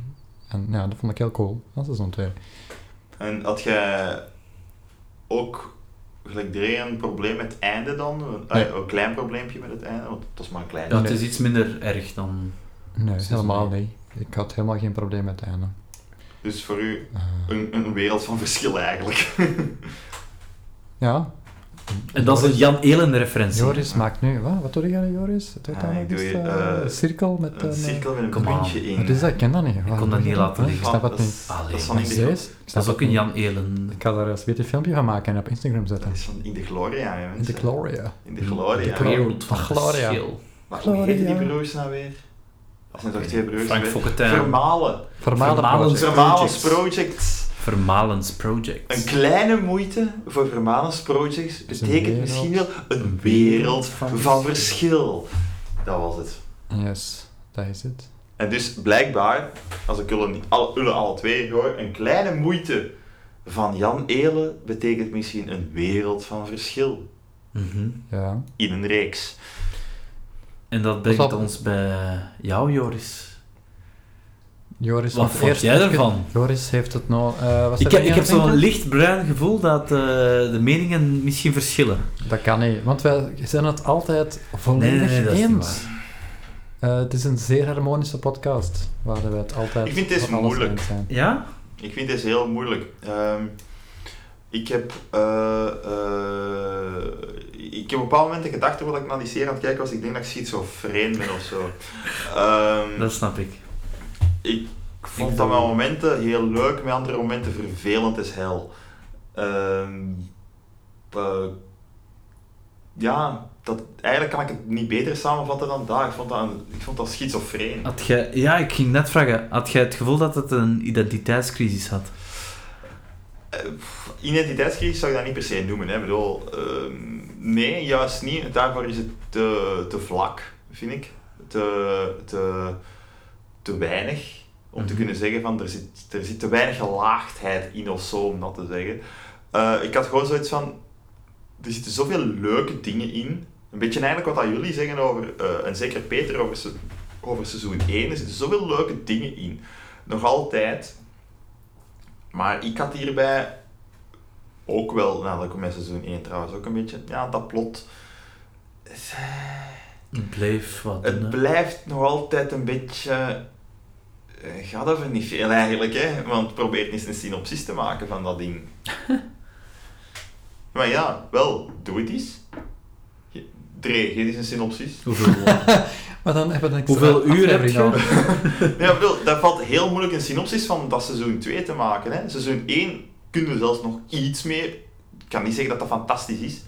S1: en ja, dat vond ik heel cool, van seizoen 2.
S3: En had jij ook gelijk Dre een probleem met het einde dan? Een,
S1: Nee.
S3: eh, een klein probleempje met het einde? Want het was maar een klein.
S4: Ja, het is iets minder erg dan...
S1: Nee,
S4: Seizoen
S1: helemaal
S4: één.
S1: niet. Ik had helemaal geen probleem met het einde.
S3: Dus voor u
S1: Eh,
S3: een, een wereld van verschil eigenlijk.
S1: ja.
S4: En dat is een Jan Elen referentie.
S1: Joris maakt nu... Wat, wat doe je aan Joris? Doe
S3: Ah,
S1: dan
S3: ik
S1: ook
S3: doe
S1: eens,
S3: je,
S1: eh,
S3: eh,
S1: een cirkel met
S3: een
S1: eh,
S3: cirkel met een
S4: Come on.
S3: puntje in.
S1: Wat is dat? Ik ken dat niet. Ik
S4: kon dat niet laten
S1: Ik
S4: liggen.
S1: snap het
S3: dat
S1: niet.
S3: is,
S4: Allee,
S3: dat is van
S1: Wat
S3: in
S1: is
S3: de,
S1: deze? Ik
S4: Dat
S1: snap
S4: is ook
S1: het
S4: een
S1: niet.
S4: Jan Elen...
S1: Ik ga daar eens weer een filmpje van maken en op Instagram zetten.
S3: dat is van in de Gloria. Hè,
S1: In de
S3: mensen.
S1: Gloria.
S3: In de Gloria.
S1: Gloria.
S4: wereld van
S1: Gloria.
S4: verschil.
S3: Maar hoe heet die
S1: Gloria.
S3: broers nou weer? Dat zijn toch twee broers?
S4: Frank
S3: hè?
S4: Fokkentijn.
S3: Vermalen.
S1: Vermalen
S4: Vermalen.
S1: project.
S3: Vermalens Projects.
S4: Vermalens Project.
S3: Een kleile moeite voor Vermalens Projects
S1: Is een
S3: betekent
S1: wereld-
S3: misschien wel een wereld
S4: wereld
S3: van,
S4: van
S3: verschil. Dat was het.
S1: Yes, dat is het.
S3: En dus blijkbaar, als ik jullie alle, jullie alle twee hoor, een kleine moeite van Jan Elen betekent misschien een wereld van verschil
S4: Mhm.
S1: Ja.
S3: in een reeks.
S4: En dat brengt
S1: dat-
S4: ons bij jou, Joris.
S1: Joris,
S4: Wat
S1: want
S4: vond
S1: eerst
S4: jij
S1: heb je-
S4: ervan?
S1: Joris heeft het nou... eh, was
S4: Ik,
S1: er
S4: heb- ik
S1: nog
S4: heb
S1: iets aan
S4: zo'n
S1: te
S4: lichtbruin gevoel dat eh, de meningen misschien verschillen.
S1: denken? Dat kan niet, want wij zijn het altijd volledig
S4: Nee, nee, nee, dat is niet
S1: Oh, eens.
S4: waar.
S1: Eh, het is een zeer harmonische podcast, waar we het altijd
S3: Ik vind deze
S1: van alles
S3: moeilijk.
S1: eens zijn.
S4: Ja?
S3: Ik vind deze heel moeilijk. Ehm, ik heb... eh, eh, ik heb op een bepaald moment de gedachte, wat ik naar die serie aan het kijken was, ik denk dat ik schizofreen ben of zo. Ehm,
S4: Dat snap ik.
S3: Ik vond
S4: Ik
S3: dat mijn
S4: vond-
S3: momenten heel leuk, mijn andere momenten vervelend is hel. Ehm, eh, ja, dat, eigenlijk kan ik het niet beter samenvatten dan dat. Ik vond dat, een- ik vond dat schizofreen.
S4: Had jij, ja, ik ging net vragen. Had jij het gevoel dat het een identiteitscrisis had?
S3: Eh, pff, Identiteitscrisis zou ik dat niet per se noemen. Hè. Ik bedoel, ehm, nee, juist niet. Daarvoor is het te, te vlak, vind ik. Te, te, te weinig. Om te
S4: Mhm.
S3: kunnen zeggen van er zit, er zit te weinig gelaagdheid in of zo, om dat te zeggen. Eh, ik had gewoon zoiets van. Er zitten zoveel leuke dingen in. Een beetje eigenlijk wat dat jullie zeggen over, eh, en zeker Peter over, se- over seizoen 1, er zitten zoveel leuke dingen in. Nog altijd. Maar ik had hierbij ook wel, nadat ik met seizoen 1 trouwens ook een beetje, ja, dat plot.
S4: Het bleef wat doen, hè.
S3: Het blijft nog altijd een beetje. eh, Gaat over niet veel eigenlijk, hè? Want probeer eens een synopsis te maken van dat ding. maar ja, wel, doe het eens. Je- Dre, geef eens een synopsis.
S4: Hoeveel,
S1: Maar dan hebben we een extra
S4: hoeveel uur heb
S1: aflevering
S4: je?
S1: nodig.
S3: Ja, ik bedoel, daar valt heel moeilijk een synopsis van dat seizoen 2 te maken. Hè. Seizoen 1 kunnen we zelfs nog iets meer. Ik kan niet zeggen dat dat fantastisch is.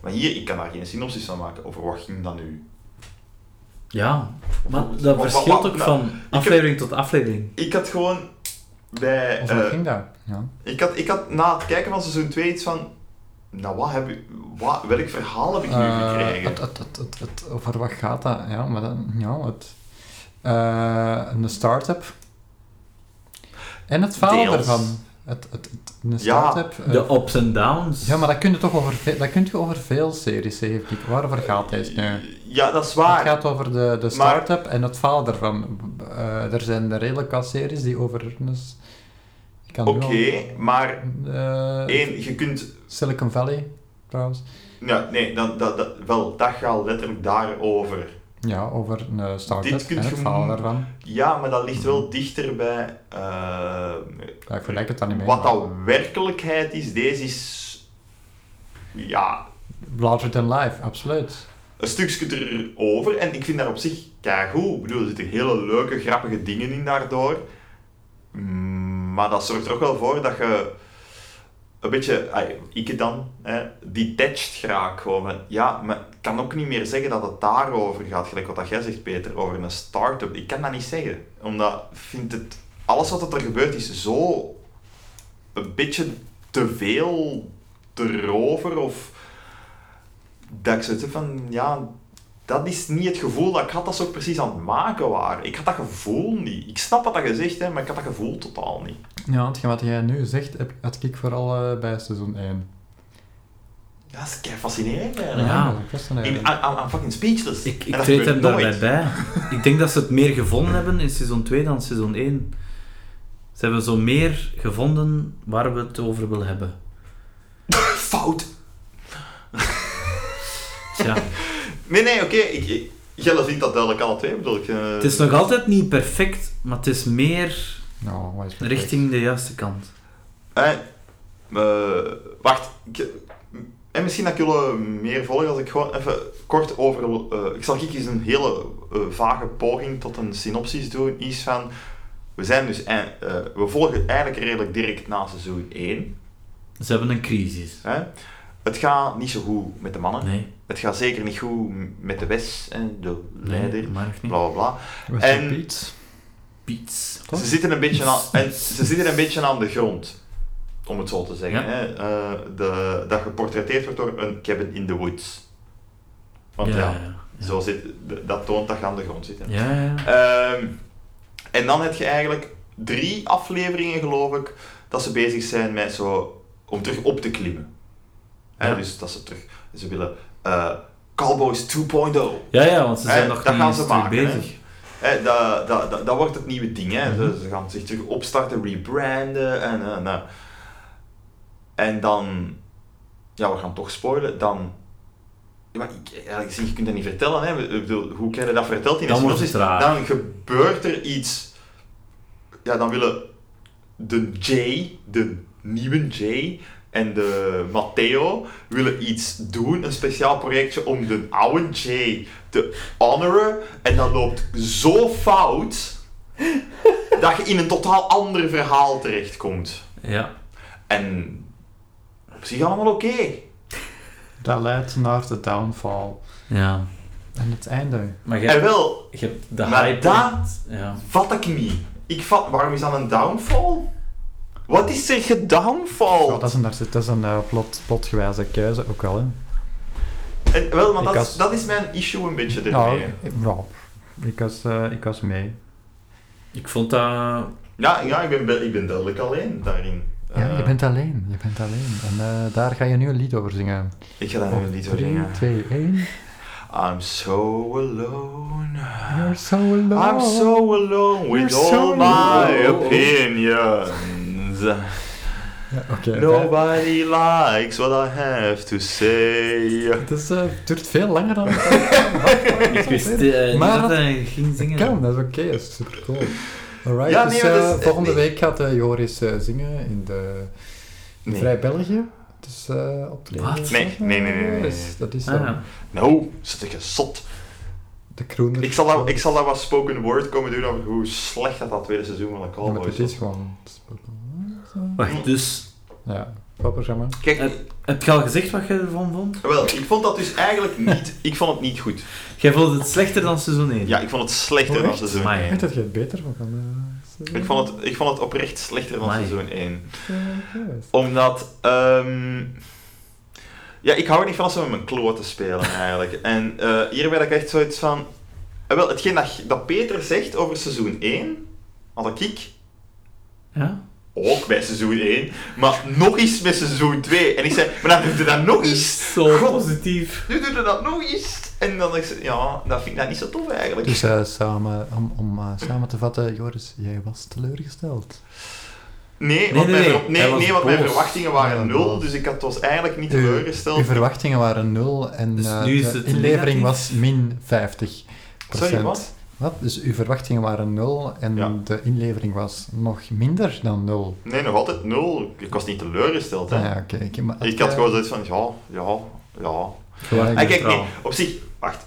S3: Maar hier, ik kan daar geen synopsis van maken. Over wat ging dat nu?
S4: Ja, maar
S3: Wat-
S4: dat
S3: wat-
S4: verschilt
S3: wat-
S4: ook
S3: nou,
S4: van aflevering tot aflevering.
S3: Ik had gewoon bij.
S1: Of wat
S3: eh,
S1: ging dat? Ja.
S3: ik, had, ik had na het kijken van seizoen 2 iets van. Nou, wat heb ik, wat, welk verhaal heb ik nu
S1: Eh,
S3: gekregen?
S1: het, het, het, het, het- over wat gaat dat? Ja, maar dan, ja, het, eh, een start-up. En het falen
S3: Deels.
S1: ervan. Het, het, het- een
S3: Ja.
S1: start-up. eh,
S4: De ups en downs.
S1: ja, maar dat kun je toch over, ve- dat kun je over veel series zeggen, vind ik. Waarover gaat deze nu?
S3: Ja, dat is
S1: Het
S3: waar.
S1: gaat over de, de start-up en het falen ervan. Eh, er zijn er redelijk wat series die over... dus ik kan nu
S3: Oké, maar.
S1: al- eh,
S3: één, je kunt
S1: Silicon Valley, trouwens.
S3: Ja, nee, dat, dat, dat, wel, dat gaat letterlijk daarover.
S1: Ja, over een eh, start-up
S3: Dit kunt
S1: en
S3: je
S1: het falen
S3: mo-
S1: daarvan.
S3: Ja, maar dat lijkt wel dichter bij eh,
S1: Ja, ik vergelijk het dan niet mee.
S3: wat
S1: maar-
S3: dat werkelijkheid is. Deze is ja,
S1: Larger than life, absoluut.
S3: een stukje erover. En ik vind daar op zich goed. Ik bedoel, er zitten hele leuke, grappige dingen in daardoor. Mm, Maar dat zorgt er ook wel voor dat je een beetje, ai, ik dan, hè, detached raak. Gewoon. van, Ja, maar ik kan ook niet meer zeggen dat het daarover gaat. Gelijk wat dat jij zegt, Peter, over een start-up. Ik kan dat niet zeggen. Omdat ik vind het, alles wat er gebeurt is zo een beetje te veel erover. Of dat ik zoiets heb van, ja, dat is niet het gevoel dat ik had dat ze ook precies aan het maken waren. Ik had dat gevoel niet. Ik snap wat dat je zegt, hè, maar ik had dat gevoel totaal niet.
S1: Ja, want wat jij nu zegt, heb- had ik vooral eh, bij seizoen 1.
S3: Ja, dat is kei fascinerend eigenlijk.
S4: Ja.
S1: dat eh, is fascinerend.
S3: Ik- I'm, I'm- I'm fucking speechless.
S4: Ik,
S3: En
S4: ik
S3: dat
S4: treed hem
S3: gebeurt
S4: daarbij
S3: nooit.
S4: bij. Ik denk dat ze het meer gevonden hebben in seizoen 2 dan seizoen 1. Ze hebben zo meer gevonden waar we het over willen hebben.
S3: Fout!
S4: Tja,
S3: Nee, nee, oké. ik- ik- Jelle vindt dat duidelijk alle twee. Ik Bedoel ik, eh,
S4: het is nog altijd niet perfect, maar het is meer
S1: Nou, wat is perfect?
S4: richting de juiste kant.
S3: eh, eh, wacht. Ik, en misschien dat ik jullie meer volgen als ik gewoon even kort over... eh, ik zal ik eens een hele eh, vage poging tot een synopsis doen. Iets van... We zijn dus... ei- eh, we volgen eigenlijk redelijk direct na seizoen 1.
S4: Ze hebben een crisis.
S3: Hè? Het gaat niet zo goed met de mannen.
S4: Nee,
S3: Het gaat zeker niet goed met de Wes, en de
S4: nee,
S3: leider.
S4: maar nog niet.
S3: Bla bla bla.
S1: Was
S3: En-
S1: het Piet?
S4: Piets.
S1: Toch?
S3: Ze zitten, een beetje aan, en ze zitten een beetje aan de grond, om het zo te zeggen.
S4: Ja.
S3: Hè? Eh, de, dat geportretteerd wordt door een cabin in the woods. Want ja,
S4: ja.
S3: Zo zit, d- dat toont dat je aan de grond zit. hè.
S4: Ja, ja, ja.
S3: Ehm, en dan heb je eigenlijk drie afleveringen, geloof ik, dat ze bezig zijn met zo, om terug op te klimmen. Hè,
S4: Ja.
S3: Dus dat ze terug, ze willen eh, Cowboys 2.0.
S4: Ja, ja, want ze
S3: Hè,
S4: zijn nog
S3: dat
S4: niet
S3: gaan ze
S4: eens
S3: maken, hè.
S4: bezig.
S3: Hè, dat, dat, dat, dat wordt het nieuwe ding. Hè. Ze, ze gaan zich terug opstarten, rebranden en... eh, nou. En dan... Ja, we gaan toch spoilen. Dan... Ja, maar ik, eigenlijk gezien, je kunt dat niet vertellen. Hè. Ik bedoel, hoe kan je dat verteld in
S4: Dan
S3: een
S4: wordt het
S3: synopsis?
S4: raar.
S3: Dan gebeurt er iets... Ja, dan willen de J, de nieuwe J en de Matteo willen iets doen, een speciaal projectje om de oude J te honoren. En dat loopt zo fout dat je in een totaal ander verhaal terechtkomt.
S4: Ja.
S3: En op zich allemaal oké.
S1: Dat leidt naar de downfall.
S4: ja.
S1: En het einde.
S4: Maar je
S3: En
S4: hebt,
S3: wel,
S4: je hebt de
S3: maar
S4: hype...
S3: dat
S4: Ja.
S3: vat ik niet. Ik vat, waarom is dat een downfall? Wat is er gedownfall?
S1: Ja, dat is een, dat is een eh, plot, plotgewijze keuze ook wel. Hè.
S3: En, wel, maar
S1: Ik
S3: dat, is-
S1: had-
S3: dat is mijn issue een beetje ermee.
S1: Nou, ik- ja, ik, was, eh, ik was mee.
S4: Ik vond dat...
S3: Ja, ja ik, ben, be- ik ben duidelijk alleen daarin.
S1: Ja,
S3: Eh,
S1: je bent alleen. Je bent alleen. En eh, daar ga je nu een lied over zingen.
S3: Ik ga daar nu een lied voor
S1: 3,
S3: zingen.
S1: 2, 1.
S3: I'm so alone.
S1: You're so alone.
S3: I'm so alone with
S1: You're
S3: all
S1: so
S3: my
S1: alone.
S3: opinions.
S1: Ja, Oké. vijf-
S3: Nobody likes what I have to say.
S1: Het is, eh, duurt veel langer dan...
S4: Ik wist eh, niet
S1: Maar
S4: dat
S1: dat-
S4: hij ging zingen.
S1: Kan, dat is oké, dat is super cool. Alright,
S3: Ja,
S1: dus
S3: nee, maar
S1: eh,
S3: dat is-
S1: volgende
S3: nee.
S1: week gaat eh, Joris eh, zingen in de
S3: Nee.
S1: Vrij België. Dus eh optreden.
S4: Wat?
S3: Nee, nee, nee, nee, nee, nee.
S1: Dus dat is
S4: Ah,
S1: dan
S4: ja.
S3: Nou, zit ik een zot.
S1: de kroener.
S3: Ik zal, daar, ik zal daar wat spoken word komen doen over hoe slecht dat, dat tweede seizoen van de
S1: Ja, maar
S3: Cowboys
S1: het
S3: was.
S1: is gewoon...
S4: Wacht, dus...
S1: Ja, wat programma?
S3: Kijk,
S4: Heb je al gezegd wat je ervan vond?
S3: wel, ik vond dat dus eigenlijk niet... Ik vond het niet goed.
S4: Jij vond het slechter dan seizoen 1?
S3: Ja, ik vond het slechter
S1: Oh,
S3: dan
S1: echt?
S3: seizoen
S4: Amai.
S1: Ik
S3: 1.
S1: weet dat je het beter van kan... eh,
S3: Ik vond het, ik vond het oprecht slechter dan
S4: Amai.
S3: seizoen 1.
S1: eh, juist.
S3: Omdat, ehm, ja, ik hou er niet van als ze met mijn kloten spelen eigenlijk. En eh, hier werd ik echt zoiets van. eh, wel, hetgeen dat, dat Peter zegt over seizoen 1, had ik ik
S4: Ja?
S3: ook bij seizoen 1, maar nog eens bij seizoen 2. En ik zei, maar dan doet je dat nog eens.
S4: Zo
S3: God.
S4: positief.
S3: Nu doet je dat nog eens. En dan dacht ik, ja, dat vind ik dat niet zo tof eigenlijk.
S1: Dus eh, samen, om, om eh, samen te vatten, Joris, jij was teleurgesteld.
S3: Nee,
S4: Nee,
S3: want,
S4: nee,
S3: mijn,
S4: nee.
S3: ver-
S4: Hij
S3: nee,
S4: was
S3: nee, want mijn
S4: boos.
S3: verwachtingen waren
S1: Ja,
S3: nul,
S1: boos.
S3: dus ik had, was eigenlijk niet
S1: Uw-
S3: teleurgesteld.
S1: Uw verwachtingen waren nul en
S4: Dus
S1: eh,
S4: nu is
S1: de
S4: het
S1: inlevering
S4: negatief?
S1: was min 50
S3: Sorry, wat?
S1: Wat? Dus uw verwachtingen waren nul en
S3: Ja.
S1: de inlevering was nog minder dan nul.
S3: Nee, nog altijd nul. Ik was niet teleurgesteld, hè.
S1: Ah, ja, oké. oké, maar
S3: Ik had gewoon zoiets van, ja, ja, ja.
S1: Ja,
S3: En kijk,
S4: Neutraal.
S3: nee, op zich, wacht.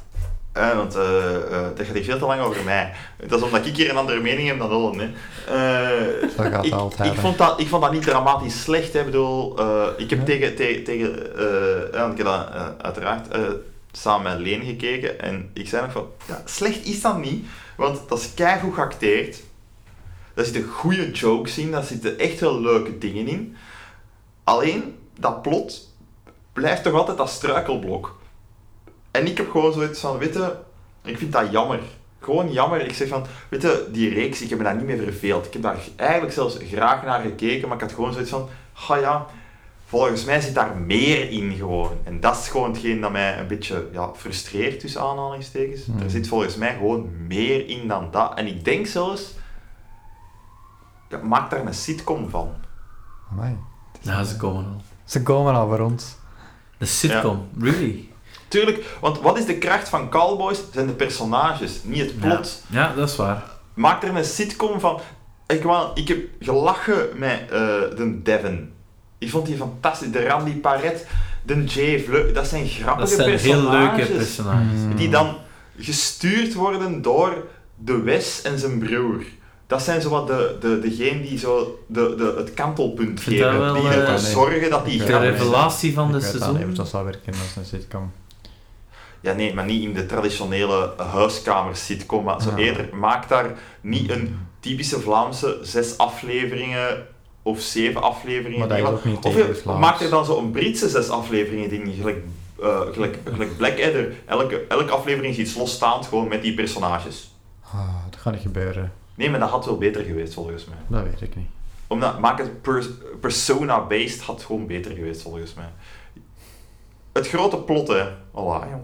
S3: Eh, want eh, eh, dat gaat hier veel te lang over mij. Dat is omdat ik hier een andere mening heb dan Holland. Hè. Eh,
S1: Dat gaat
S3: ik,
S1: altijd,
S3: Ik
S1: hè.
S3: vond, dat, ik vond dat niet dramatisch slecht. Hè. Ik bedoel, eh, ik heb
S1: Ja.
S3: tegen, tegen, tegen eh, ja, want ik heb dat eh, uiteraard eh, samen met Leen gekeken. En ik zei nog van, ja, slecht is dat niet. Want dat is keigoed geacteerd. Daar zitten goede jokes in, daar zitten echt wel leuke dingen in. Alleen, dat plot blijft toch altijd dat struikelblok. En ik heb gewoon zoiets van, weet je, ik vind dat jammer. Gewoon jammer. Ik zeg van, weet je, die reeks, ik heb me daar niet mee verveeld. Ik heb daar eigenlijk zelfs graag naar gekeken, maar ik had gewoon zoiets van, ha ja, volgens mij zit daar meer in gewoon. En dat is gewoon hetgeen dat mij een beetje ja, frustreert, tussen aanhalingstekens.
S1: Hmm.
S3: Er zit volgens mij gewoon meer in dan dat. En ik denk zelfs, ja, maak daar een sitcom van.
S1: Amai.
S4: Ja, Nou, ze komen al.
S1: Ze komen al voor ons.
S4: De sitcom, really?
S3: Tuurlijk, want wat is de kracht van Cowboys? Zijn de personages, niet het plot.
S4: Ja, dat is waar.
S3: Maak er een sitcom van. Ik, wou- ik heb gelachen met eh, de Devon. Ik vond die fantastisch. De Randy Paret, de Jay Vleu, dat zijn
S4: Dat
S3: grappige
S4: zijn heel leuke Mm.
S3: personages.
S4: personages.
S1: Mm.
S3: Die dan gestuurd worden door de Wes en zijn broer. Dat zijn zowat de, de, degene die zo de, de, het kantelpunt
S4: vind dat
S3: geven.
S4: wel,
S3: die ervoor
S4: eh,
S3: zorgen dat die
S1: Ik
S4: De
S1: Ja,
S3: grappig zijn.
S4: revelatie van de
S1: ik weet dat,
S4: seizoen.
S1: niet, dat zal werken als een sitcom.
S3: Ja, nee, maar niet in de traditionele huiskamer-sitcom. Maar zo
S1: Ja.
S3: eerder, maak daar niet een typische Vlaamse zes afleveringen of zeven afleveringen.
S1: Maar dat is
S3: ding.
S1: ook niet
S3: of
S1: tegen
S3: je-
S1: Vlaams.
S3: maak er dan zo'n Britse zes afleveringen ding, gelijk, eh, gelijk, gelijk Blackadder. Elke, elke aflevering is iets losstaand gewoon met die personages.
S1: Ah, dat gaat niet gebeuren.
S3: Nee, maar dat had wel beter geweest volgens mij.
S1: Dat weet ik niet.
S3: Omdat, maak het pers- persona-based had gewoon beter geweest volgens mij. Het grote plot, hè. Alla, jong.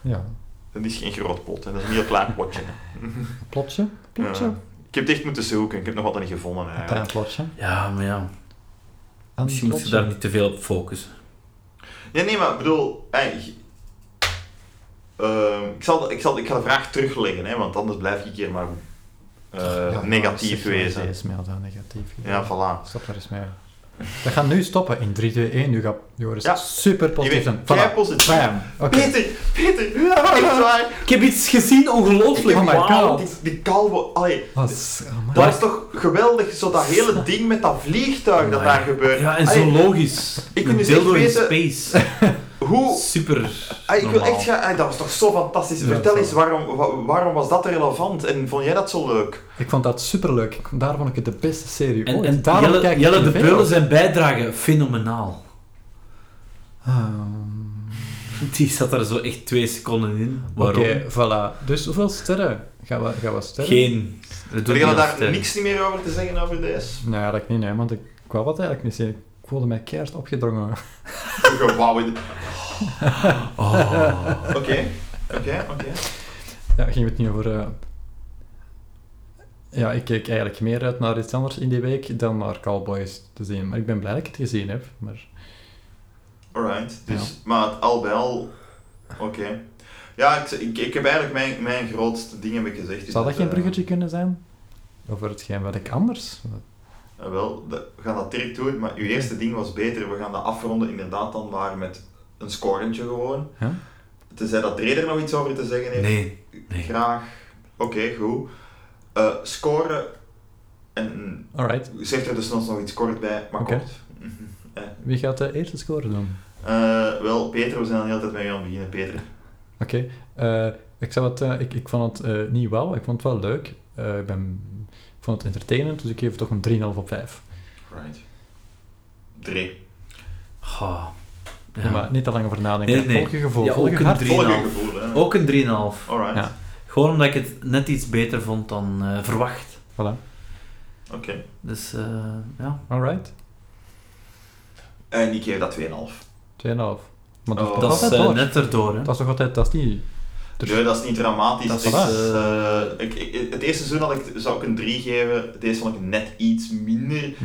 S1: Ja.
S3: Dat is geen groot plot, hè. dat is een heel klein plotje. hè.
S1: Plotje? Plotje?
S3: Ja. Ik heb het echt moeten zoeken, ik heb het nog altijd niet gevonden
S1: Een
S3: eigenlijk.
S1: klein plotje.
S4: Ja, maar ja.
S1: Een
S4: Misschien moet je
S1: plotje.
S4: daar niet te veel op focussen.
S3: Nee, nee, maar ik bedoel... hey, je- Ehm, ik, zal, ik, zal, ik ga de vraag terugleggen, hè, want anders blijf ik hier maar eh,
S1: nou,
S5: Ja,
S3: negatief
S5: zeg maar,
S3: wezen.
S5: Dat is mij al dan negatief.
S3: Ja, voilà.
S5: Stop er eens mee.
S1: We gaan nu stoppen in 3, 2, 1. Nu gaat Joris
S3: Ja.
S1: super
S3: Je
S1: positief
S3: bent
S1: zijn.
S3: kei
S1: Voilà.
S3: positief.
S1: Bam. Oké.
S3: Peter, Peter, echt waar.
S4: Ik heb iets gezien, ongelooflijk.
S1: Oh my
S4: Wauw.
S1: god.
S3: Die, die kalvo, allee,
S5: Oh,
S4: Dus
S5: s- oh, man.
S3: dat is toch geweldig, zo dat hele ding met dat vliegtuig dat daar gebeurt.
S4: Ja, en zo
S3: Allee,
S4: logisch.
S3: Eh, ik wil
S4: Een
S3: dus
S4: dildo
S3: echt
S4: in
S3: weten-
S4: space.
S3: hoe,
S4: Super.
S3: allee, ik wil
S4: normaal.
S3: echt gaan, allee, dat was toch zo fantastisch.
S1: Ja,
S3: Vertel
S1: zo.
S3: eens, waarom, wa- waarom was dat relevant en vond jij dat zo leuk?
S1: Ik vond dat superleuk. Ik vond- Daar vond ik het de beste serie
S4: En,
S1: ooit.
S4: en
S1: Daarom kijk
S4: Jelle,
S1: ik
S4: Jelle
S1: die
S4: de
S1: veel.
S4: Beulen zijn bijdrage, fenomenaal.
S1: Ehm,
S4: Die zat er zo echt twee seconden in.
S1: Oké,
S4: Waarom?
S1: voilà. Dus hoeveel sterren? Gaan we, gaan we sterren?
S4: Geen. We doen
S3: Heb je
S4: niet aan
S3: daar
S4: sterren.
S3: niks niet meer over te zeggen over deze?
S1: Nee, eigenlijk niet, nee, want ik, ik wou wat eigenlijk niet zien. Ik voelde mij keihard opgedrongen.
S3: Wauw. Oké,
S4: Oh.
S3: oké, oké.
S1: Ja, ging het niet over... eh, Ja, ik keek eigenlijk meer uit naar iets anders in die week dan naar Cowboys te zien. Maar ik ben blij dat ik het gezien heb. Maar
S3: Alright, dus, maar het al bij al, oké. Ja, ik, ik, ik heb eigenlijk mijn, mijn grootste ding heb ik gezegd. is
S1: zou dat geen
S3: eh,
S1: bruggetje kunnen zijn? Over hetgeen wat ik anders...
S3: eh, wel, dat- we gaan dat direct doen, maar uw eerste ding was beter. We gaan dat afronden inderdaad dan maar met een scorentje gewoon.
S1: Ja.
S3: Tenzij dat Reder nog iets over te zeggen heeft.
S4: Nee. nee.
S3: Graag. Oké, goed. Eh, scoren en
S1: Alright,
S3: zegt er dus nog nog iets kort bij, maar
S1: Oké.
S3: kort. Eh,
S1: wie gaat de eerste score doen?
S3: eh, wel, Peter, we zijn al de hele tijd met jou aan het beginnen, Peter.
S1: Oké, eh, ik, zou het, eh, ik, ik vond het eh, niet wauw, ik vond het wel leuk. Eh, ik, ben, ik vond het entertainend, dus ik geef het toch een 3,5 op 5.
S3: Right. Drie.
S4: Oh. Ja.
S1: Maar niet te lang over nadenken.
S4: Nee, nee.
S1: Volg je gevoel,
S4: Ja,
S1: volg
S4: ook
S1: je
S4: een
S1: hart.
S4: drie.
S3: Volg
S4: 3,5.
S3: je gevoel, hè.
S4: Ook een 3,5.
S3: Alright.
S1: Ja.
S4: Gewoon omdat ik het net iets beter vond dan eh, verwacht.
S1: Voilà.
S3: Oké.
S4: Dus eh, ja.
S1: Alright, 2,5.
S3: En ik geef dat 2,5.
S1: Maar dat, dat,
S3: Oh.
S4: Dat is
S1: is altijd
S4: eh,
S1: door.
S4: net erdoor. Hè.
S1: Dat is toch altijd, dat is niet... Dus-
S3: Nee, dat is niet dramatisch.
S1: Dat is
S3: Het
S1: waar.
S3: eh, ik, ik- het eerste seizoen had ik, zou ik een 3 geven. Deze vond ik net iets minder.
S1: Hm.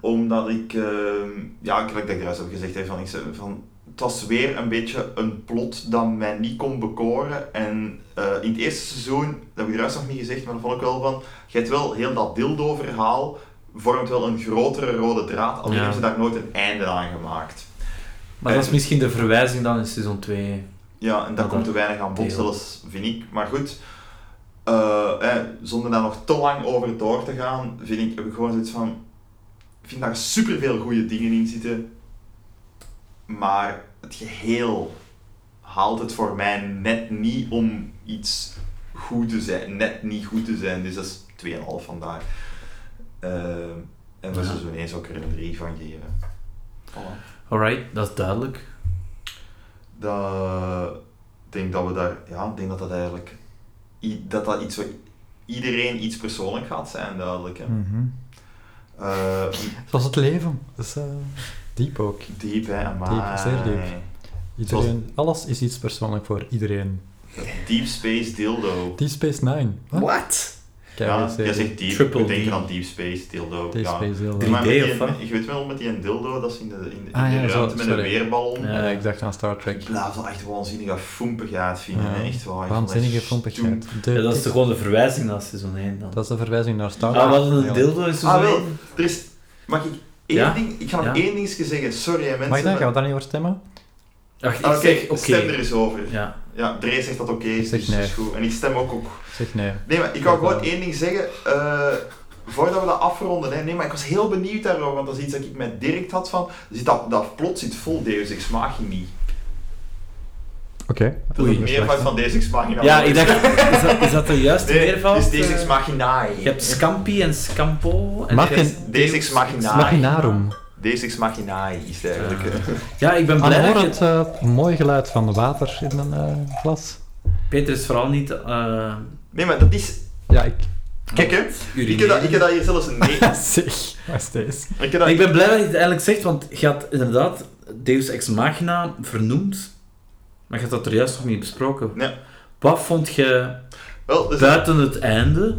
S3: Omdat ik, ehm, ja, ik- ik denk juist heb gezegd, hè, van, ik, zei van, het was weer een beetje een plot dat mij niet kon bekoren. En eh, in het eerste seizoen, dat heb ik er juist nog niet gezegd, maar dat vond ik wel van, je hebt wel heel dat dildo-verhaal, vormt wel een grotere rode draad, alleen
S4: Ja.
S3: hebben ze daar nooit een einde aan gemaakt.
S4: Maar dat is misschien de verwijzing dan in seizoen 2.
S3: Ja, en daar
S4: Dat
S3: komt te
S4: dat
S3: weinig aan bod,
S4: deel.
S3: zelfs, vind ik. Maar goed, eh, eh, zonder daar nog te lang over door te gaan, vind ik, heb ik gewoon zoiets van... Ik vind daar superveel goede dingen in zitten. Maar het geheel haalt het voor mij net niet om iets goed te zijn. Net niet goed te zijn. Dus dat is 2,5 vandaar. Eh, en dat
S4: Ja.
S3: is dus ineens ook er een 3 van geven. Voilà.
S4: Alright, dat is duidelijk.
S3: Dat, ik denk dat we daar, ja, ik denk dat dat eigenlijk, i- dat dat iets wat iedereen iets persoonlijk gaat zijn, duidelijk.
S1: Hm.
S3: Hè.
S5: Mhm.
S3: Eh,
S1: Zoals het leven. Dat is eh, diep ook.
S3: diep, hè,
S1: Diep, zeer diep. Iedereen, Alles is iets persoonlijk voor iedereen.
S3: Deep Space Dildo.
S1: Deep Space Nine. Wat?
S4: What?
S1: Kijk,
S3: ja,
S1: eens,
S3: jij
S1: eh,
S3: zegt diep,
S4: Triple
S3: ik denk
S4: D.
S3: aan Deep Space Dildo.
S1: Deep
S3: ja.
S1: Space
S3: Ja, maar
S4: 3D
S3: met
S4: of wat?
S3: die, je weet wel, met die dildo, dat is in de, in de, in
S1: Ah,
S3: de
S1: ja, zo,
S3: ruimte met een
S1: sorry.
S3: weerballon.
S4: Ja.
S1: Ja, ik dacht aan Star Trek.
S3: Ik blijf dat echt waanzinnige foempigheid vinden,
S1: Ja.
S3: hè, echt waar. Ik vond dat
S1: Waanzinnige
S3: stoem.
S1: pompigheid.
S4: Ja, dat is toch gewoon de verwijzing naar seizoen 1 dan.
S1: Dat is de verwijzing naar Star Trek.
S4: Ah, wat een
S1: Ja.
S4: dildo in
S3: Ah,
S4: seizoen
S3: wel,
S4: 1.
S3: er is... Mag ik één
S4: Ja?
S3: ding... Ik ga nog
S4: Ja.
S3: één dingetje zeggen. Sorry, hè, mensen.
S1: Mag ik dan?
S3: maar-
S1: Gaan we daar niet over stemmen?
S4: Ach, ik
S3: Ah, Oké,
S4: zeg oké.
S3: stem er eens over.
S4: Ja.
S3: Ja, Dre zegt dat oké
S1: Ik
S3: is,
S1: zeg
S3: dus
S1: nee.
S3: dat is goed. En ik stem ook ook.
S1: Ik Zeg nee.
S3: Nee, maar ik wou
S1: Ja,
S3: gewoon
S1: wel.
S3: één ding zeggen. eh, voordat we dat afronden, hè. nee, maar ik was heel benieuwd daarover, want dat is iets dat ik met Dirk had van, zit dat, dat plot zit vol Deus Ex Machini.
S1: Oké.
S3: Dat is
S4: Oei.
S3: het meervoud van Deus Ex Machina.
S4: ja, ik dacht, is dat, is dat de juiste
S3: Nee,
S4: meervoud?
S3: het is Deus Ex
S4: Eh,
S3: Machinae.
S4: Je hebt Scampi en Scampo. En
S1: Mag
S4: er is
S1: een-
S3: Deus Ex Machinae.
S1: Maginarum.
S3: Deus Ex Machinae is het eigenlijk.
S4: Ah.
S3: hè.
S4: Ja, ik ben blij dat je-
S1: Aanhorend het mooi geluid van water in een eh, glas.
S4: Peter is vooral niet... eh
S3: Nee, maar dat is...
S1: Ja, ik...
S3: Kijk, hè. Ik heb, dat, ik heb dat hier zelfs een nee...
S1: zeg, wat is deze?
S3: Ik heb dat...
S4: Ik ben blij dat je het eigenlijk zegt, want je had inderdaad Deus Ex Machina vernoemd Maar je had dat er juist nog niet besproken.
S3: Nee.
S4: Wat vond je
S3: Wel, dus
S4: buiten het einde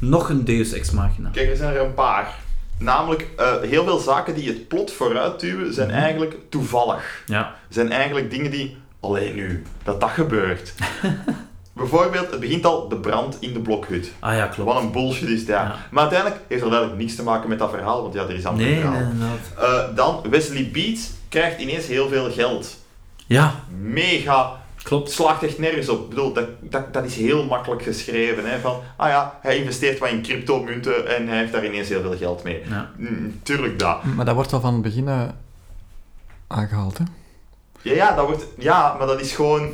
S4: nog een Deus Ex Machina?
S3: Kijk, er zijn er een paar. Namelijk, eh, heel veel zaken die het plot vooruit duwen,
S4: Mhm.
S3: zijn eigenlijk toevallig.
S4: Ja.
S3: Zijn eigenlijk dingen die, alleen nu, dat dat gebeurt. Bijvoorbeeld, het begint al de brand in de blokhut.
S4: Ah ja, klopt.
S3: Wat een bullshit is dat.
S4: Ja.
S3: Maar uiteindelijk heeft er duidelijk niks te maken met dat verhaal, want ja, er is aan
S4: Nee,
S3: verhaal.
S4: nee, inderdaad.
S3: Eh, dan, Wesley Beats krijgt ineens heel veel geld.
S4: Ja,
S3: Mega
S4: klopt.
S3: het slaagt echt nergens op. Ik bedoel, dat, dat, dat is heel makkelijk geschreven. Hè? Van, ah ja, hij investeert wat in cryptomunten en hij heeft daar ineens heel veel geld mee.
S4: Ja.
S3: Mm, tuurlijk dat.
S5: Maar dat wordt al van het begin eh, aangehaald, hè?
S3: Ja, ja, dat wordt, ja maar dat is gewoon...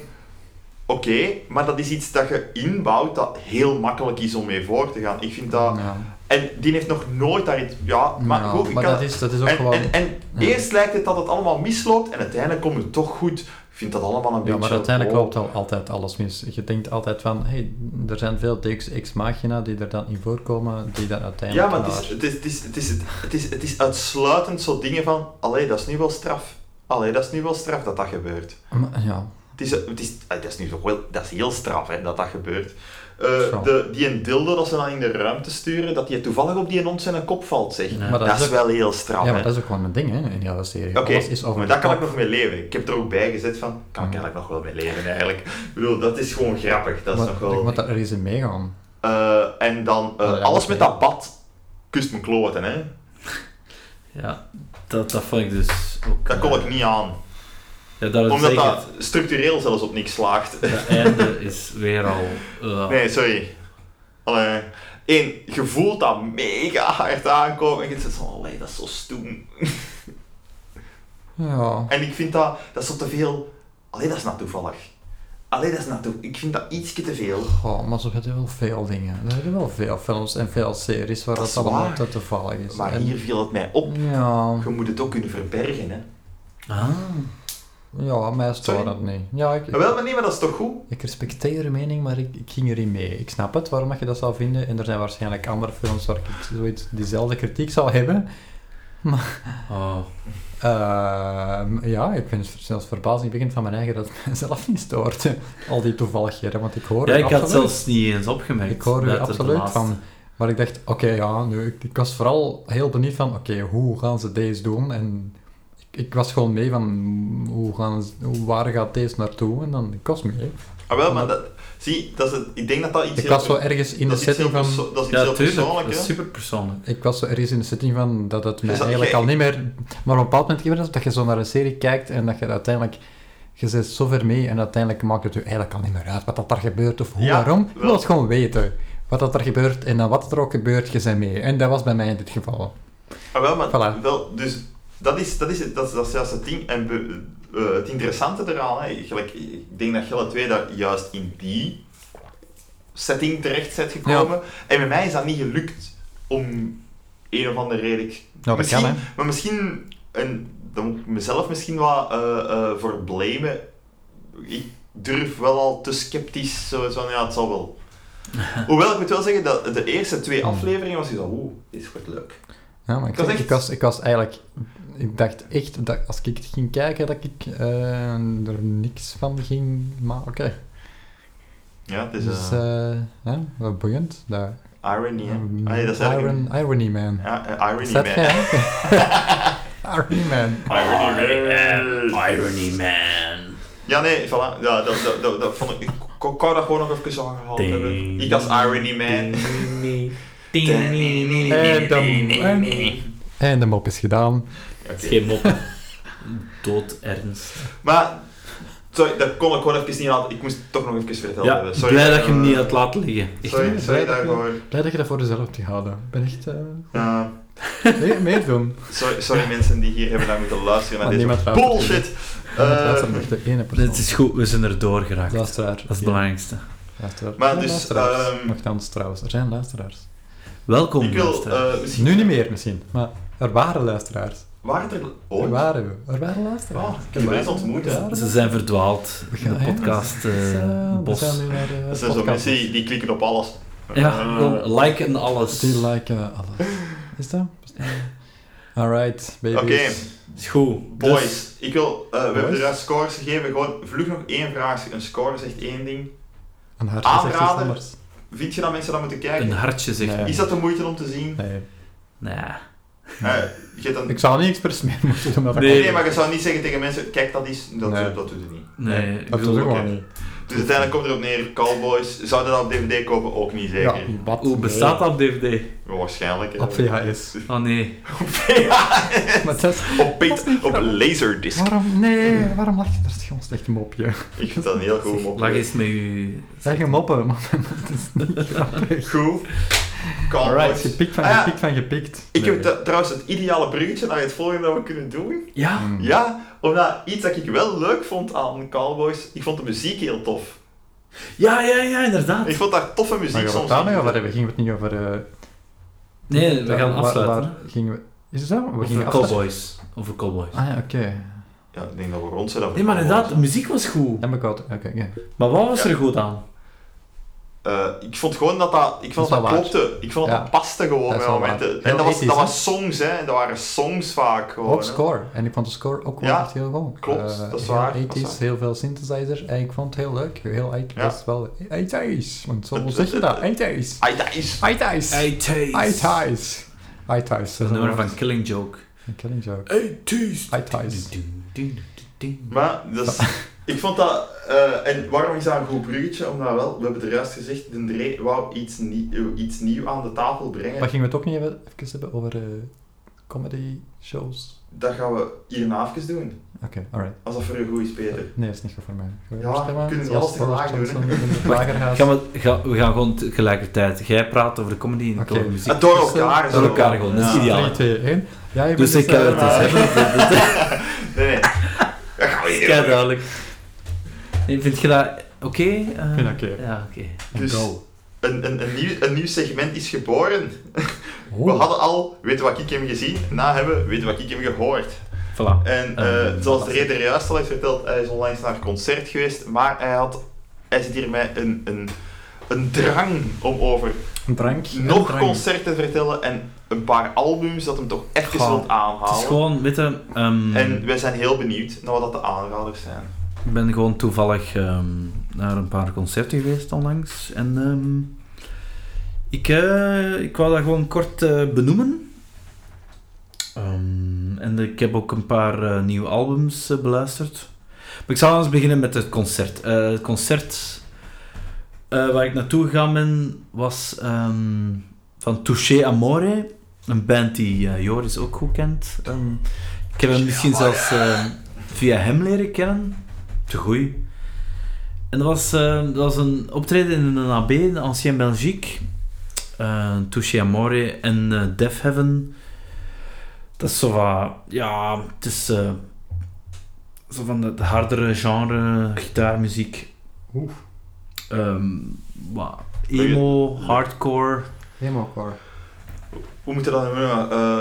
S3: Oké, maar dat is iets dat je inbouwt dat heel makkelijk is om mee voor te gaan. Ik vind dat...
S5: Ja.
S3: En die heeft nog nooit daar iets... Ja, maar
S5: Ja,
S3: goed, ik kan-
S5: dat, is, dat is ook
S3: en,
S5: gewoon...
S3: en, en
S5: ja.
S3: eerst lijkt het dat het allemaal misloopt en uiteindelijk komt het toch goed. Ik vind dat allemaal een
S1: Ja,
S3: beetje...
S1: maar uiteindelijk
S3: oh.
S1: loopt al altijd alles mis. Je denkt altijd van, hey, er zijn veel Deus Ex Machina die er dan in voorkomen, die dan
S3: Ja,
S1: uiteindelijk
S3: maar het
S1: naar-
S3: is, het, is, het, is, het, is, het, is, het is uitsluitend zo dingen van... Allee, dat is nu wel straf. Allee, dat is nu wel straf dat dat gebeurt.
S5: Maar- ja.
S3: Het is, het is, eh, dat is nu toch wel... Dat is heel straf, hè, dat dat gebeurt. Eh,
S1: Zo.
S3: de, die een dildo dat ze dan in de ruimte sturen, dat die toevallig op die hond zijn kop valt, zeg.
S4: Ja.
S1: Maar
S3: dat,
S1: dat
S3: is
S1: is ook-
S3: wel heel straf,
S1: Ja,
S3: hè.
S1: maar dat is ook gewoon een ding, hè, in die hele serie.
S3: Oké,
S1: Alles is over
S3: maar
S1: de
S3: daar kan ik
S1: kop.
S3: nog mee leven. Ik heb er ook bij gezet van, kan ik eigenlijk nog wel mee leven, eigenlijk. Ik bedoel, dat is gewoon grappig. Dat is
S5: Maar-
S3: nog
S5: ik
S3: wel...
S5: moet daar eens in meegaan.
S3: Eh, en dan, eh,
S1: Oh, ja,
S3: alles
S1: oké.
S3: met dat bad kust mijn kloten, hè.
S4: Ja, dat, dat vond ik dus ook...
S3: Dat kon ik niet aan.
S4: Ja, dat het
S3: Omdat
S4: zeker
S3: dat structureel zelfs op niks slaagt.
S4: het einde is weer al...
S1: Oh.
S4: eh,
S3: Nee, sorry. Allee. Eén, je voelt dat mega hard aankomen en je zit van, allee, dat is zo stoem.
S5: Ja.
S3: En ik vind dat, dat is zo te veel. Allee, dat is nou toevallig. Allee, dat is nou toe- Ik vind dat ietsje te veel.
S5: Goh, maar zo hebben wel veel dingen.
S1: Er zijn wel veel films en veel series waar
S3: Dat
S1: dat,
S3: is
S1: allemaal
S3: waar.
S1: te toevallig is.
S3: Maar
S1: En-
S3: hier viel het mij op.
S5: Ja.
S3: Je moet het ook kunnen verbergen, hè.
S4: Ah,
S1: Ja, mij stoort
S3: Sorry?
S1: dat niet. Ja, ik,
S3: Maar Ah, wel, maar nee, maar dat is toch goed?
S1: ik respecteer je mening, maar ik, ik ging erin mee. Ik snap het, waarom dat je dat zou vinden. En er zijn waarschijnlijk andere films waar ik zoiets, diezelfde kritiek zou hebben.
S4: oh.
S1: Ehm, ja, ik ben zelfs verbazingwekkend van mijn eigen dat het mezelf niet stoort. Al die toevalligheden, want ik hoor
S4: Ja,
S1: er
S4: ik had
S1: absoluut-
S4: zelfs niet eens opgemerkt.
S1: Ik hoor er
S4: buiten de
S1: absoluut
S4: laatste.
S1: van. Maar ik dacht, oké, ja, nu, ik, ik was vooral heel benieuwd van, oké, hoe gaan ze deze doen? En ik, ik was gewoon mee van, hoe gaan ze, hoe- waar gaat deze naartoe? En dan, ik was mee.
S3: Ah, wel, maar dat, zie, dat is het, ik denk dat dat iets
S1: Ik was zo
S3: heel...
S1: ergens in de
S3: dat is iets heel
S1: setting van...
S3: perso- dat is iets
S4: Ja,
S3: heel
S4: tuurlijk.
S3: persoonlijk,
S4: Dat is
S3: hè.
S4: super persoonlijk.
S1: Ik was zo ergens in de setting van dat het mij
S3: Dus dat
S1: eigenlijk
S3: jij-
S1: al niet meer... Maar op een bepaald moment gebeurt dat, dat je zo naar een serie kijkt en dat je uiteindelijk... Je zit zo ver mee en uiteindelijk maakt het je eigenlijk al niet meer uit wat dat daar gebeurt of hoe,
S3: Ja,
S1: waarom. Je
S3: wel.
S1: wil het gewoon weten. Wat dat er gebeurt en dan wat er ook gebeurt, je bent mee. En dat was bij mij in dit geval.
S3: Ah, wel, maar
S1: Voilà.
S3: wel, dus dat is, dat is, het- dat is, dat is juist het ding. En be- eh, het interessante eraan, hè, gelijk, ik denk dat Gelle 2 daar juist in die setting terecht bent gekomen. En bij mij is dat niet gelukt om een of andere reden. Ik-
S1: Nou, dat
S3: misschien,
S1: kan, hè.
S3: Maar misschien, en daar moet ik mezelf misschien wat eh eh, voor blamen. Ik durf wel al te sceptisch, zo van ja, het zal wel. Hoewel, ik moet wel zeggen dat de eerste twee
S1: Hmm.
S3: afleveringen was ik zo, oeh, dit wordt leuk.
S1: Ja, maar ik,
S3: Ik was
S1: zeg,
S3: echt-
S1: ik, was, ik was eigenlijk... Ik dacht echt dat als ik het ging kijken, dat ik eh, er niks van ging maken.
S3: Ja, het is
S1: Dus,
S3: eh,
S1: eh ja, wat boeiend. Dat,
S3: irony, hè?
S1: Mm,
S3: Ah, nee, dat is eigenlijk
S1: Iron,
S3: een-
S1: Irony Man.
S3: Ja, eh, irony,
S1: Is dat
S3: man.
S1: jij? Irony Man.
S3: Irony man.
S4: Irony Man.
S3: Ja, nee, voilà. Ja, dat, dat, dat, dat vond ik... Ik kon kon dat gewoon nog even aangehaald
S4: Ding.
S3: hebben. Ik als irony man.
S1: En de, en de mop is gedaan.
S4: Het
S3: Oké.
S4: is geen mop. Dood ernst.
S3: Maar, sorry, dat kon ik gewoon even niet aan... Ik moest het toch nog even vertellen
S4: Ja,
S3: hebben. Sorry,
S4: blij dat je hem
S3: eh,
S4: niet had laten liggen.
S3: Sorry,
S1: niet,
S3: sorry
S1: blij dat je-
S3: daarvoor.
S1: Blij dat je dat voor jezelf hebt gehouden. Ik ben echt... eh
S3: Eh,
S1: meer, meer doen.
S3: sorry, sorry mensen die hier hebben naar moeten luisteren naar
S1: Maar
S3: deze
S1: niemand luistert.
S3: bullshit.
S1: dat
S3: Eh,
S1: is echt de ene persoon.
S4: Het is goed, we zijn er doorgeraakt. Dat
S1: Luisteraar.
S4: is het belangrijkste.
S3: Maar dus, ehm,
S1: Nogthans trouwens, er zijn luisteraars.
S4: Welkom,
S3: ik wil
S4: luisteraar.
S3: eh, misschien...
S1: Nu niet meer misschien, maar er waren luisteraars.
S3: Waar er...
S1: Er
S3: Oh,
S1: waren we. Er waren luisteraars.
S3: Oh, ik heb je wel eens ontmoet, hè.
S1: Er waren-
S4: Ze zijn verdwaald in
S1: Oh, Ja,
S4: de
S1: hè?
S4: podcast eh,
S1: Dus, eh, we
S4: Bos.
S1: zijn nu naar de
S3: dat zijn zo
S1: podcast.
S3: mensen die, die klikken op alles.
S4: Ja,
S3: Eh,
S4: gewoon liken alles.
S1: Die liken alles. Is dat? Bestaat dat? Alright, baby.
S3: Oké.
S2: Is goed.
S3: Boys,
S2: Dus,
S3: ik wil, eh, we hebben
S1: Boys?
S3: er juist scores gegeven. Gewoon vlug nog één vraag. Een score zegt één ding.
S5: Een hartje
S3: Aanrader.
S5: zegt iets anders.
S3: Vind je dat mensen dat moeten
S4: Een
S3: kijken?
S4: hartje zegt
S1: Nee.
S4: nee.
S3: Is dat de moeite om te zien?
S1: Nee.
S3: Eh, je hebt dan...
S1: Ik zal niet expres meer moeten doen, maar dat
S4: Nee.
S3: Nee, maar je zou niet zeggen tegen mensen, kijk dat is, dat,
S1: Nee.
S3: dat doet het niet.
S4: Nee, ik
S1: Dat doe ik
S4: bedoel,
S1: gewoon
S3: oké.
S1: niet.
S3: Dus uiteindelijk komt erop neer, Cowboys, zouden dat op DVD kopen? Ook niet zeker.
S1: Ja, wat?
S4: Hoe bestaat dat op DVD?
S3: Maar Waarschijnlijk. hè.
S1: Op E. VHS.
S4: Oh nee.
S1: Maar dat is-
S3: Op pit, E. op laserdisc.
S5: Waarom? Nee, waarom
S1: Wacht, dat is gewoon een slecht mopje.
S3: Ik vind dat een heel goed
S4: Lag
S3: mopje.
S4: eens met u.
S5: zeg je moppen? man?
S3: Goed. Cowboys.
S1: Alright, gepikt van
S3: Ah ja,
S1: gepikt van gepikt.
S3: Ik heb
S1: Nee.
S3: t- trouwens het ideale bruggetje naar het volgende dat we kunnen doen.
S4: Ja.
S1: Mm.
S3: Ja, omdat iets dat ik wel leuk vond aan Cowboys, ik vond de muziek heel tof.
S4: Ja, ja, ja, inderdaad.
S3: Ik vond daar toffe
S1: Maar
S3: muziek
S1: gaan we het
S3: soms.
S1: daar nog
S3: in.
S1: over hebben? Gingen we het niet over... eh,
S4: Nee, we gaan
S1: waar-
S4: afsluiten.
S1: waar gingen we... Is het zo? We
S4: Over
S1: gingen afsluiten.
S4: cowboys. Over cowboys.
S1: Ah ja, oké.
S3: Ja, ik denk dat we rond zijn. over
S4: Nee, maar
S3: Cowboys.
S4: inderdaad, de muziek was goed.
S1: Dan ben ik oud. Oké, ja.
S4: Maar wat was
S3: Ja.
S4: er goed aan?
S3: Eh, ik vond gewoon dat dat, ik vond
S1: Dat
S3: dat,
S1: is
S3: dat
S1: wel
S3: klopte. Ik vond dat
S1: Ja.
S3: dat paste gewoon
S1: Dat is
S3: bij
S1: wel
S3: momenten.
S1: waar.
S3: En dat, was,
S1: Heel
S3: dat
S1: ethisch,
S3: was songs, hè. En dat waren songs vaak gewoon.
S1: Ook
S3: hè.
S1: score. En ik vond de score ook wel
S3: Ja,
S1: echt heel goed.
S3: klopt,
S1: Eh,
S3: dat is
S1: heel
S3: waar, dat
S1: 80s,
S3: is waar.
S1: heel veel synthesizers. En ik vond het heel leuk. Heel eight,
S3: Ja.
S1: Dat is wel 80s. Want zo
S3: Het-
S1: zeg je
S3: het-
S1: dat.
S3: het-
S1: 80s.
S3: Ai, dat is...
S1: 80s.
S4: 80's.
S1: 80s. 80s.
S4: Een nummer van Killing Joke.
S1: Een killing joke.
S4: 80's.
S1: 80s.
S3: Maar, dat is- ik vond dat... eh, en waarom is dat een goed bruggetje? Omdat wel, we hebben er juist gezegd, de Dree wou iets, nie- eh, iets nieuws aan de tafel brengen.
S1: Maar gingen we het ook niet even, even hebben over eh, comedy shows?
S3: Dat gaan we hierna even doen.
S1: Oké, alright.
S3: Als dat voor u goed is, Peter.
S1: Nee, dat is niet goed voor mij. Goed,
S3: Ja,
S1: stemmen.
S3: we kunnen
S1: Zoals
S3: alles tegelijk
S1: Boris
S3: doen, hè.
S1: Johnson in het lagerhuis.
S4: Gaan we, ga- we gaan gewoon tegelijkertijd. Jij praat over de comedy en ik
S1: Oké.
S4: over de muziek. Dus, eh,
S3: Het Ah,
S4: Door
S3: door elkaar. zo.
S4: elkaar gewoon, dat is
S3: Ja.
S4: ideaal.
S1: 3, 2, 1. Ja, je
S4: Dus
S1: bent
S4: ik heb het
S1: eh,
S4: dus.
S3: Nee, nee. Dat gaan we hier
S4: Ja,
S3: doen.
S4: eh, duidelijk. Nee, vind je dat oké? Eh,
S1: vind ik oké.
S4: Ja, oké.
S3: Dus
S1: Go.
S3: een, een, een, nieuw, een nieuw segment is geboren.
S5: oh,
S3: We hadden al, weten wat ik hem gezien, na hebben, weten wat ik hem gehoord.
S4: Voilà.
S3: En
S4: Eh,
S3: eh, zoals de reder juist al heeft verteld, hij is onlangs naar een concert geweest, maar hij, had, hij zit hier met een, een, een drang om over
S1: Een drank.
S3: nog
S1: een drank.
S3: concerten te vertellen en een paar albums dat hem toch echt
S1: Goh,
S3: wilt
S4: Het is
S3: aanhalen.
S4: gewoon, weet je, ehm,
S3: En wij zijn heel benieuwd naar wat dat de aanraders zijn.
S4: ik ben gewoon toevallig ehm, naar een paar concerten geweest onlangs. En ehm, ik, eh, ik wou dat gewoon kort eh, benoemen. Ehm, en ik heb ook een paar eh, nieuwe albums eh, beluisterd. Maar ik zal eens beginnen met het concert. Eh, het concert eh, waar ik naartoe gegaan ben was ehm, van Touché Amore. Een band die eh, Joris ook goed kent. Ehm, ik heb hem misschien zelfs eh, via hem leren kennen. Te goeie. En dat was, eh, dat was een optreden in een AB, in Ancien Belgique. Eh Touché Amore en eh Def Heaven. Dat is zo wat... Ja, het is... eh, zo van het hardere genre gitaarmuziek.
S1: Oeh.
S4: Ehm, wat, emo, hardcore.
S1: Helemaal core.
S3: Hoe moeten we dat noemen? Eh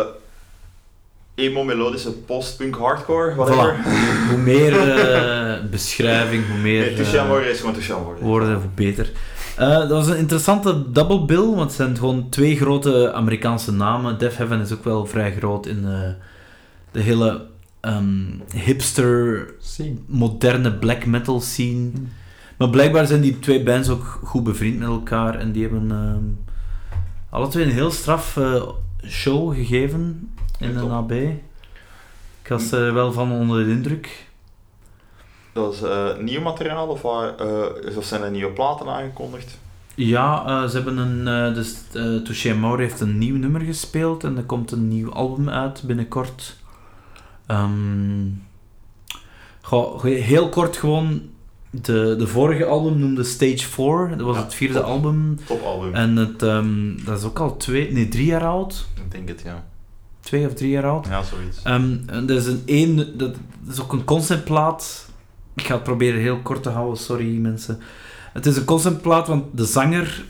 S3: emo melodische post-punk hardcore, whatever.
S4: Voilà. Hoe meer eh, beschrijving, hoe meer...
S3: Nee, Touché
S4: eh,
S3: Amore is gewoon Touché Amore.
S4: worden, hoe beter. Eh, dat was een interessante double bill, want het zijn gewoon twee grote Amerikaanse namen. Def Heaven is ook wel vrij groot in eh, de hele ehm, hipster,
S1: Zien.
S4: moderne black metal scene. Maar blijkbaar zijn die twee bands ook goed bevriend met elkaar en die hebben ehm, alle twee een heel straf eh, show gegeven in
S3: Ja,
S4: de
S3: top.
S4: AB. Ik was er wel van onder de indruk.
S3: Dat is eh, nieuw materiaal of, waar, eh, of zijn er nieuwe platen aangekondigd?
S4: Ja, eh, ze hebben een. eh, dus, eh Touché Amore heeft een nieuw nummer gespeeld en er komt een nieuw album uit binnenkort. Ehm, goh, ge- heel kort gewoon. De, de vorige album noemde Stage 4, dat was
S3: Ja,
S4: het vierde
S3: klopt.
S4: album.
S3: Topalbum,
S4: En het, ehm, dat is ook al twee, nee, drie jaar oud.
S3: ik denk het, ja.
S4: Twee of drie jaar oud.
S3: Ja, zoiets.
S4: Ehm, en er is een één, dat, dat is ook een conceptplaat. Ik ga het proberen heel kort te houden, sorry mensen. Het is een conceptplaat, want de zanger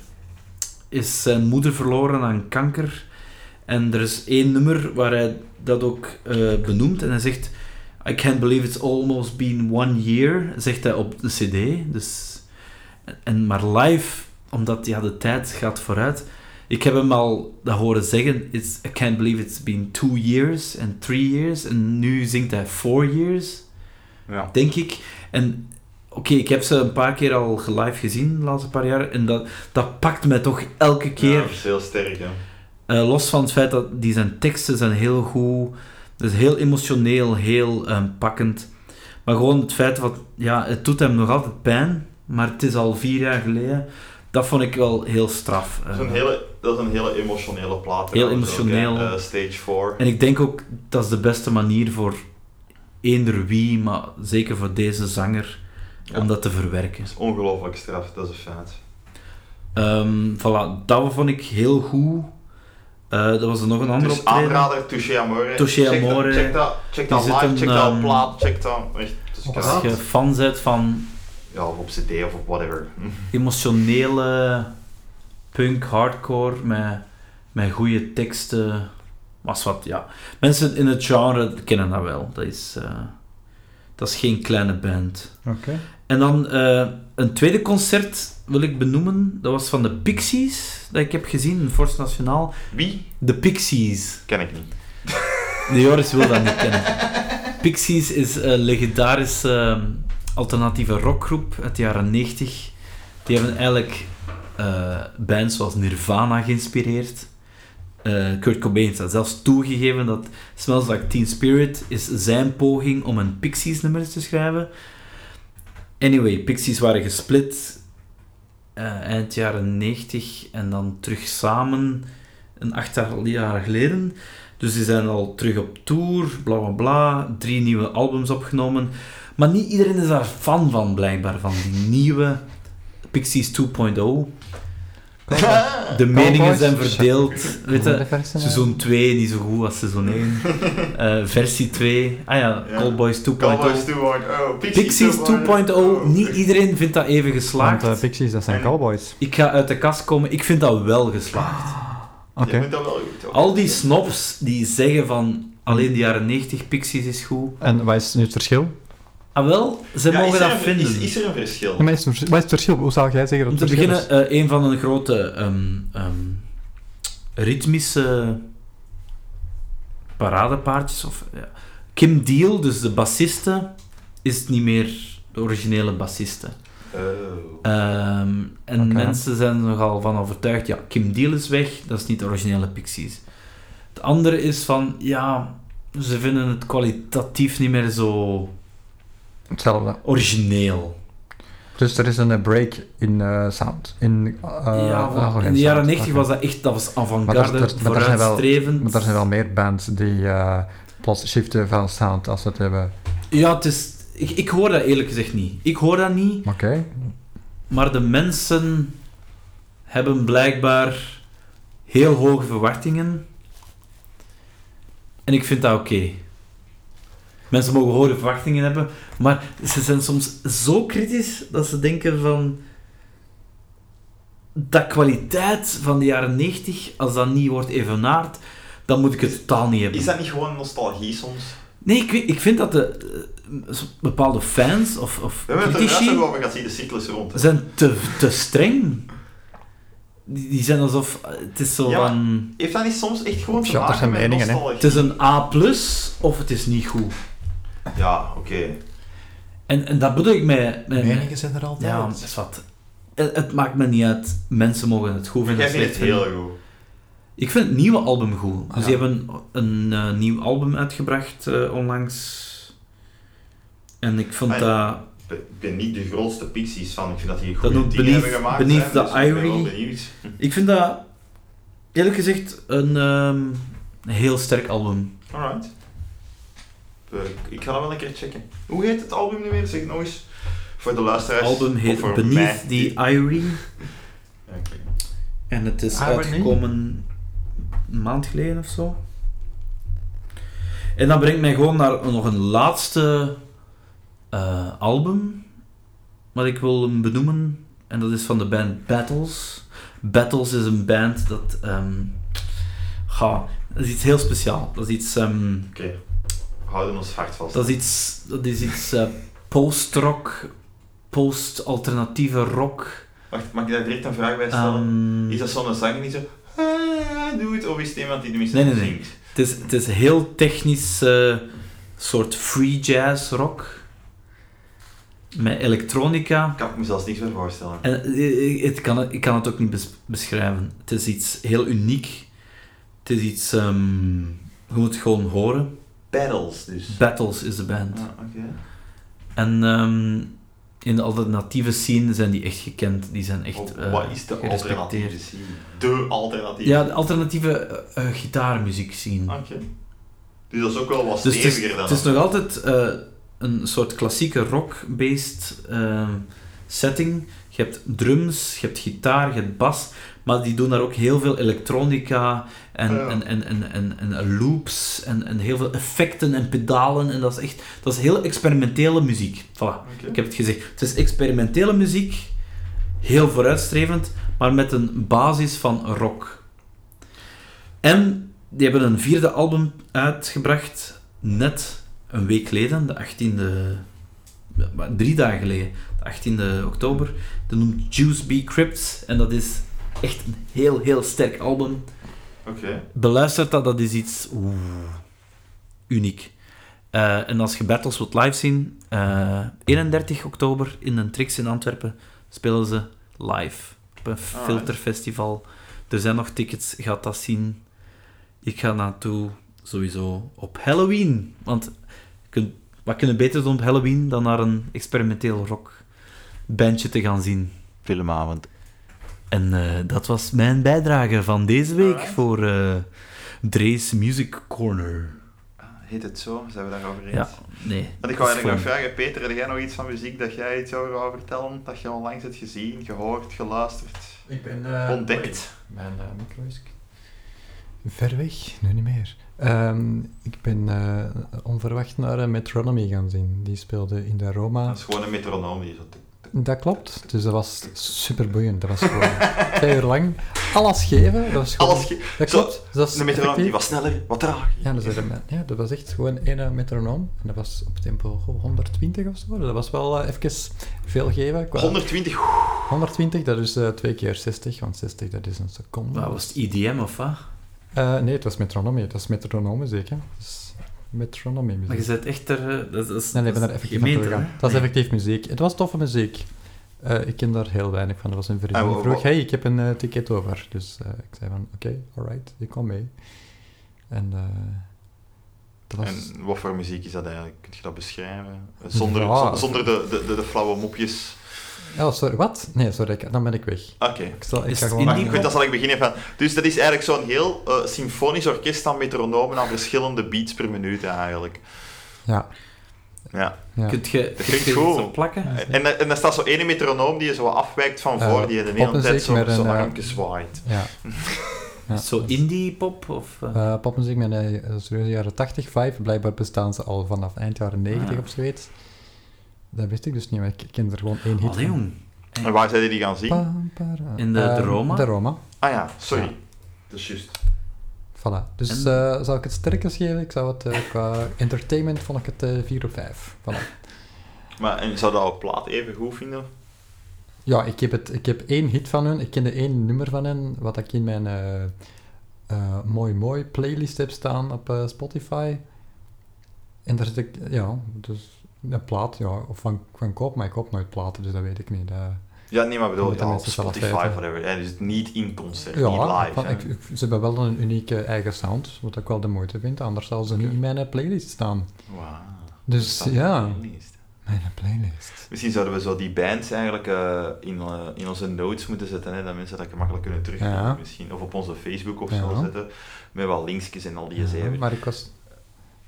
S4: is zijn moeder verloren aan kanker. En er is één nummer waar hij dat ook eh, benoemt. En hij zegt, I can't believe it's almost been one year, zegt hij op de cd. Dus, en, maar live, omdat ja, de tijd gaat vooruit, Ik heb hem al dat horen zeggen. It's, I can't believe it's been two years and three years. En nu zingt hij four years,
S3: Ja.
S4: denk ik. En oké, ik heb ze een paar keer al live gezien de laatste paar jaar. En dat, dat pakt mij toch elke keer.
S3: Ja, dat is heel sterk, hè.
S4: Eh, los van het feit dat die zijn teksten zijn heel goed. Dus heel emotioneel, heel ehm, pakkend. Maar gewoon het feit wat, ja, het doet hem nog altijd pijn. Maar het is al vier jaar geleden. Dat vond ik wel heel straf.
S3: Dat is een
S4: Eh,
S3: hele, dat is een hele emotionele plaat.
S4: Heel
S3: trouwens ook, hè.
S4: emotioneel.
S3: Eh, stage 4.
S4: En ik denk ook dat is de beste manier voor eender wie, maar zeker voor deze zanger,
S3: Ja.
S4: om dat te verwerken.
S3: Dat is ongelooflijk straf, dat is een feit.
S4: Ehm voilà, dat vond ik heel goed. Eh dat was er nog een andere
S3: Dus aanrader, Touché Amore.
S4: Touché
S3: check dat-
S4: Amore.
S3: Check dat, check dat
S4: Die
S3: live,
S4: zit een,
S3: check dat op
S4: ehm,
S3: plaat, check dat... Echt, dat is
S5: op
S3: krass.
S4: Als je fan bent van
S3: Ja, of op cd of op whatever. Hm.
S4: emotionele punk, hardcore, met, met goede teksten. Was wat, ja. Mensen in het genre kennen dat wel. Dat is, eh, dat is geen kleine band.
S5: Oké.
S4: En dan eh, een tweede concert wil ik benoemen. Dat was van de Pixies, dat ik heb gezien in Forst Nationaal.
S3: Wie?
S4: De Pixies.
S3: Ken ik niet.
S4: De Joris wil dat niet kennen. Pixies is een legendarische ehm, alternatieve rockgroep uit de jaren 90. Die hebben eigenlijk eh, bands zoals Nirvana geïnspireerd. Eh, Kurt Cobain heeft dat zelfs toegegeven dat Smells Like Teen Spirit is zijn poging om een Pixies-nummer te schrijven. Anyway, Pixies waren gesplit eh, eind jaren 90 en dan terug samen een achttal jaar geleden. Dus die zijn al terug op tour, bla bla bla. Drie nieuwe albums opgenomen. Maar niet iedereen is daar fan van, blijkbaar, van die nieuwe Pixies 2.0. De meningen zijn verdeeld. Weet je,
S5: eh?
S4: seizoen 2 niet zo goed als seizoen 1. Eh, versie 2. Ah ja,
S3: Ja.
S4: Callboys 2.0.
S3: Cowboys oh. 2.0.
S4: oh. Pixies
S3: oh.
S4: 2.0. oh, Niet iedereen vindt dat even
S5: Want
S4: geslaagd.
S5: eh, Pixies, dat zijn
S3: En-
S5: cowboys.
S4: Ik ga uit de kast komen. Ik vind dat wel geslaagd.
S5: Oké.
S3: Je moet dat wel goed hoor.
S4: Al die snobs die zeggen van alleen de jaren 90 Pixies is goed.
S5: En wat is nu het verschil?
S4: Ah wel, ze
S3: Ja,
S4: mogen
S3: is er
S4: dat
S3: een-
S4: vinden.
S3: Is, is er een verschil?
S5: Ja, maar is het vers- wat is het verschil? Hoe zou jij zeggen
S4: Om
S5: dat
S4: te
S5: het verschil
S4: beginnen, eh, een van de grote ehm, ehm, ritmische paradepaardjes. Of, ja. Kim Deal, dus de bassiste, is niet meer de originele bassiste.
S3: Oh.
S4: Ehm, en
S5: Oké.
S4: mensen zijn er nogal van overtuigd, ja, Kim Deal is weg, dat is niet de originele Pixies. Het andere is van, ja, ze vinden het kwalitatief niet meer zo
S5: is? Hetzelfde.
S4: origineel.
S5: Dus er is een eh, break in eh, sound. In, eh,
S4: ja,
S5: oh,
S4: want
S5: geen
S4: in de jaren
S5: sound.
S4: 90
S5: Oké.
S4: was dat echt, dat was
S5: Maar daar-
S4: avant-garde,
S5: daar- maar daar zijn wel-
S4: vooruitstrevend.
S5: Maar er zijn wel meer bands die eh, plots shiften van sound als ze het hebben.
S4: Ja, het is, ik, ik hoor dat eerlijk gezegd niet. Ik hoor dat niet,
S5: Oké.
S4: maar de mensen hebben blijkbaar heel hoge verwachtingen. En ik vind dat oké. Mensen mogen hoge verwachtingen hebben, maar ze zijn soms zo kritisch dat ze denken van... Dat kwaliteit van de jaren 90, als dat niet wordt evenaard, dan moet ik het totaal niet hebben.
S3: Is dat niet gewoon nostalgie soms?
S4: Nee, ik, weet- ik vind dat de eh, bepaalde fans of, of
S3: We hebben het er juist
S4: critici
S3: nog over gehad, zie de cyclus rond. hè.
S4: zijn te, te streng. Die, die zijn alsof eh, het is zo
S3: Ja, maar-
S4: van
S3: Heeft dat niet soms echt gewoon te
S5: Ja, dat
S3: maken
S5: zijn
S3: met
S5: meningen, hè.
S4: het
S3: nostalgie?
S4: is een A of het is niet goed.
S3: Ja, oké.
S4: En, en dat bedoel ik met, met
S5: Meningen zijn er altijd.
S4: ja, dat is wat. Het, het maakt me niet uit. Mensen mogen het goed vinden.
S3: Jij
S4: of
S3: vindt
S4: slecht
S3: het
S4: vinden.
S3: heel goed.
S4: Ik vind het nieuwe album goed. Dus
S5: Ah,
S4: die
S5: ja.
S4: hebben een eh, nieuw album uitgebracht eh, onlangs. En ik vond
S3: Ah,
S4: dat
S3: Ik ben- Ik ben niet de grootste Pixies van. Ik vind dat die een
S4: Dat
S3: goede
S4: noemt
S3: dingen
S4: Beneath-
S3: hebben gemaakt.
S4: Beneath
S3: hè,
S4: the
S3: dus ik ben wel
S4: Ivory.
S3: benieuwd.
S4: Ik vind dat, eerlijk gezegd, een ehm, een heel sterk album.
S3: Alright. Eh, Ik ga dat wel een keer checken. Hoe heet het album nu weer? Zeg het nog eens. Voor de
S4: Het
S3: luisteraars.
S4: album
S3: of
S4: heet
S3: voor
S4: Beneath
S3: mij.
S4: the Irene.
S3: Oké.
S4: En het is
S5: Irony?
S4: uitgekomen een maand geleden of zo. En dat brengt mij gewoon naar nog een laatste eh, album. Wat ik wil benoemen. En dat is van de band Battles. Battles is een band dat... ehm ga, dat is iets heel speciaal. Dat is iets... ehm,
S3: Oké. We houden ons hart vast.
S4: Dat is iets, dat is iets eh, post-rock, post-alternatieve rock.
S3: Wacht, mag ik daar direct een vraag bij stellen?
S4: Ehm,
S3: Is dat zo'n zanger die zo... eh, doe het, of is het iemand die tenminste
S4: Nee, nee, nee.
S3: zingt?
S4: Het is, het is heel technisch eh, soort free jazz rock. Met elektronica.
S3: Daar kan ik me zelfs niks meer voorstellen.
S4: En eh, het kan, het- ik kan het ook niet bes- beschrijven. Het is iets heel uniek. Het is iets... ehm, je moet het gewoon horen.
S3: Battles dus.
S4: Battles is de band.
S3: Ah, oké.
S4: En ehm, in de alternatieve scene zijn die echt gekend. Die zijn echt...
S3: Of
S4: eh,
S3: Oh, Wat is de
S4: gerespecteerd.
S3: alternatieve scene? De alternatieve
S4: ja, de alternatieve eh, eh, gitaarmuziek scene.
S3: Oké. Dus dat is ook wel wat
S4: Dus het is,
S3: steviger dan.
S4: het is nog altijd eh, een soort klassieke rock-based eh, setting. Je hebt drums, je hebt gitaar, je hebt bas, maar die doen daar ook heel veel elektronica en,
S3: Ja.
S4: en, en, en, en, en loops en, en heel veel effecten en pedalen. En dat is echt dat is heel experimentele muziek. Voilà,
S3: Oké.
S4: ik heb het gezegd. Het is experimentele muziek, heel vooruitstrevend, maar met een basis van rock. En die hebben een vierde album uitgebracht, net een week geleden, de 18e, ja, maar drie dagen geleden, de 18e oktober. Dat noemt Juice B. Crypt en dat is echt een heel, heel sterk album.
S3: Oké.
S4: Beluistert dat, dat is iets oeh, uniek. Eh, en als je Battles wilt live zien, eh, 31 oktober in een Trix in Antwerpen spelen ze live op een filterfestival. Er zijn nog tickets, gaat dat zien. Ik ga naartoe sowieso op Halloween. Want je kunt- wat kunnen beter doen op Halloween dan naar een experimenteel rockbandje te gaan zien?
S3: Filmavond.
S4: En eh, dat was mijn bijdrage van deze week
S3: Alright.
S4: voor eh Drees Music Corner.
S3: Ah, Heet het zo? Zijn we daarover eens?
S4: Ja, nee.
S3: Want
S4: dat
S3: ik wou
S4: is
S3: eigenlijk nog
S4: voor-
S3: vragen, Peter, heb jij nog iets van muziek dat jij iets over wou vertellen? Dat je onlangs hebt gezien, gehoord, geluisterd,
S1: Ik ben...
S4: Eh,
S1: eh,
S3: ontdekt?
S1: Mijn uh, micro is ver weg, nu niet meer. Ehm, ik ben eh, onverwacht naar eh, Metronomy gaan zien. Die speelde in de Roma.
S3: Dat is gewoon een metronoom die zo...
S1: Dat klopt. Dus dat was super boeiend. Dat was gewoon twee uur lang. Alles geven. Dat, was gewoon,
S3: Alles ge-
S1: dat
S3: Zo,
S1: klopt. Dus dat is
S3: De metronoom die
S1: effectief.
S3: was sneller, wat trager.
S1: Ja, dus er- ja, dat was echt gewoon één eh, metronoom. En dat was op tempo goh, 120 of zo. Dat was wel eh, even veel geven. Qua
S3: 120, oeh,
S1: 120, dat is eh, twee keer 60. Want 60, dat is een seconde.
S4: Wat was het IDM of wat?
S1: Eh, nee, het was metronomie. Het was metronoom muziek, hè. Het is metronomie muziek.
S4: Maar je zit echt er. eh, Dat, dat is,
S1: Nee, nee, ik ben daar
S4: dat is
S1: effectief
S4: geen
S1: aan
S4: meter,
S1: toegegaan.
S4: hè?
S1: Dat is
S4: Nee.
S1: effectief muziek. Het was toffe muziek. Eh, ik ken daar heel weinig van. Er was een vriend
S3: Ah,
S1: die
S3: wa-
S1: vroeg,
S3: wa-
S1: hey, ik heb een eh, ticket over. Dus eh, ik zei van, oké, alright, je komt mee. En eh, dat was...
S3: En wat voor muziek is dat eigenlijk? Kun je dat beschrijven? Zonder,
S1: Ja.
S3: zon- zonder de, de, de, de flauwe mopjes.
S1: Oh, sorry, wat? Nee, sorry, ik- dan ben ik weg.
S3: Oké.
S1: Ik, zal, ik
S4: Is
S1: ga
S4: het
S1: gewoon...
S3: Maar
S4: indie
S1: eh,
S3: goed, dat zal ik beginnen van. Dus dat is eigenlijk zo'n heel eh, symfonisch orkest aan metronomen aan verschillende beats per minuut eigenlijk.
S1: ja,
S3: Ja.
S1: ja.
S4: Kunt je kunt
S3: klinkt
S4: je iets
S3: goed.
S4: op plakken?
S3: En, en, en er staat zo één metronoom die je zo wat afwijkt van
S1: Eh,
S3: voor, die je de
S1: op
S3: hele
S1: een
S3: tijd
S1: zit
S3: zo,
S1: met
S3: zo
S1: een, eh,
S3: armpje zwaait.
S1: ja. Ja.
S4: Zo indie pop? Of, eh,
S1: Eh, popmuziek met een eh, serieuze jaren 80 vibe. Blijkbaar bestaan ze al vanaf eind jaren 90
S4: Ah.
S1: of zoiets. Dat wist ik dus niet, maar ik ken er gewoon één hit
S4: Allee,
S1: van.
S4: jong.
S3: En waar zijn die gaan zien?
S1: Pam, para.
S4: In de- de
S1: Eh,
S4: Roma?
S1: De Roma,
S3: Ah ja, sorry.
S1: Ja.
S3: Dat is juist.
S1: voilà. Dus
S4: En-
S1: eh, zou ik het sterkens geven? Ik zou het eh, qua entertainment vond ik het eh, 4 op 5. Voilà.
S3: Maar en zou dat op plaat even goed vinden?
S1: Ja, ik heb, het, ik heb één hit van hun. Ik kende één nummer van hen, wat ik in mijn eh, eh, mooi mooi playlist heb staan op eh, Spotify. En daar zit ik, ja, dus een plaat, ja, of van, van koop, maar ik koop nooit platen, dus dat weet ik niet. Dat-
S3: Ja, nee, maar bedoel,
S1: Moeten
S3: ja, op
S1: mensen zelf
S3: Spotify,
S1: weten.
S3: whatever. En dus niet in concert, niet
S1: Ja,
S3: live.
S1: van-
S3: hè.
S1: ik, ik- ze hebben wel een unieke eigen sound, wat ik wel de moeite vind. Anders zou ze niet in mijn eh, playlist staan.
S3: Wauw.
S1: Dus,
S3: Dat is
S1: ja.
S3: een playlist.
S1: Mijn playlist.
S3: Misschien zouden we zo die bands eigenlijk eh, in, eh, in onze notes moeten zetten, hè, dat mensen dat gemakkelijk kunnen terugvinden
S1: Ja.
S3: misschien. Of op onze Facebook of
S1: Ja.
S3: zo zetten, met wat linkjes en al die
S1: Ja,
S3: zeven.
S1: maar ik was,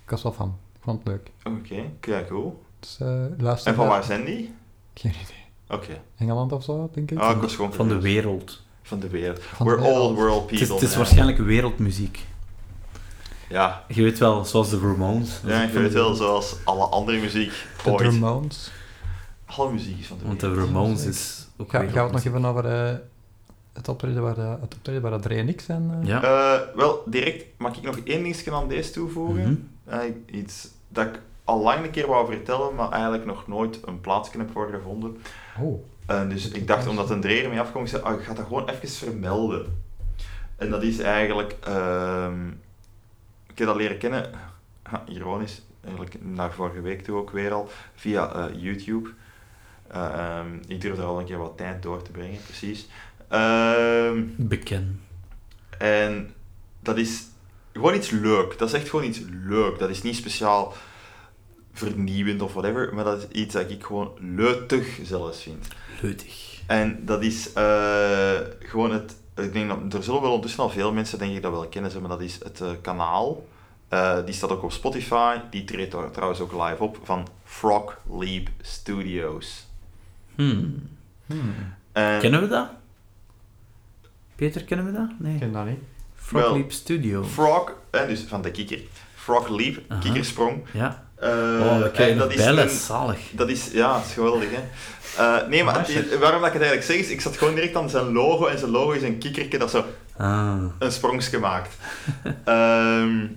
S1: ik was wel van. Ik vond het leuk.
S3: Oké, kijk cool.
S1: Dus eh, luister
S3: En van
S1: naar-
S3: waar zijn die?
S1: Geen idee.
S3: Oké.
S1: Engeland of zo, denk ik.
S3: Ah, ik was gewoon
S4: Van de
S3: curieus.
S4: wereld.
S3: Van de wereld.
S1: Van de
S3: We're
S1: wereld.
S3: all world people.
S4: Het is, het is
S3: hè.
S4: waarschijnlijk wereldmuziek.
S3: Ja,
S4: Je weet wel, zoals de Ramones.
S3: ja ik weet het wel, zoals alle andere muziek
S1: de
S3: ooit.
S1: Ramones.
S3: Alle muziek is van de
S4: Want de
S3: wereld.
S4: Ramones is ook
S1: Ga, gaan we het nog
S4: wereldmuziek.
S1: even over eh, het optreden waar, de- het optreden waar Adrien en ik zijn? eh?
S4: Ja.
S3: Eh, wel, direct mag ik nog één dingetje aan deze toevoegen.
S4: Mhm.
S3: Eh, iets dat ik al lang een keer wou vertellen, maar eigenlijk nog nooit een plaatsje heb voor gevonden. Eh,
S1: Oh,
S3: oh, En dus ik dacht, omdat een dreer mee afkwam, ik zei, ah, ik ga dat gewoon even vermelden. En dat is eigenlijk... ehm, ik heb dat leren kennen, ha, ironisch, eigenlijk naar vorige week toe ook weer al, via eh, YouTube. Eh, ehm, ik durf er al een keer wat tijd door te brengen, precies. Ehm,
S4: Beken.
S3: en dat is gewoon iets leuk. Dat is echt gewoon iets leuk. Dat is niet speciaal vernieuwend of whatever, maar dat is iets dat ik gewoon leutig zelfs vind.
S4: Leutig.
S3: En dat is eh, gewoon het. Ik denk dat er zullen wel ondertussen al veel mensen denk ik dat wel kennen, zeg maar dat is het eh, kanaal. Eh, die staat ook op Spotify. Die treedt daar trouwens ook live op van Frog Leap Studios.
S4: Hmm.
S3: En
S4: Kennen we dat? Peter, kennen we dat? Nee.
S1: Ik ken dat niet.
S4: Frog
S3: Wel.
S4: Leap Studio.
S3: Frog, en dus van de kikker. Frog Leap,
S4: Aha.
S3: kikkersprong.
S4: Ja.
S3: Eh,
S4: oh, we
S3: en
S4: krijgen
S3: dat is
S4: bellen.
S3: een-
S4: Zalig.
S3: Dat is, ja, dat is geweldig, hè. Eh, nee, maar
S4: Amai.
S3: waarom dat ik het eigenlijk zeg, is ik zat gewoon direct aan zijn logo, en zijn logo is een kikkertje dat zo
S4: Ah.
S3: een sprongs gemaakt. Ehm,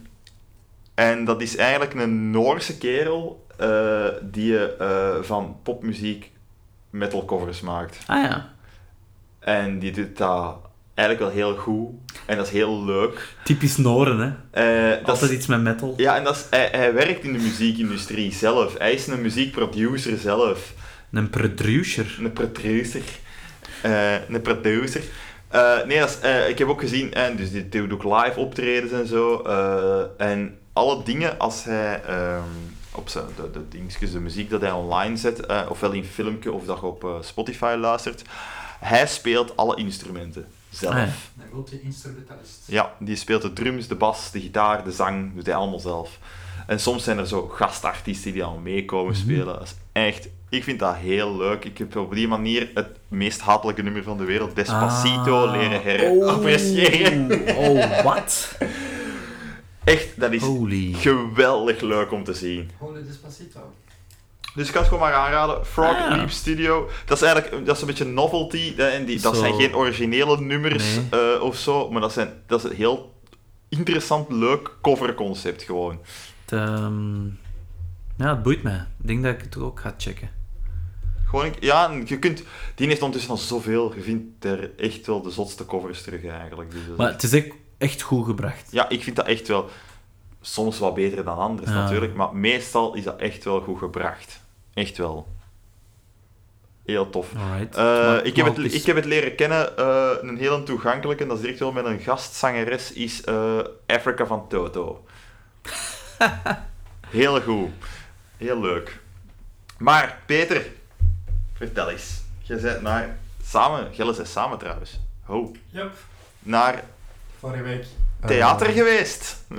S3: en dat is eigenlijk een Noorse kerel eh, die eh, van popmuziek metal covers maakt.
S4: Ah ja.
S3: En die doet dat eigenlijk wel heel goed. En dat is heel leuk.
S4: Typisch Noren, hè.
S3: Eh, dat
S4: Altijd
S3: is,
S4: iets met metal.
S3: ja, en dat is, hij, hij werkt in de muziekindustrie zelf. Hij is een muziekproducer zelf.
S4: Een producer.
S3: Een producer. Eh, een producer. Eh, nee, dat is, eh, ik heb ook gezien, en dus die doet ook live optredens en zo. eh, en alle dingen als hij ehm, op zijn, de, de dingetjes, de muziek dat hij online zet, eh, ofwel in filmpje of dat je op eh, Spotify luistert, hij speelt alle instrumenten zelf.
S4: Ah, ja.
S5: Een multi-instrumentalist.
S3: Ja, die speelt de drums, de bas, de gitaar, de zang, doet hij allemaal zelf. En soms zijn er zo gastartiesten die al meekomen
S4: Mhm.
S3: spelen. Dat is echt, ik vind dat heel leuk. Ik heb op die manier het meest hatelijke nummer van de wereld, Despacito,
S4: Ah.
S3: leren herappreciëren.
S4: Oh, wat?
S3: Echt, dat is
S4: Holy.
S3: geweldig leuk om te zien.
S5: Gewoon een despacito.
S3: Dus ik kan het gewoon maar aanraden. Frog
S4: Ah.
S3: Leap Studio. Dat is eigenlijk dat is een beetje novelty. hè, En die, dat
S4: Zo.
S3: zijn geen originele nummers
S4: Nee.
S3: eh, of zo. Maar dat, zijn, dat is een heel interessant, leuk coverconcept gewoon.
S4: Het, ehm, ja, het boeit mij. Ik denk dat ik het ook ga checken.
S3: Gewoon, ik- ja, en je kunt... Die heeft ondertussen al zoveel. Je vindt er echt wel de zotste covers terug, eigenlijk. Dus dat is
S4: Maar
S3: echt-
S4: het is echt- echt goed gebracht.
S3: Ja, ik vind dat echt wel... Soms wat beter dan anders,
S4: Ja.
S3: natuurlijk. Maar meestal is dat echt wel goed gebracht. Echt wel. Heel tof.
S4: Alright.
S3: Eh,
S4: Maar-
S3: ik, heb
S4: maar
S3: het,
S4: is-
S3: ik heb het leren kennen, eh, een heel toegankelijke, en dat is direct wel met een gastzangeres, is eh, Africa van Toto. heel goed. Heel leuk. Maar, Peter, vertel eens. Je bent naar... Samen, Gilles is samen trouwens. Ho.
S1: Yep.
S3: Naar
S1: Vorige week.
S3: theater geweest.
S1: Eh,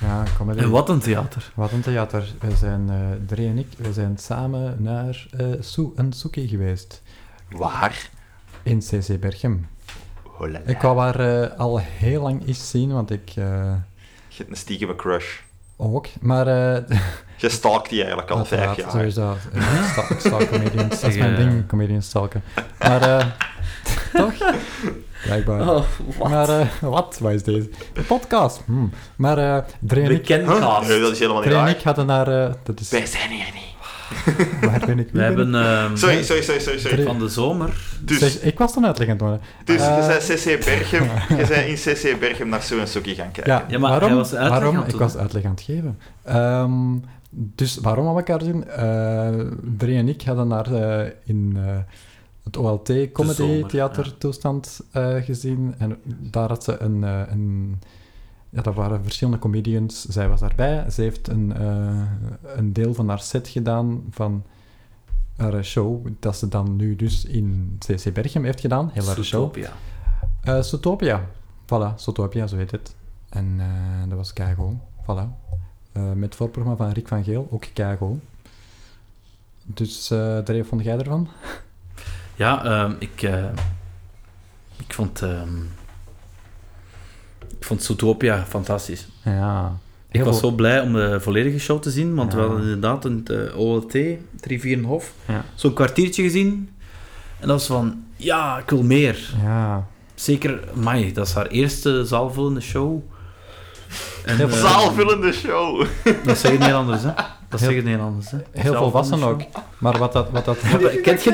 S1: Ja, comedy.
S4: En wat een theater.
S1: Wat een theater. We zijn, eh Dre en ik, we zijn samen naar eh Soe en Soekie geweest.
S3: Waar?
S1: In CC Berchem.
S3: Hola.
S1: Ik wou haar eh, al heel lang eens zien, want ik... eh,
S3: Je hebt een stiekem crush.
S1: ook, maar... eh
S3: Je stalkt die eigenlijk al vijf
S1: uiteraard,
S3: jaar. eh,
S1: Sowieso. eh, stalk- Stalk comedians. Dat is mijn
S4: Ja.
S1: ding, comedians stalken. Maar... eh toch? Blijkbaar.
S3: Oh,
S1: Maar eh, wat? Wat is deze? Een podcast. Hm. Maar eh Dre en
S4: De
S1: ik,
S4: kencast.
S3: Nee, dat is dus helemaal niet
S1: Dre en ik
S3: waar.
S1: hadden haar... eh, dat is...
S3: Wij zijn hier niet.
S1: Waar ben ik?
S4: We hebben ehm,
S3: Sorry, sorry, sorry, sorry. sorry.
S1: Drie.
S4: van de zomer...
S3: Dus,
S1: Zeg, ik was dan uitleggend worden.
S3: Dus
S1: Eh,
S3: je zei CC Berchem, je zei in CC Berchem naar Soe en Soekie gaan kijken.
S1: Ja,
S4: Ja, maar
S1: waarom,
S4: hij was uitleg
S1: waarom?
S4: aan
S1: Ik
S4: het doen,
S1: was
S4: hè?
S1: uitleg aan het geven. Ehm, dus waarom aan elkaar zien? Eh Dre en ik hadden daar eh, in eh, het OLT Comedy
S4: zomer,
S1: Theater toestand eh, gezien. En daar had ze een... eh, een ja, dat waren verschillende comedians. Zij was daarbij. Ze heeft een, eh, een deel van haar set gedaan van haar eh, show, dat ze dan nu dus in CC Berchem heeft gedaan. Heel haar show.
S4: Zootopia.
S1: Eh Zootopia. Voilà, Zootopia, zo heet het. En eh, dat was Kago. Voilà. Eh, met het voorprogramma van Rick van Geel, ook Kago. Dus eh Dre, vond jij ervan?
S4: Ja, ehm, ik, eh, ik vond... ehm, ik vond Zootopia fantastisch.
S1: Ja.
S4: Ik
S1: Heel
S4: was
S1: veel-
S4: zo blij om de volledige show te zien, want we
S1: Ja.
S4: hadden inderdaad een eh, OLT, 3, 4 Hof,
S1: Ja.
S4: zo'n kwartiertje gezien. En dat was van, ja, ik wil meer.
S1: Ja.
S4: Zeker, Mai, dat is haar eerste zaalvullende show. En,
S1: Heel
S4: eh,
S3: Zaalvullende show.
S4: Dat zeg je niet anders, hè? Dat
S1: Heel-
S4: zeg je niet anders, hè?
S1: Heel volwassen ook. Maar wat dat... Wat dat
S4: Kent je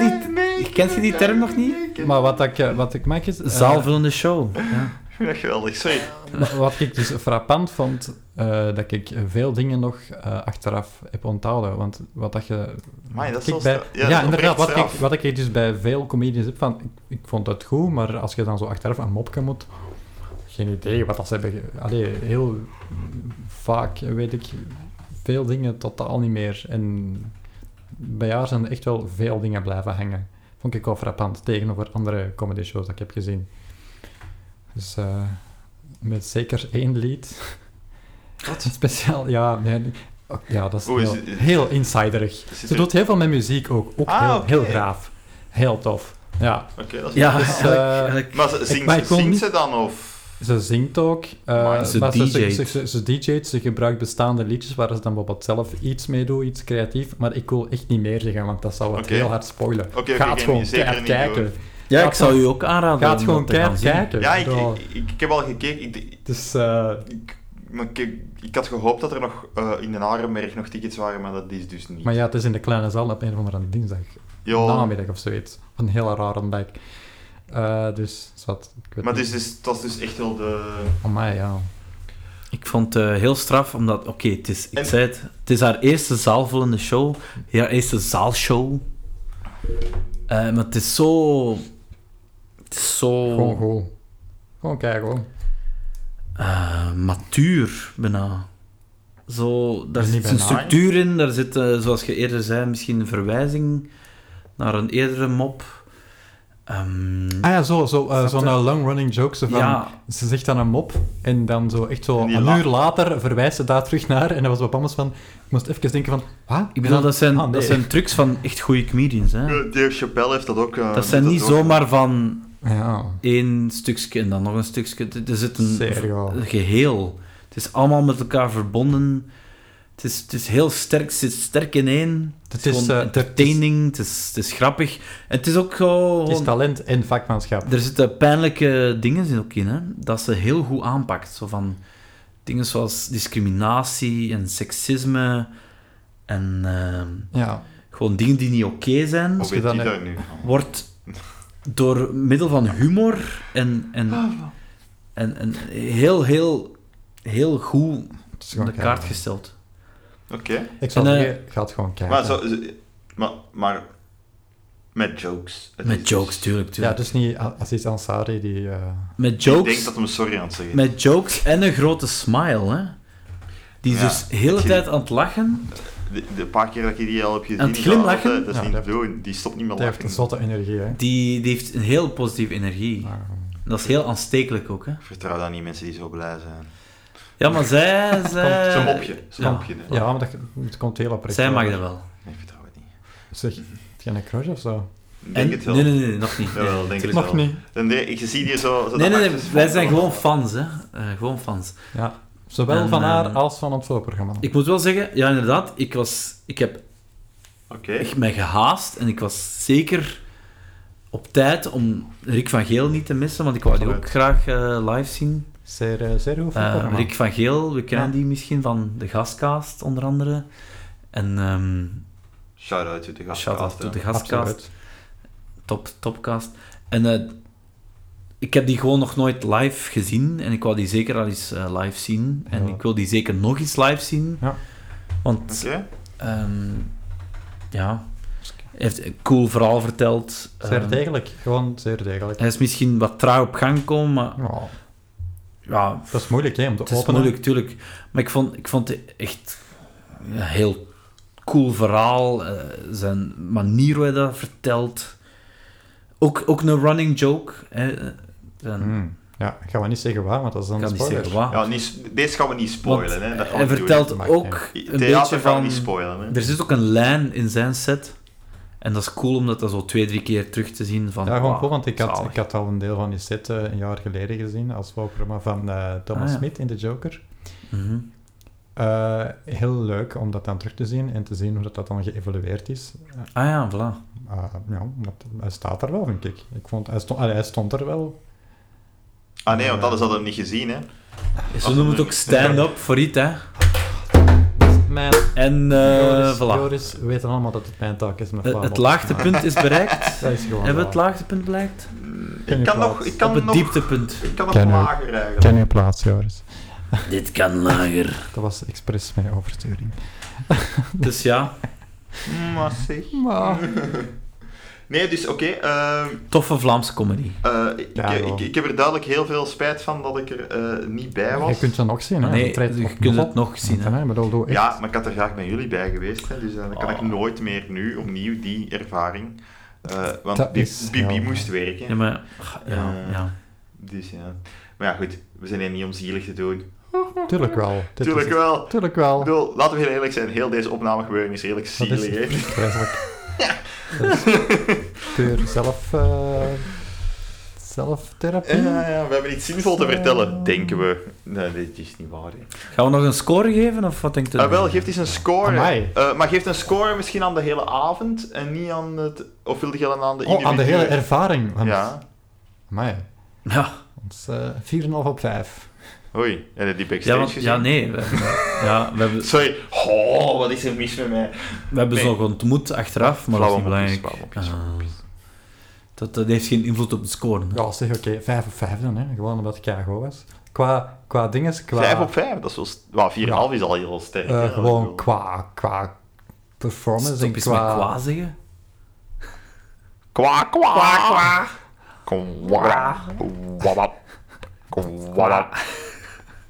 S4: die, kent je die term nog niet?
S1: maar wat, dat ik, eh, wat ik maak is... eh,
S4: Zaalvullende show. Ja.
S3: vind dat geweldig, sorry.
S1: Maar Wat ik dus frappant vond, eh, dat ik veel dingen nog eh, achteraf heb onthouden. Want wat dat je...
S3: Amai, dat is
S1: ik
S3: wel
S1: bij- ja,
S3: stra- ja, dat is
S1: inderdaad. Wat
S3: oprecht
S1: ik,
S3: straf.
S1: wat ik hier dus bij veel comedians heb van... Ik, ik vond het goed, maar als je dan zo achteraf een mopje moet... Geen idee wat dat ze hebben... ge- Allee, heel vaak weet ik veel dingen totaal niet meer. En bij haar zijn er echt wel veel dingen blijven hangen. Vond ik wel frappant tegenover andere comedy shows dat ik heb gezien. Dus eh, met zeker één lied. Wat? Speciaal, ja. nee, oh, ja, dat is,
S3: Oeh, is
S1: heel,
S3: het-
S1: heel insiderig.
S3: Zit
S1: Ze
S3: er-
S1: doet heel veel met muziek ook. Ook
S3: Ah,
S1: heel,
S3: oké.
S1: heel graaf. Heel tof. Ja.
S3: Oké, dat is
S4: Ja,
S1: Dus,
S4: eigenlijk-
S1: eh,
S4: eigenlijk-
S3: Maar ze-
S1: maar
S3: zingt,
S1: ik wil
S3: zingt
S1: niet-
S3: ze dan of...
S1: Ze zingt ook. eh,
S3: Maar
S4: ze
S1: maar ze,
S4: DJ't.
S1: ze, ze, ze DJ't, ze gebruikt bestaande liedjes waar ze dan bijvoorbeeld zelf iets mee doet, iets creatief. Maar ik wil echt niet meer zeggen, want dat zou het
S3: Oké.
S1: heel hard spoilen.
S3: Oké, oké,
S1: Gaat
S3: geen-
S1: gewoon
S3: zeker
S1: keihard
S3: niet,
S1: kijken.
S4: ja, ik
S1: Gaat
S4: zou
S1: gewoon-
S4: u ook aanraden.
S1: Gaat
S4: om
S1: gewoon
S4: dat te gaan
S1: keihard kijken.
S4: zien.
S3: Ja, ik,
S1: Zo.
S3: ik, ik, ik heb al gekeken. Ik,
S1: Dus, eh,
S3: ik, maar ik, ik had gehoopt dat er nog eh, in de Arenberg nog tickets waren, maar dat is dus niet.
S1: maar ja, het is in de kleine zaal op een of andere dinsdag.
S3: Jo,
S1: Namiddag of zoiets. Op Een hele rare dag. Eh, dus, zwart. Ik weet
S3: maar het
S1: niet.
S3: is, dus, het was dus echt wel de...
S1: Amai, ja.
S4: Ik vond het heel straf, omdat... Oké, het is... Ik
S3: En-
S4: zei het. Het is haar eerste zaalvullende show. Haar eerste zaalshow. Eh, maar het is zo... Het is zo...
S1: Gewoon goed. Gewoon kijken, hoor.
S4: eh, matuur, bijna. Zo, daar
S1: Niet
S4: zit een
S1: bijna, hè?
S4: structuur in, daar zit, eh, zoals je eerder zei, misschien een verwijzing naar een eerdere mop. Ehm,
S1: Ah ja, zo, zo, eh,
S4: Snap
S1: zo'n
S4: je?
S1: eh, long-running joke. zo van,
S4: ja,
S1: Ze zegt dan een mop en dan zo echt zo
S3: En die
S1: een
S3: lacht.
S1: uur later verwijst ze daar terug naar. En dat was wat anders van... Ik moest even denken van... Wat?
S4: ik bedoel, dat zijn,
S1: Ah, nee.
S4: dat zijn trucs van echt goede comedians. Hè.
S3: Eh, Dave Chappelle heeft dat ook... eh,
S4: Dat zijn
S3: doet
S4: niet
S3: ook.
S4: zomaar van
S1: Ja,
S4: één stukje en dan nog een stukje. Er zit een,
S1: Serio.
S4: een geheel. Het is allemaal met elkaar verbonden. Het is, het is heel sterk, het zit sterk in één.
S1: Het
S4: Het is
S1: is, eh,
S4: gewoon entertaining, het is, het is grappig. En het is ook gewoon...
S1: het is talent en vakmanschap.
S4: Er zitten pijnlijke dingen in ook in, hè? dat ze heel goed aanpakt. Zo van dingen zoals discriminatie en seksisme en ehm,
S1: Ja.
S4: gewoon dingen die niet oké zijn,
S3: Hoe
S1: je
S3: weet
S1: dan-
S3: je dat nu?
S4: wordt door middel van humor en, en,
S3: Ah,
S4: en, en heel, heel, heel goed
S1: Het is
S4: op
S1: gewoon
S4: de kaart
S1: kijken.
S4: gesteld.
S3: Oké.
S1: Ik zou
S4: En, eh,
S1: zeggen, ga het gewoon kijken.
S3: Maar, zo, zo- maar, maar... Met jokes. Het is
S4: Met
S3: dus-
S4: jokes, tuurlijk.
S1: ja,
S4: tuurlijk.
S1: dus niet A- Aziz Ansari die... eh,
S4: Met
S3: Ik denk
S4: jokes,
S3: dat hem sorry aan het zeggen is.
S4: met jokes en een grote smile. Hè? Die is
S3: Ja,
S4: dus de hele
S3: het-
S4: tijd aan het lachen.
S3: De, de paar keer dat je die al hebt gezien...
S4: het
S3: is
S4: glimlachen?
S3: Dat, dat is
S1: Ja,
S3: niet
S1: dat-
S3: te doen. Die stopt niet meer
S1: die heeft een
S3: lachen.
S1: zotte energie, hè.
S4: Die, die heeft een heel positieve energie.
S3: Ah.
S4: Dat is heel aanstekelijk ook, hè.
S3: Ik vertrouw dat niet, mensen die zo blij zijn.
S4: Ja, maar zij... zij...
S3: Zo'n mopje. Zo'n
S4: Eh, ja.
S3: mopje. hè.
S1: Ja, maar dat, het komt heel oprecht.
S4: Zij mag
S1: over.
S4: dat wel.
S3: Nee, ik vertrouw het niet.
S1: Zeg, heb je een crush of zo?
S3: Ik denk
S4: En-
S3: het wel.
S4: Nee, nee, nee, nog niet.
S3: Jawel,
S4: Nee,
S3: denk
S4: tuurlijk.
S1: Nog
S3: het wel.
S1: niet.
S3: Dan de- ik zie hier zo... zo
S4: Nee,
S3: dat
S4: nee, nee,
S3: acteurs-
S4: wij zijn gewoon fans, hè. Eh, gewoon fans.
S1: Ja. Zowel
S4: En,
S1: van haar
S4: eh,
S1: als van het voorprogramma.
S4: Ik moet wel zeggen, ja, inderdaad, ik was... Ik heb
S3: Oké.
S4: echt mij gehaast en ik was zeker op tijd om Rick van Geel niet te missen, want ik wou die ook graag eh, live zien.
S1: Zeer, eh, zeer goed
S4: Eh,
S1: voorprogramma.
S4: Rick van Geel, we kennen
S1: Ja.
S4: die misschien van de Gastcast, onder andere. En ehm
S3: Shout-out to de gast.
S4: shout-out to de Gastcast.
S1: Absoluut.
S4: top, topcast. En eh, ik heb die gewoon nog nooit live gezien. En ik wou die zeker al eens eh, live zien. En
S1: Ja.
S4: ik wil die zeker nog eens live zien.
S1: Ja.
S4: Want,
S3: Oké.
S4: ehm, ja... Hij heeft een cool verhaal verteld.
S1: Zeer
S4: Ehm,
S1: degelijk. Gewoon zeer degelijk.
S4: Hij is misschien wat trouw op gang gekomen, maar...
S1: Ja.
S4: Ja,
S1: Dat is moeilijk, hè, om te
S4: het is
S1: openen.
S4: moeilijk, tuurlijk. Maar ik vond, ik vond het echt een heel cool verhaal. eh, zijn manier hoe hij dat vertelt. Ook, ook een running joke. Hè. eh, zijn-
S1: Hmm. Ja, ik ga wel niet zeggen waar, want dat is dan
S4: Ik
S1: een
S4: kan niet
S1: spoiler.
S4: zeggen waar.
S3: Ja, niet, s- deze gaan we niet
S4: Want
S3: spoilen. Hè. Dat gaan we
S4: hij
S3: niet
S4: vertelt
S1: Maakt niet
S4: ook
S3: doen.
S4: een
S3: Theater
S4: beetje
S3: gaan we
S4: van...
S3: niet spoilen. Hè.
S4: Er zit ook een lijn in zijn set. En dat is cool om dat dan zo twee, drie keer terug te zien. Van,
S1: Ja, gewoon
S4: wauw,
S1: cool, want ik had,
S4: zalig.
S1: ik had al een deel van die set eh, een jaar geleden gezien als voorprogramma van eh, Thomas
S4: Ah, ja.
S1: Smit in The Joker.
S4: Mhm.
S1: Eh, heel leuk om dat dan terug te zien en te zien hoe dat, dat dan geëvolueerd is.
S4: Ah ja, voilà.
S1: Eh, ja, want hij staat er wel, vind ik. ik vond, hij, stond, allee, hij stond er wel.
S3: Ah nee, want anders hadden we hem niet gezien. Hè.
S4: Ze noemen het ook stand-up voor iets, hè.
S1: Mijn
S4: En eh,
S1: Joris,
S4: voilà.
S1: Joris weten allemaal dat het mijn taak is. Met
S4: Eh,
S1: Vlaanderen.
S4: het laagtepunt is bereikt.
S1: Dat is gewoon
S4: Hebben we
S1: waar.
S4: het laagtepunt bereikt?
S3: Ik kan nog, ik kan
S4: op het
S3: nog,
S4: dieptepunt.
S3: ik kan nog
S1: Ken je-
S3: lager eigenlijk.
S1: Ken je plaats, Joris?
S4: Dit kan lager.
S1: Dat was expres mijn oversturing.
S4: Dus ja,
S3: Mm, Maar zeg.
S1: Maar...
S3: Nee, dus oké. ehm,
S4: toffe Vlaamse comedy.
S3: eh, ik,
S1: Ja,
S3: ik-
S1: wel.
S3: ik, ik heb er duidelijk heel veel spijt van dat ik er eh, niet bij was.
S1: Je kunt ze nog zien, hè?
S4: nee,
S1: Dat treedt
S4: je
S1: nog nog
S4: kunt het
S1: op.
S4: nog zien, hè.
S1: Ja, ik bedoel, doe echt. Ah.
S3: Ja, maar ik had er graag met jullie bij geweest. Hè, dus eh, dan kan ik
S4: Oh.
S3: nooit meer nu opnieuw die ervaring. eh, want
S1: Dat
S3: Bi-
S1: is
S3: Bibi
S1: heel-
S3: moest werken.
S4: Ja, maar... Ja,
S3: Eh,
S4: ja.
S3: Dus ja. Maar ja, goed. We zijn hier niet om zielig te doen.
S1: Tuurlijk wel. Dit
S3: Tuurlijk
S1: is het.
S3: wel.
S1: Tuurlijk
S3: Ik
S1: wel. Dat
S3: bedoel, laten we heel eerlijk zijn. Heel deze opname gebeuren is redelijk
S1: is
S3: zielig. hè.
S1: vreselijk. Dat is puur zelf... eh zelftherapie.
S3: Ja, ja, we hebben iets zinvol te vertellen, denken we. Nee, dit is niet waar. hè.
S4: Gaan we nog een score geven, of wat denkt u?
S3: Ah, wel, geef eens een score.
S1: Amai.
S3: Eh, maar geef een score misschien aan de hele avond en niet aan het... Of wilde je dan aan de
S1: oh, aan de hele
S3: individuele-
S1: ervaring. Want,
S3: Ja,
S1: Amai.
S4: Ja,
S1: Dat is eh, 4,5 op 5.
S3: oei. En die backstage
S4: ja, want,
S3: gezien?
S4: ja nee. We, ja, we hebben,
S3: Sorry. Oh, wat is er mis met mij?
S4: we hebben ze
S3: Nee.
S4: nog ontmoet achteraf, maar dat is niet
S3: Flauwe mopjes,
S4: belangrijk.
S3: flauwe mopjes, flauwe
S4: Ah.
S3: mopjes.
S4: Dat, dat heeft geen invloed op de score. hè.
S1: Ja, zeg, oké. 5 op 5 dan, hè. Gewoon omdat het KGO was. Qua, qua dinges, qua...
S3: Vijf op vijf, dat is wel... st- Wauw, vier en een half is al heel sterk.
S1: eh,
S3: hè.
S1: gewoon qua, qua performance
S4: Stop
S1: en
S4: eens
S1: qua...
S4: met kwa zeggen.
S3: Kwa, kwa. Kwa, kwa. Kwa. Kwa.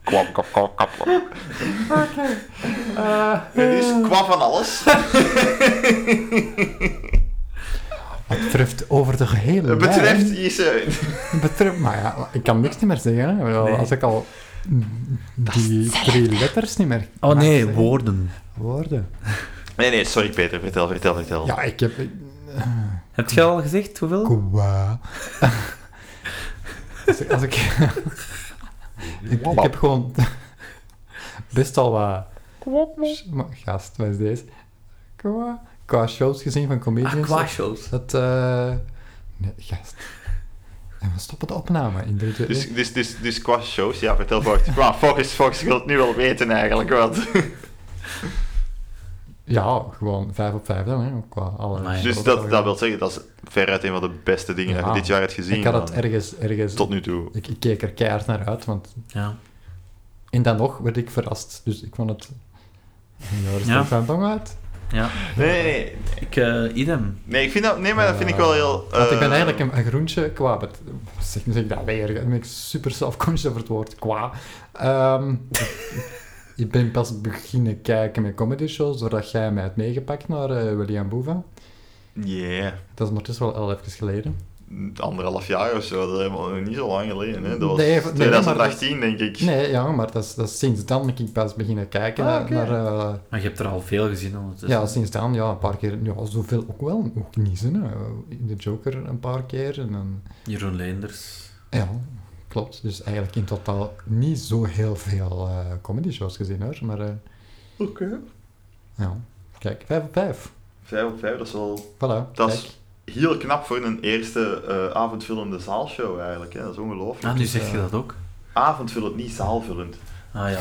S3: Kwa, kwa, kwa, kwa. Nee, dus qua van alles.
S1: Wat betreft over de gehele
S3: Het
S1: lijn.
S3: betreft is eh,
S1: Betreft, maar ja, ik kan niks niet meer zeggen. hè. Wel,
S4: Nee.
S1: Als ik al die drie letters niet meer
S4: Oh
S1: mag
S4: nee,
S1: zeggen.
S4: woorden.
S1: Ah, woorden.
S3: Nee, nee, sorry Peter, vertel, vertel, vertel.
S1: Ja, ik heb... ik-
S4: Heb je al gezegd hoeveel?
S1: Kwa. als ik... Als ik, ik, ik heb gewoon best al wat... Maar Gast, wat is deze? Qua, qua shows gezien van
S4: Ah,
S1: comedians.
S4: qua shows.
S1: Dat... eh nee, gast. En we stoppen de opname in drie, twee, één.
S3: Dus, dus, dus, dus qua shows, ja, vertel voort. Qua focus, focus, ik wil het nu wel weten eigenlijk, want...
S1: Ja, gewoon 5 op 5 dan, hè, qua alle...
S4: Amai.
S3: Dus dat, dat wil zeggen, dat is veruit een van de beste dingen dat
S1: Oh, Ja.
S3: je dit jaar hebt gezien.
S1: Ik had het
S3: dan.
S1: ergens... ergens
S3: Tot nu toe.
S1: ik, ik keek er keihard naar uit, want...
S4: Ja.
S1: En dan nog werd ik verrast, dus ik vond het... Ja, dat is
S4: Ja.
S1: toch van tong uit.
S4: ja.
S3: Nee, nee, nee.
S4: Ik, eh, idem.
S3: Nee, ik vind dat, nee maar dat vind ik wel heel...
S1: Want ik ben
S3: eh,
S1: eigenlijk een, een groentje qua... bet- Zeg, nu zeg ik dat weer, dan ben ik super self-conscious over het woord qua. Ehm, ik ben pas beginnen kijken met comedy shows, doordat jij mij hebt meegepakt naar eh, William Boeva.
S3: Yeah.
S1: Dat is ondertussen wel al even geleden.
S3: Anderhalf jaar of zo, dat is helemaal niet zo lang geleden. Hè. Dat was
S1: Nee, nee, maar
S3: 2018, denk ik.
S1: Nee, ja, maar dat is, dat is sinds dan dat ik pas beginnen kijken
S3: Ah,
S1: naar...
S3: oké.
S1: naar, eh,
S4: Maar je hebt er al veel gezien ondertussen.
S1: ja, sinds dan, ja, een paar keer. Ja, zoveel ook wel. Ook niet zin, hè. De Joker een paar keer. En dan,
S4: Jeroen Leenders.
S1: ja, klopt. Dus eigenlijk in totaal niet zo heel veel eh comedy shows gezien, hoor. Maar eh,
S3: Oké.
S1: ja, kijk, vijf op vijf.
S3: Vijf op vijf, dat is wel
S1: Voilà,
S3: Dat
S1: kijk.
S3: is- heel knap voor een eerste eh, avondvullende zaalshow eigenlijk. Hè. Dat is ongelooflijk.
S4: Ah, nu zeg je
S3: eh,
S4: dat ook.
S1: Ah.
S3: Avondvullend, niet zaalvullend.
S4: Ah ja.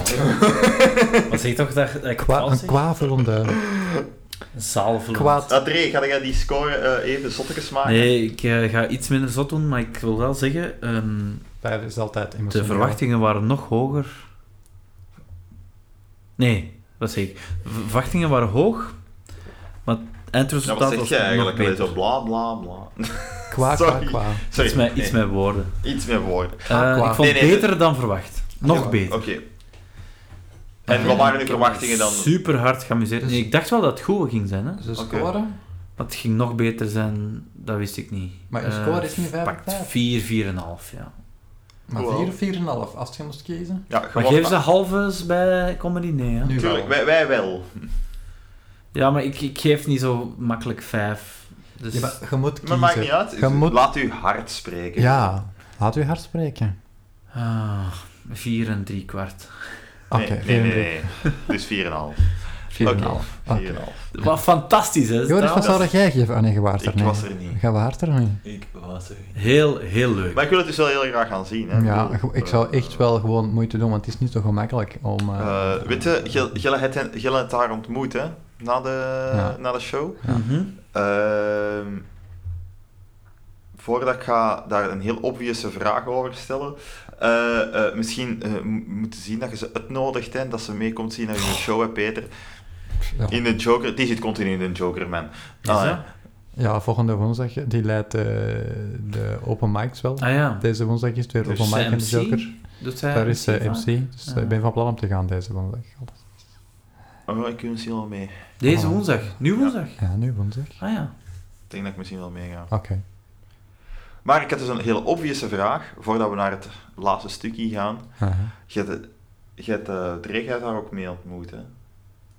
S4: maar zeg toch dat, dat ik
S1: Kwa,
S4: vals
S1: een
S4: zeg?
S1: kwavelende
S4: Zaalvullend.
S1: kwaad.
S3: Adré, Ah, ga jij die score eh, even zottekes maken?
S4: Nee, ik eh, ga iets minder zot doen, maar ik wil wel zeggen, ehm,
S1: Vijf is altijd
S4: de
S1: emotioneel.
S4: verwachtingen waren nog hoger. Nee, wat zeg ik? De verwachtingen waren hoog, maar het
S3: Ja,
S4: eindresultaat
S3: wat zeg
S4: was
S3: jij
S4: nog
S3: eigenlijk? Allee,
S4: beter.
S3: Zo bla bla bla.
S1: Kwa, kwa,
S3: Sorry.
S1: kwa.
S3: Sorry,
S4: iets met, iets
S3: nee,
S4: met woorden.
S3: iets met woorden.
S1: Ah,
S4: Eh,
S1: qua.
S4: ik vond
S3: Nee, nee,
S4: beter dan verwacht. Nog
S1: Ja,
S4: beter.
S3: Oké. En wat waren de verwachtingen dan?
S4: Super hard geamuseerd. Nee, ik dacht wel dat het goed ging zijn, hè?
S1: Ze
S3: Oké.
S1: Dus scoren,
S4: maar het ging nog beter zijn, dat wist ik niet.
S1: maar je
S4: Eh,
S1: score is niet vijf op
S4: Pakt
S1: vijf.
S4: 4, 4,5, ja.
S1: Maar
S3: Wow.
S1: vier, vier en een half, als je moest kiezen.
S3: Ja,
S4: Maar
S3: gewoon-
S4: geven ze halves bij comedy? Nee, hè?
S1: Nu
S3: Tuurlijk,
S1: wel.
S3: wij, wij wel.
S4: Ja, maar ik, ik geef niet zo makkelijk 5. Dus...
S1: Ja, maar je moet kiezen.
S3: Maar maakt niet uit.
S1: Je moet-
S3: Laat u hard spreken.
S1: Ja, laat u hard spreken.
S4: Ah, vier en drie kwart.
S1: Oké,
S3: Nee, nee, nee, nee. Dus 4,5.
S1: vier en een
S3: Oké.
S1: half. Oké.
S3: 4,5.
S4: Wat fantastisch, hè?
S1: Joris, wat
S4: trouwens?
S1: zou jij geven? Ah nee, je waart er
S3: Ik
S1: niet.
S3: was er niet.
S1: Je waart er niet.
S3: Ik was er.
S4: Heel, heel leuk.
S3: Maar ik wil het dus wel heel graag gaan zien. Hè.
S1: Ja,
S3: bedoel,
S1: ik- ik
S3: eh,
S1: zou echt wel gewoon moeite doen, want het is niet zo gemakkelijk om... eh,
S3: eh, weet je, Gil- Gil had hen- Gil had haar ontmoet, hè? Na de,
S1: Ja.
S3: na de show.
S4: Mhm.
S3: Ehm, voordat ik ga daar een heel obvious vraag over stellen, eh, eh, misschien eh, m- moeten zien dat je ze uitnodigt en dat ze mee komt zien naar
S4: Oh.
S3: je show, hè, Peter.
S1: Ja.
S3: In de Joker, die zit continu in de Joker, man.
S4: Is
S3: Ah,
S4: dat?
S1: Ja, volgende woensdag, die leidt eh, de open mics wel.
S4: Ah ja.
S1: Deze woensdag is het weer
S4: Dus
S1: open mic
S4: zij
S1: in de
S4: MC?
S1: Joker.
S4: Doet zij
S1: Daar is eh,
S4: vaak?
S1: MC, dus eh, ik ben van plan om te gaan deze woensdag.
S3: Oh, ik wil misschien wel mee. Ik
S4: Deze woensdag. Nu woensdag.
S1: Ja, nu woensdag.
S4: Ah ja.
S3: denk dat ik misschien wel mee ga.
S1: Oké.
S3: Maar ik had dus een heel obvious vraag, voordat we naar het laatste stukje gaan.
S1: Aha.
S3: Je hebt, je hebt eh, Drake had daar ook mee ontmoet, hè?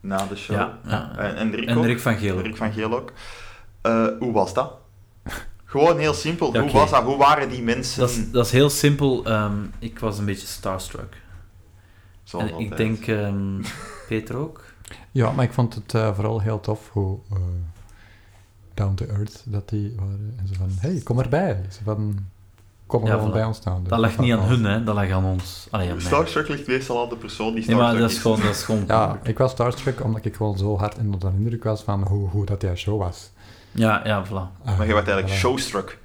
S3: Na de show.
S4: Ja, ja.
S3: En, en Rick
S4: En
S3: ook.
S4: Rick van Geel.
S3: Rick van Geel ook. Eh, hoe was dat? Gewoon heel simpel.
S4: Ja,
S3: Hoe
S4: oké.
S3: was dat? Hoe waren die mensen?
S4: Dat is, dat is heel simpel. ehm, ik was een beetje starstruck.
S3: Zoals
S4: en ik
S3: altijd.
S4: denk ehm, Peter ook.
S1: Ja, maar ik vond het eh, vooral heel tof hoe eh, down to earth dat die waren. En ze van, hey, kom erbij. Ze van, kom
S4: Ja,
S1: gewoon
S4: voilà.
S1: bij ons staan. Dus
S4: Dat lag niet aan hun, hè. Dat lag aan ons. Allee, aan mij.
S3: Starstruck ligt meestal aan de persoon die
S4: Nee,
S3: Starstruck
S4: maar dat is
S3: is.
S4: gewoon... Dat is gewoon
S1: Ja, ik was starstruck omdat ik gewoon zo hard onder de indruk was van hoe, hoe dat die show was.
S4: ja, ja, voilà.
S1: Eh,
S3: Maar je werd eigenlijk
S1: voilà.
S3: showstruck.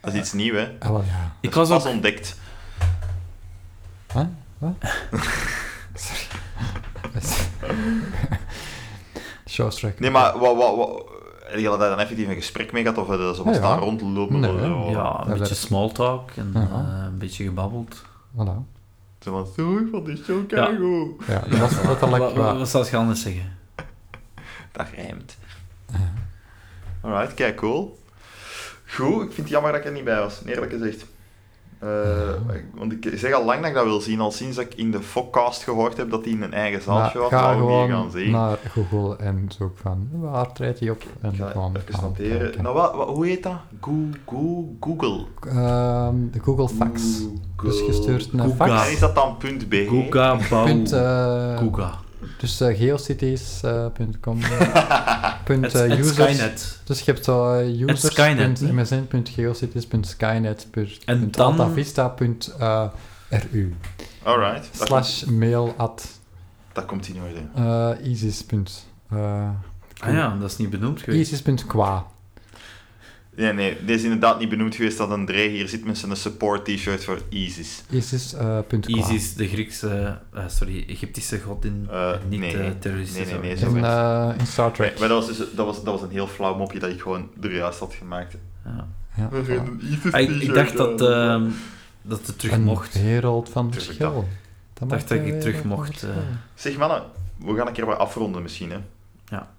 S3: Dat is iets nieuws, hè?
S1: Ah, wel, ja.
S4: Ik was
S3: Dat is pas
S4: ook...
S3: ontdekt.
S1: Huh? Wat? Showstruck.
S3: Nee, maar wat... wat, wat heb je daar dan effectief een gesprek mee gehad? Of hebben ze zo wat
S1: Ja, ja.
S3: staan rondlopen?
S1: Nee,
S3: of zo?
S4: Ja, een
S1: dat-
S4: beetje small talk en
S1: Ja.
S4: eh, een beetje gebabbeld.
S1: Voilà.
S3: Zo van, zo, ik vond die show keigoed.
S1: Ja, dat was letterlijk
S4: Wat, wat,
S1: wat...
S4: zou je anders zeggen?
S3: Dat rijmt. Alright, kijk, cool. Goed, ik vind het jammer dat ik er niet bij was, eerlijk gezegd. Eh, ik- want ik zeg al lang dat ik dat wil zien, al sinds dat ik in de Fokcast gehoord heb dat hij een eigen
S1: Maar
S3: zaaltje had.
S1: Nou, ga
S3: wou ik hier
S1: gewoon
S3: gaan zien.
S1: naar Google en zoek van waar treedt hij op en
S3: ik ga
S1: gewoon
S3: even
S1: gaan
S3: noteren.
S1: kijken.
S3: Nou, wat, wat- hoe heet dat? Goo- Goo- Google.
S1: Ehm, de Google fax.
S3: Google. Oh.
S1: Dus gestuurd naar
S4: Google.
S1: fax.
S3: En is dat dan punt .be?
S4: Koeka, bouw,
S1: Punt, eh,
S4: koeka.
S1: dus eh, geocities.com. punt
S4: Het,
S1: eh,
S4: het
S1: users.
S4: Skynet.
S1: Dus je hebt zo eh,
S4: Het Skynet, niet? En dan-
S1: users.msn.geocities.skynet.altavista.ru
S3: Alright. Dat,
S1: eh, slash mail at
S3: dat komt hier nooit in.
S1: eh, isis. punt, eh,
S4: Ah ja, dat is niet benoemd geweest.
S1: isis punt qua.
S3: Nee, nee. Dit is inderdaad niet benoemd geweest dat André hier zit met zijn support t-shirt voor ISIS.
S1: Isis, eh, punt qua.
S4: Isis, de Griekse, eh, sorry, Egyptische godin,
S3: Eh,
S4: eh, niet
S3: nee,
S4: eh,
S3: nee.
S4: terroristische.
S3: Nee, nee, nee,
S4: zorg.
S3: zo
S1: In,
S3: werd-
S1: eh, in Star
S3: Nee,
S1: Trek.
S3: maar dat was, dus, dat, was, dat was een heel flauw mopje dat ik gewoon er juist had gemaakt.
S4: Ja.
S1: Ja, voilà.
S4: Ah, ik, ik dacht dat,
S3: eh,
S4: ehm, dat het terug
S1: Een
S4: mocht.
S1: wereld van
S3: Tuurlijk,
S1: verschil. Dat
S3: dat-
S4: dacht
S1: maakt
S4: dat
S1: een
S4: ik terug
S1: wereld van
S4: mocht,
S1: verschil.
S4: eh.
S3: Zeg mannen, we gaan een keer wat afronden misschien. Hè.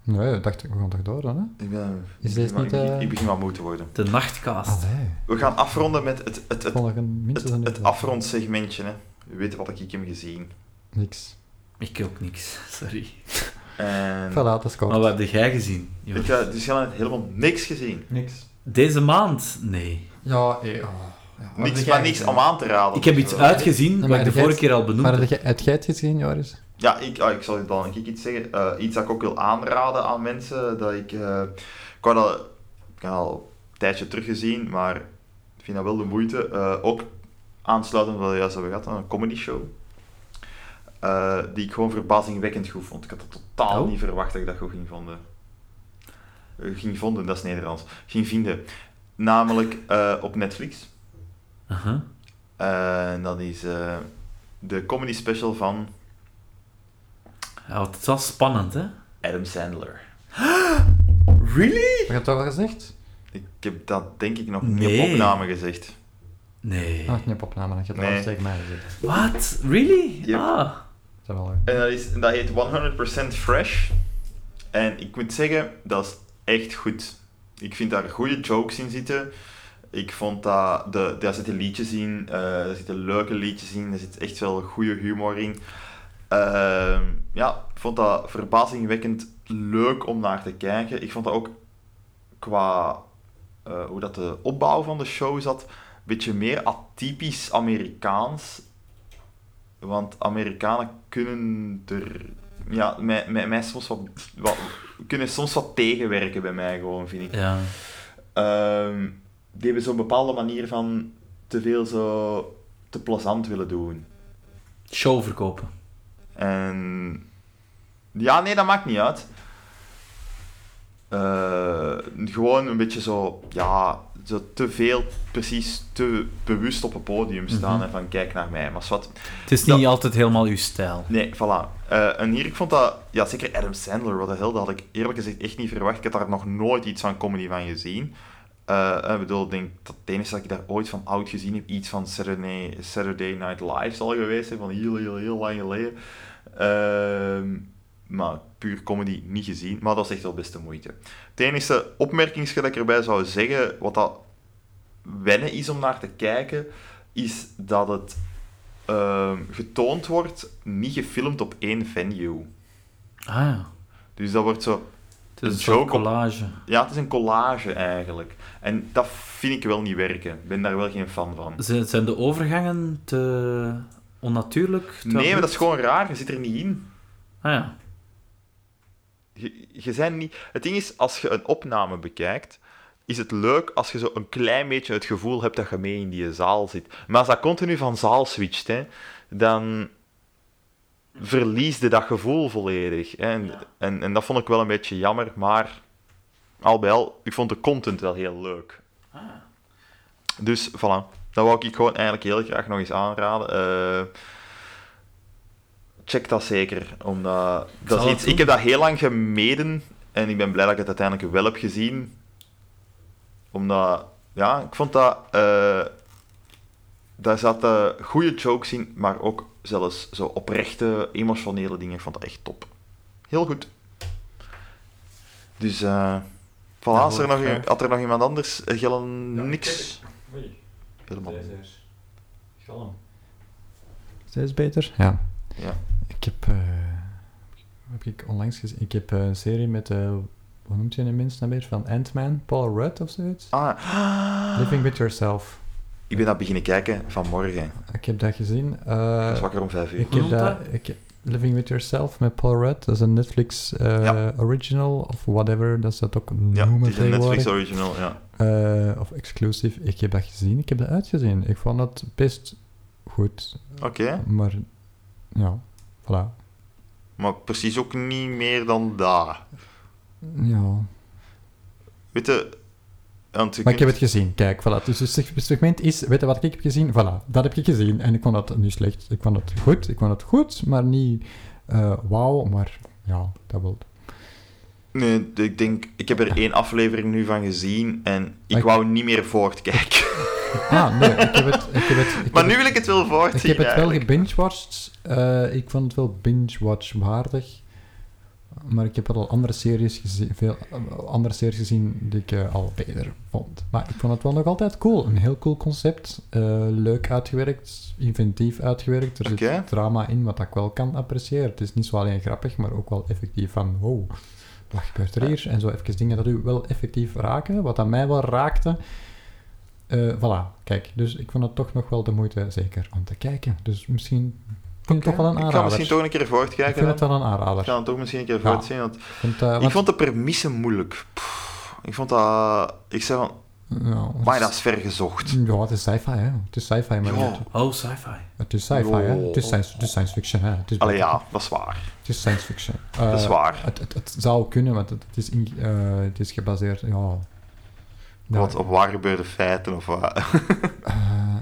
S1: Nee, dat dacht ik, we gaan toch door dan, hè?
S3: Ik, ben,
S1: Is
S3: ik,
S1: dit
S3: begin-
S1: niet...
S3: ik-
S1: eh
S3: ik begin wat moe te worden.
S4: De nachtkaast.
S1: Allee,
S3: We gaan afronden met het, het, het,
S1: volgende minstens een
S3: het,
S1: uur
S3: het
S1: dan.
S3: afrondsegmentje. Hè. U weet wat ik hem gezien.
S1: Niks.
S4: Ik ook niks, sorry.
S3: En
S1: Voilà, dat is kort.
S4: Maar wat heb jij gezien?
S3: ik
S4: Joris?
S3: heb dus helemaal, helemaal niks gezien.
S1: Niks.
S4: Deze maand? Nee.
S1: Ja, eh, oh. ja.
S3: Niks, maar niks om aan te raden.
S4: Ik heb iets uitgezien
S1: maar
S4: wat ik de
S1: jij-
S4: vorige keer al benoemd
S1: Maar
S4: heb.
S1: heb jij- heb jij het gezien, Joris?
S3: Ja, ik, ah, ik zal u dan een keer iets zeggen. Eh, iets dat ik ook wil aanraden aan mensen. Dat ik, eh, ik, had al, ik had al een tijdje teruggezien, maar ik vind dat wel de moeite. Eh, ook aansluitend wat we juist hebben gehad, een comedy show. Eh, die ik gewoon verbazingwekkend goed vond. Ik had het totaal
S4: Oh.
S3: niet verwacht dat ik dat goed ging vonden. Eh, ging vonden, dat is Nederlands. Ging vinden. Namelijk eh, op Netflix.
S4: Aha.
S3: Eh, en dat is eh, de comedy special van
S4: Ja, want het was spannend, hè?
S3: Adam Sandler.
S4: Really?
S1: Heb je het al gezegd?
S3: Ik heb dat denk ik nog niet op
S4: Nee.
S3: opname gezegd.
S4: Nee.
S1: Ah, het niet op opname, dat je het
S3: Nee.
S1: al tegen mij gezegd.
S4: Wat? Really?
S3: Yep.
S4: Ah.
S1: Dat is wel leuk.
S3: En dat, is, dat heet 100% Fresh. En ik moet zeggen, dat is echt goed. Ik vind daar goede jokes in zitten. Ik vond dat... De, daar zitten liedjes in. eh daar zitten leuke liedjes in. Er zit echt wel goede humor in. Ehm, ja, ik vond dat verbazingwekkend leuk om naar te kijken. Ik vond dat ook qua eh, hoe dat de opbouw van de show zat, een beetje meer atypisch Amerikaans. Want Amerikanen kunnen er... Ja, mij, mij, mij soms wat, wat... Kunnen soms wat tegenwerken bij mij gewoon, vind ik.
S4: Ja.
S3: Ehm, die hebben zo'n bepaalde manier van te veel zo... te plezant willen doen.
S4: Show verkopen.
S3: En... Ja, nee, dat maakt niet uit. Eh, gewoon een beetje zo... Ja, zo te veel, precies te bewust op een podium staan
S4: Mhm.
S3: en van kijk naar mij. Maar wat,
S4: Het is
S3: Ja.
S4: niet altijd helemaal uw stijl.
S3: nee, voilà. Eh, en hier, ik vond dat, ja zeker Adam Sandler, wat de hel, dat had ik eerlijk gezegd echt niet verwacht. Ik had daar nog nooit iets van comedy van gezien. Eh, ik bedoel, ik denk dat het enige dat ik daar ooit van oud gezien heb, iets van Saturday, Saturday Night Live zal geweest zijn, van heel, heel, heel lang geleden. Ehm, maar puur comedy niet gezien, maar dat is echt wel best de moeite. Het enige opmerkingsje dat ik erbij zou zeggen, wat dat wennen is om naar te kijken, is dat het ehm, getoond wordt, niet gefilmd op één venue.
S4: Ah ja.
S3: Dus dat wordt zo...
S4: Het is
S3: Een
S4: een soort
S3: joke op-
S4: collage.
S3: Ja, het is een collage eigenlijk. En dat vind ik wel niet werken. Ik ben daar wel geen fan van.
S4: Zijn, zijn de overgangen te onnatuurlijk? te
S3: Nee, maar
S4: abrupt?
S3: dat is gewoon raar. Je zit er niet in.
S4: Ah ja.
S3: Je, je zijn niet... Het ding is, als je een opname bekijkt, is het leuk als je zo een klein beetje het gevoel hebt dat je mee in die zaal zit. Maar als dat continu van zaal switcht, hè, dan verlies je dat gevoel volledig. Hè. En, en, en dat vond ik wel een beetje jammer, maar al bij al, ik vond de content wel heel leuk.
S4: Ah.
S3: Dus, voilà. Dat wou ik gewoon eigenlijk heel graag nog eens aanraden. Eh, check dat zeker, omdat dat
S4: zal
S3: is
S4: het
S3: iets...
S4: doen.
S3: Ik heb dat heel lang gemeden en ik ben blij dat ik het uiteindelijk wel heb gezien. Omdat, ja, ik vond dat... eh, daar zaten goede jokes in, maar ook zelfs zo oprechte, emotionele dingen. Ik vond dat echt top. Heel goed. Dus, eh... Voilà, als er, nog, had er nog iemand anders? Eh, Gillen,
S6: Ja,
S3: niks.
S6: Oei,
S3: Helemaal.
S6: deze is... Is beter? Ja.
S3: Ja.
S1: Ik heb, eh, heb ik onlangs gezien, ik heb eh, een serie met, eh, hoe noemt je een mens nou weer, van Ant-Man, Paul Rudd of zoiets?
S3: Ah,
S1: Living With Yourself.
S3: ik ben dat beginnen kijken vanmorgen.
S1: Ik heb dat gezien.
S3: Ik was
S1: eh
S3: wakker om vijf uur.
S1: ik
S4: Hoe
S1: heb
S4: noemt
S1: dat, ik heb- Living With Yourself met Paul Rudd, dat is een Netflix eh,
S3: Ja.
S1: original of whatever, dat is dat ook
S3: Ja,
S1: noemen
S3: het is een
S1: tegenwoordig.
S3: Netflix original, ja.
S1: Eh, of exclusief. Ik heb dat gezien, ik heb dat uitgezien. Ik vond dat best goed,
S3: Oké,
S1: maar ja, voilà.
S3: maar precies ook niet meer dan dat.
S1: Ja,
S3: Weet je... Want je
S1: Maar ik heb
S3: kunt-
S1: het gezien, kijk, voilà. Dus het seg- segment is, weet je wat ik heb gezien? Voilà, dat heb ik gezien. En ik vond dat niet slecht. Ik vond het goed, ik vond het goed, maar niet eh, wauw, maar ja, dat wil.
S3: Nee, ik denk... Ik heb er één aflevering nu van gezien en ik
S1: Maar-
S3: wou niet meer voortkijken.
S1: Ah, nee, ik heb het... Ik heb het ik
S3: Maar
S1: heb
S3: nu wil ik het wel
S1: het, ik
S3: voortzien
S1: heb het wel
S3: eigenlijk.
S1: gebingewatcht. Eh ik vond het wel binge-watch waardig. Maar ik heb wel al andere series gezien, veel eh, andere series gezien die ik eh, al beter vond. Maar ik vond het wel nog altijd cool. Een heel cool concept. eh, leuk uitgewerkt, inventief uitgewerkt. Er zit
S3: Oké.
S1: drama in wat ik wel kan appreciëren. Het is niet zo alleen grappig, maar ook wel effectief van wow, wat gebeurt er hier? En zo even dingen dat u wel effectief raken, wat aan mij wel raakte. Eh, voilà, kijk. Dus ik vond het toch nog wel de moeite zeker om te kijken. Dus misschien vind ik het toch wel een
S3: Ik ga
S1: aanrader.
S3: misschien toch een keer
S1: ik
S3: voortkijken
S1: vind
S3: dan.
S1: het wel een aanrader.
S3: Ik ga het toch misschien een keer
S1: Ja.
S3: voortzien, want
S1: Vind, eh,
S3: Ik
S1: wat-
S3: vond de premisse moeilijk. Pff, ik vond dat... Ik zei van,
S1: ja,
S3: maar dat is vergezocht.
S1: Ja, het is sci-fi, hè. Het is sci-fi, maar
S3: Ja.
S1: niet-
S4: Oh, sci-fi.
S1: Het is sci-fi, hè. Het is science, het is science fiction, hè. Het is,
S3: Allee, ja, dat is waar.
S1: Het is science fiction.
S3: Dat is
S1: Eh,
S3: waar.
S1: Het, het, het zou kunnen, want het, het is, in- eh, het is gebaseerd... Ja,
S3: Wat op waar gebeurde feiten of wat.
S1: Eh,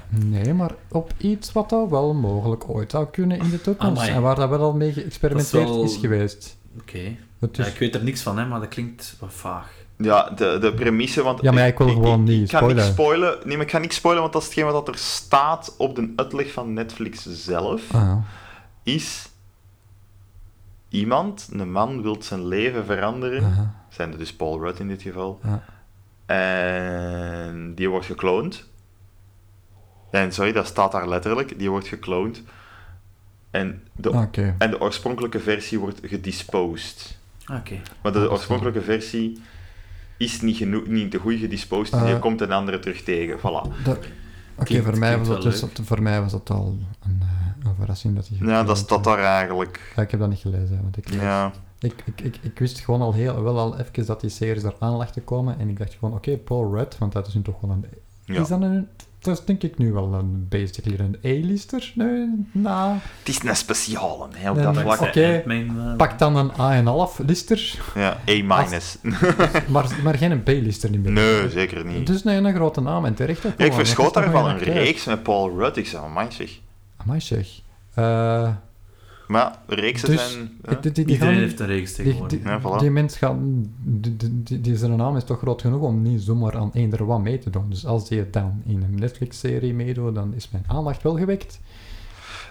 S1: nee, maar op iets wat dat wel mogelijk ooit zou kunnen in de toekomst.
S4: Amai.
S1: En waar dat wel al mee geëxperimenteerd
S4: Dat is wel-
S1: is geweest.
S4: Oké.
S1: Het
S4: Ja,
S1: is-
S4: ik weet er niks van, hè, maar dat klinkt wat vaag.
S3: Ja, de, de premisse, want...
S1: Ja, maar ik wil gewoon niet
S3: Ik ga
S1: spoilen.
S3: niks spoilen. Nee, maar ik ga niks spoilen, want dat is hetgeen wat er staat op de uitleg van Netflix zelf.
S1: Ah, ja.
S3: Is... Iemand, een man, wil zijn leven veranderen.
S1: Aha.
S3: Zijn er dus Paul Rudd in dit geval.
S1: Ja.
S3: En die wordt gekloond. En sorry, dat staat daar letterlijk. Die wordt gekloond. En de,
S1: Ah, Oké.
S3: en de oorspronkelijke versie wordt gedisposed.
S4: Ah, Oké.
S3: Maar de oorspronkelijke versie is niet, genoeg, niet de goede gedisposed. en je
S1: Eh.
S3: komt een andere terug tegen. Voilà.
S1: Dat- Oké,
S4: Klinkt-
S1: voor, mij was
S4: klinkt
S1: dat
S4: wel
S1: dus, voor mij was dat al een, eh, een verrassing dat hij...
S3: Ja, dat
S1: gekloond
S3: staat
S1: werd.
S3: daar eigenlijk.
S1: eh. Ja, ik heb dat niet gelezen, hè, want ik,
S3: Ja.
S1: ik, ik, ik, ik wist gewoon al heel, wel al even dat die series eraan lag te komen. En ik dacht gewoon, oké, Paul Rudd, want dat is nu toch wel een
S3: Ja.
S1: Is dat een... Dat is denk ik nu wel een basically een E-lister. Nee, nou...
S3: Het is een speciale, hè, op
S1: Nee,
S3: dat
S1: nee.
S3: vlak.
S1: Oké.
S4: Mijn, eh,
S1: Pak dan een A-en-half-lister,
S3: Ja, E-minus.
S1: maar, maar geen B-lister niet meer.
S3: Nee, zeker niet.
S1: Dus nee, een grote naam en terecht. ook
S3: Ja, ik
S1: wel, want
S3: verschoot
S1: dat is toch
S3: daarvan
S1: wel
S3: een
S1: keer.
S3: reeks met Paul Rudd. Ik zei, amai zeg.
S1: Amai zeg. Eh,
S3: Maar reeksen
S1: Dus,
S3: zijn... hè?
S1: ik- die, die, die
S4: Iedereen
S1: gaan-
S4: heeft een reeks
S1: die,
S4: tegenwoordig.
S1: die,
S3: Ja, voilà.
S1: die mens gaat... Die, die- die- die- zijn naam is toch groot genoeg om niet zomaar aan eender wat mee te doen. Dus als die het dan in een Netflix-serie meedoet, dan is mijn aandacht wel gewekt.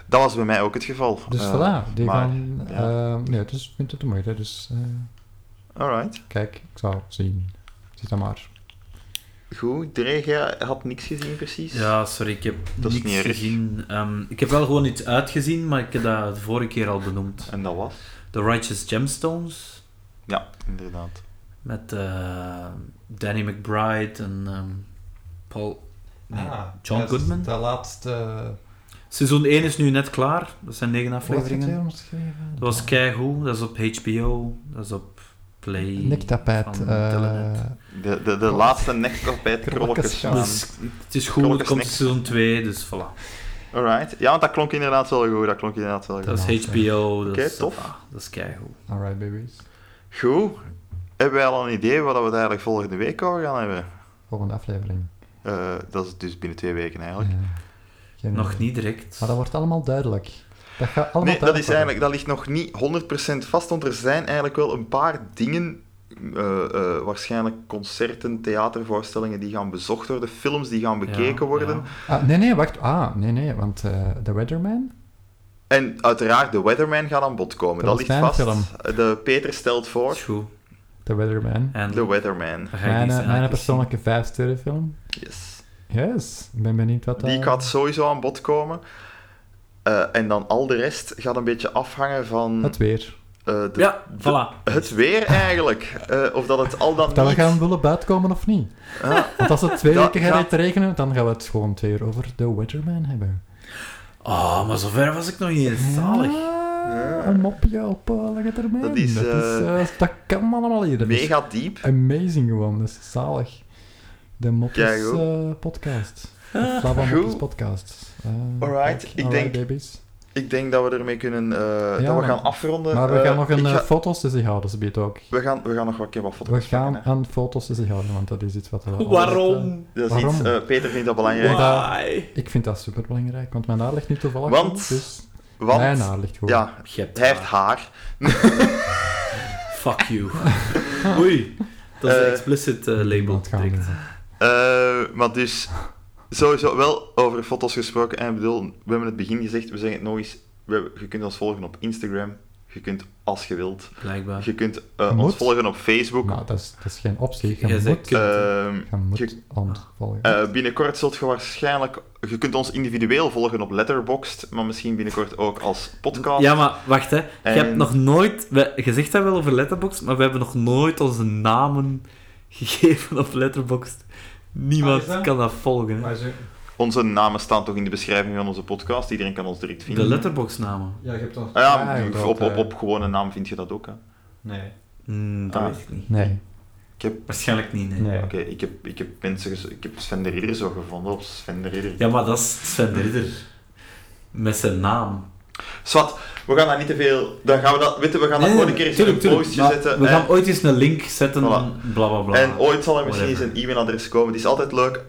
S3: Dat was bij mij ook het geval.
S1: Dus
S3: Eh,
S1: voilà, die
S3: maar,
S1: gaan...
S3: ja.
S1: eh, nee, dus ik vind het de moeite. Dus eh,
S3: Alright.
S1: kijk, ik zou zien. Zit dat maar.
S3: Goed, Dreg, jij had niks gezien precies.
S4: Ja, sorry, ik heb
S3: Dat is
S4: niks
S3: niet erg.
S4: gezien. Ehm, ik heb wel gewoon iets uitgezien, maar ik heb dat de vorige keer al benoemd.
S3: En dat was?
S4: The Righteous Gemstones,
S3: Ja, inderdaad.
S4: met eh, Danny McBride en ehm, Paul... nee,
S3: Ah,
S4: John
S7: dat is
S4: Goodman.
S7: De laatste...
S4: Seizoen 1 is nu net klaar. Dat zijn 9 afleveringen. Dat
S1: Dat
S4: was keigoed. Dat is op HBO. Dat is op Play.
S1: Nektapijt.
S4: van
S1: eh,
S4: Telenet.
S3: De, de, de laatste nektkap bij het
S1: Krolletjes
S3: krolletjesgaan.
S4: Dus het is goed.
S3: Kronkers
S4: Er komt
S3: niks.
S4: seizoen 2, dus voilà.
S3: Alright. Ja, want dat klonk inderdaad wel goed. Dat klonk inderdaad wel goed.
S4: Dat is
S1: Telenet,
S4: HBO. Dat
S3: Oké,
S4: is,
S3: tof.
S4: ah, dat is keigoed.
S1: Alright, babies.
S3: Goed. Hebben wij al een idee wat we het eigenlijk volgende week over gaan hebben?
S1: Volgende aflevering.
S3: Eh, dat is dus binnen twee weken eigenlijk.
S1: Ja. Geen
S4: Nog
S1: idee.
S4: niet direct.
S1: Maar dat wordt allemaal duidelijk. Dat gaat allemaal
S3: Nee, dat, is
S1: duidelijk worden.
S3: eigenlijk, dat ligt nog niet 100% vast, want er zijn eigenlijk wel een paar dingen, eh, eh, waarschijnlijk concerten, theatervoorstellingen die gaan bezocht worden, films die gaan
S4: Ja,
S3: bekeken worden.
S4: ja.
S1: Ah, nee, nee, wacht. Ah, nee, nee, want eh The Weatherman?
S3: En uiteraard, The Weatherman gaat aan bod komen.
S1: Dat
S3: Dat,
S1: is
S3: ligt
S1: mijn
S3: vast.
S1: film.
S3: De Peter stelt
S4: Dat is
S3: voor
S4: goed.
S1: The Weatherman.
S4: En
S3: The Weatherman.
S4: dan ga ik
S1: Mijn,
S4: iets
S1: eh, mijn
S4: uitzien.
S1: persoonlijke vijfsterrenfilm.
S3: Yes.
S1: Yes, ik ben benieuwd wat eh, dat...
S3: Die gaat sowieso aan bod komen. Eh, en dan al de rest gaat een beetje afhangen van
S1: Het weer.
S3: eh, de-
S4: Ja,
S3: de-
S4: voilà.
S3: het weer eigenlijk. Eh, of dat het al dan
S1: Dat we
S3: niet...
S1: gaan willen buitenkomen of niet.
S3: Ah. Ja.
S1: Want als het twee
S3: Dat
S1: weken gaat
S3: gaat-
S1: het regenen, dan gaan we het gewoon twee uur over The Weatherman hebben.
S4: Oh, maar zover was ik nog niet eens. Zalig.
S1: Ja,
S3: Ja.
S1: Een mopje op eh, lange termijn.
S3: Dat is, eh,
S1: eh, dat kan allemaal hier. Dat is
S3: Mega diep.
S1: Amazing gewoon, dat is zalig. De Mopjes
S3: Keigoed.
S1: eh, podcast. De Flava
S3: Ah, Goed.
S1: Mopjes podcast. Eh,
S3: Alright,
S1: kijk,
S3: ik
S1: alright,
S3: denk-
S1: babies.
S3: Ik denk dat we ermee kunnen... eh, dat we
S1: maar-
S3: gaan afronden.
S1: Maar we gaan
S3: Eh,
S1: nog een
S3: ik
S1: eh,
S3: ga-
S1: foto's tussen houden, ze biedt ook.
S3: we, gaan, we gaan nog wat kebabfoto's
S1: We gaan
S3: pakken, hè.
S1: aan foto's tussen houden, want dat is iets wat... we altijd,
S4: Waarom?
S3: Dat is
S1: Waarom?
S3: iets... eh, Peter vindt dat belangrijk.
S1: Omdat-
S4: Why?
S1: eh, ik vind dat superbelangrijk, want mijn haar ligt nu toevallig
S3: Want-
S1: goed, dus
S3: Want...
S1: mijn haar ligt goed.
S3: ja,
S4: Je hebt
S3: hij heeft
S4: haar.
S3: haar.
S4: Fuck you. Oei. Dat is een
S3: Eh,
S4: explicit eh, label.
S1: Niemand gaat
S4: direct.
S1: doen.
S3: Eh, maar dus, sowieso wel over foto's gesproken. En ik bedoel, we hebben het begin gezegd, we zeggen het nog eens. We, hebben- je kunt ons volgen op Instagram. Je kunt als je wilt.
S4: Blijkbaar.
S3: Je kunt eh,
S1: Moet.
S3: ons volgen op Facebook.
S1: Nou, dat is, dat is geen optie. Je
S4: Jij zei
S1: moet,
S4: kut.
S3: Ehm,
S1: je moet
S3: je-
S1: ontvolgen.
S3: eh, binnenkort zult je waarschijnlijk... Je kunt ons individueel volgen op Letterboxd, maar misschien binnenkort ook als podcast.
S4: Ja, maar wacht hè. Je
S3: En-
S4: hebt nog nooit. We, je zegt dat wel over Letterboxd, maar we hebben nog nooit onze namen gegeven op Letterboxd.
S7: Ah,
S4: Niemand
S7: is dat?
S4: kan dat volgen. hè.
S7: Maar ze,
S3: Onze namen staan toch in de beschrijving van onze podcast. Iedereen kan ons direct
S4: De
S3: vinden.
S4: Letterboxd-namen.
S7: ja, je hebt ons...
S3: Ah ja,
S1: Ja, dat,
S3: op, op,
S1: eh.
S3: op gewone naam vind je dat ook. Hè.
S7: Nee.
S4: Hmm, dat
S3: Ah.
S4: weet ik niet.
S1: Nee.
S4: Waarschijnlijk niet, nee.
S7: Nee.
S3: Oké, ik, heb, ik heb mensen... gez- Ik heb Sven de Ridder zo gevonden op Sven de Ridder.
S4: Ja, maar dat is Sven de Ridder. Met zijn naam.
S3: Zwat, we gaan daar niet te veel. Dan gaan we dat, weet je, we gaan
S4: Nee,
S3: dat gewoon een keer in een
S4: tuurlijk, tuurlijk,
S3: postje
S4: maar
S3: zetten.
S4: We
S3: hè.
S4: gaan ooit eens een link zetten,
S3: Voilà.
S4: bla bla bla.
S3: en ooit zal er misschien eens
S4: Whatever.
S3: een e-mailadres komen. Het is altijd leuk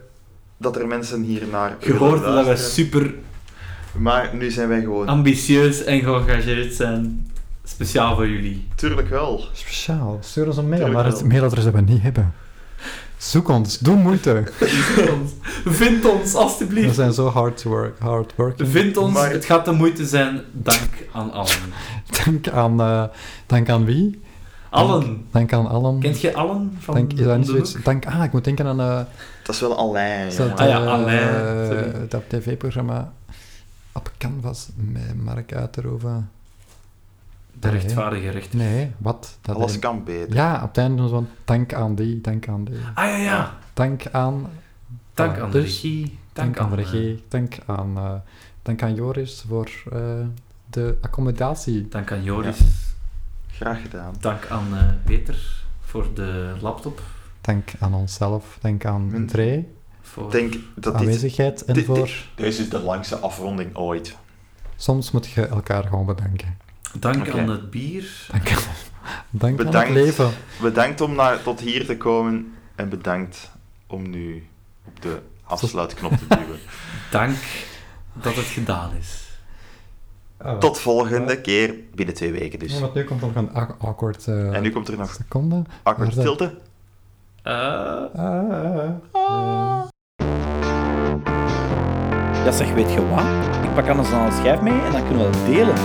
S3: dat er mensen hier naar.
S4: Je
S3: willen
S4: hoort dat wij
S3: luisteren.
S4: super
S3: Maar nu zijn wij
S4: Ah.
S3: gewoon.
S4: ambitieus en geëngageerd zijn. Speciaal voor jullie.
S3: Tuurlijk wel.
S1: Speciaal. Stuur ons een mail,
S3: Tuurlijk
S1: maar het
S3: wel.
S1: mailadres dat we niet hebben. Zoek ons, doe moeite.
S4: Vind ons, Vind ons
S1: We
S4: alstublieft.
S1: zijn zo hard, to work, hard working.
S4: Vind ons,
S3: Maar-
S4: het gaat de moeite zijn. Dank aan allen.
S1: Dank aan, eh, dank aan wie?
S4: Allen.
S1: Dank aan allen.
S4: Kent je allen van
S1: Dank, is dat
S4: om
S1: niet
S4: de
S1: zoiets?
S4: hoek?
S1: Dank, ah, ik moet denken aan eh,
S3: Dat is wel een lijn.
S1: dat,
S4: Ah ja,
S1: eh,
S4: Alain, sorry.
S1: dat tv-programma op Canvas met Mark Uiterhoven.
S4: De rechtvaardige rechter.
S1: Nee, wat? Dat
S3: Alles
S1: een-
S3: kan beter.
S1: Ja, op het einde doen ze van dank aan die, dank aan die.
S4: Ah ja, ja.
S1: Dank aan...
S4: Dank
S1: Voilà,
S4: aan de
S1: dus-
S4: regie.
S1: Dank, aan de
S4: eh,
S1: regie, dank aan, eh, dank aan Joris voor eh, de accommodatie.
S4: Dank aan Joris.
S3: Graag gedaan.
S4: Dank aan eh, Peter voor de laptop.
S1: Dank aan onszelf, dank aan
S3: Mensen.
S1: Dre.
S4: Voor...
S3: denk dat dit...
S1: Aanwezigheid en
S3: dit-
S1: voor...
S3: Deze is de langste afronding ooit.
S1: Soms moet je elkaar gewoon bedanken.
S4: Dank
S3: Oké.
S4: aan het bier.
S1: Dank, dank aan
S3: Bedankt.
S1: het leven.
S3: Bedankt om naar, tot hier te komen en bedankt om nu op de afsluitknop te duwen.
S4: Dank dat het gedaan is.
S1: Oh.
S3: Tot volgende keer, binnen twee weken dus.
S1: Ja, want nu komt nog een ak- awkward eh,
S3: En nu komt er nog
S1: seconde.
S3: awkward
S1: Maar dat-
S3: stilte.
S4: Eh,
S1: Ah, ah, ah.
S8: Ja, zeg, weet je wat? Ik pak anders dan een schijf mee en dan kunnen we dat delen.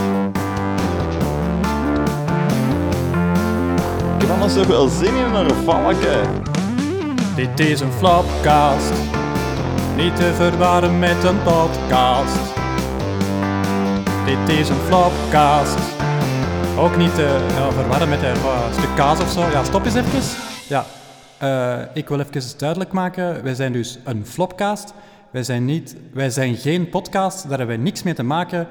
S3: Ik heb anders toch wel zin in een valken.
S9: Dit is een flopcast, niet te verwarren met een podcast. Dit is een flopcast, ook niet te ja, verwarren met een eh, stuk kaas of zo. Ja, stop eens even. Ja, eh, ik wil even duidelijk maken, wij zijn dus een flopcast. Wij zijn, niet, wij zijn geen podcast, daar hebben wij niks mee te maken.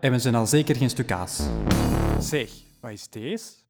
S9: En we zijn al zeker geen stuk kaas. Zeg, wat is deze?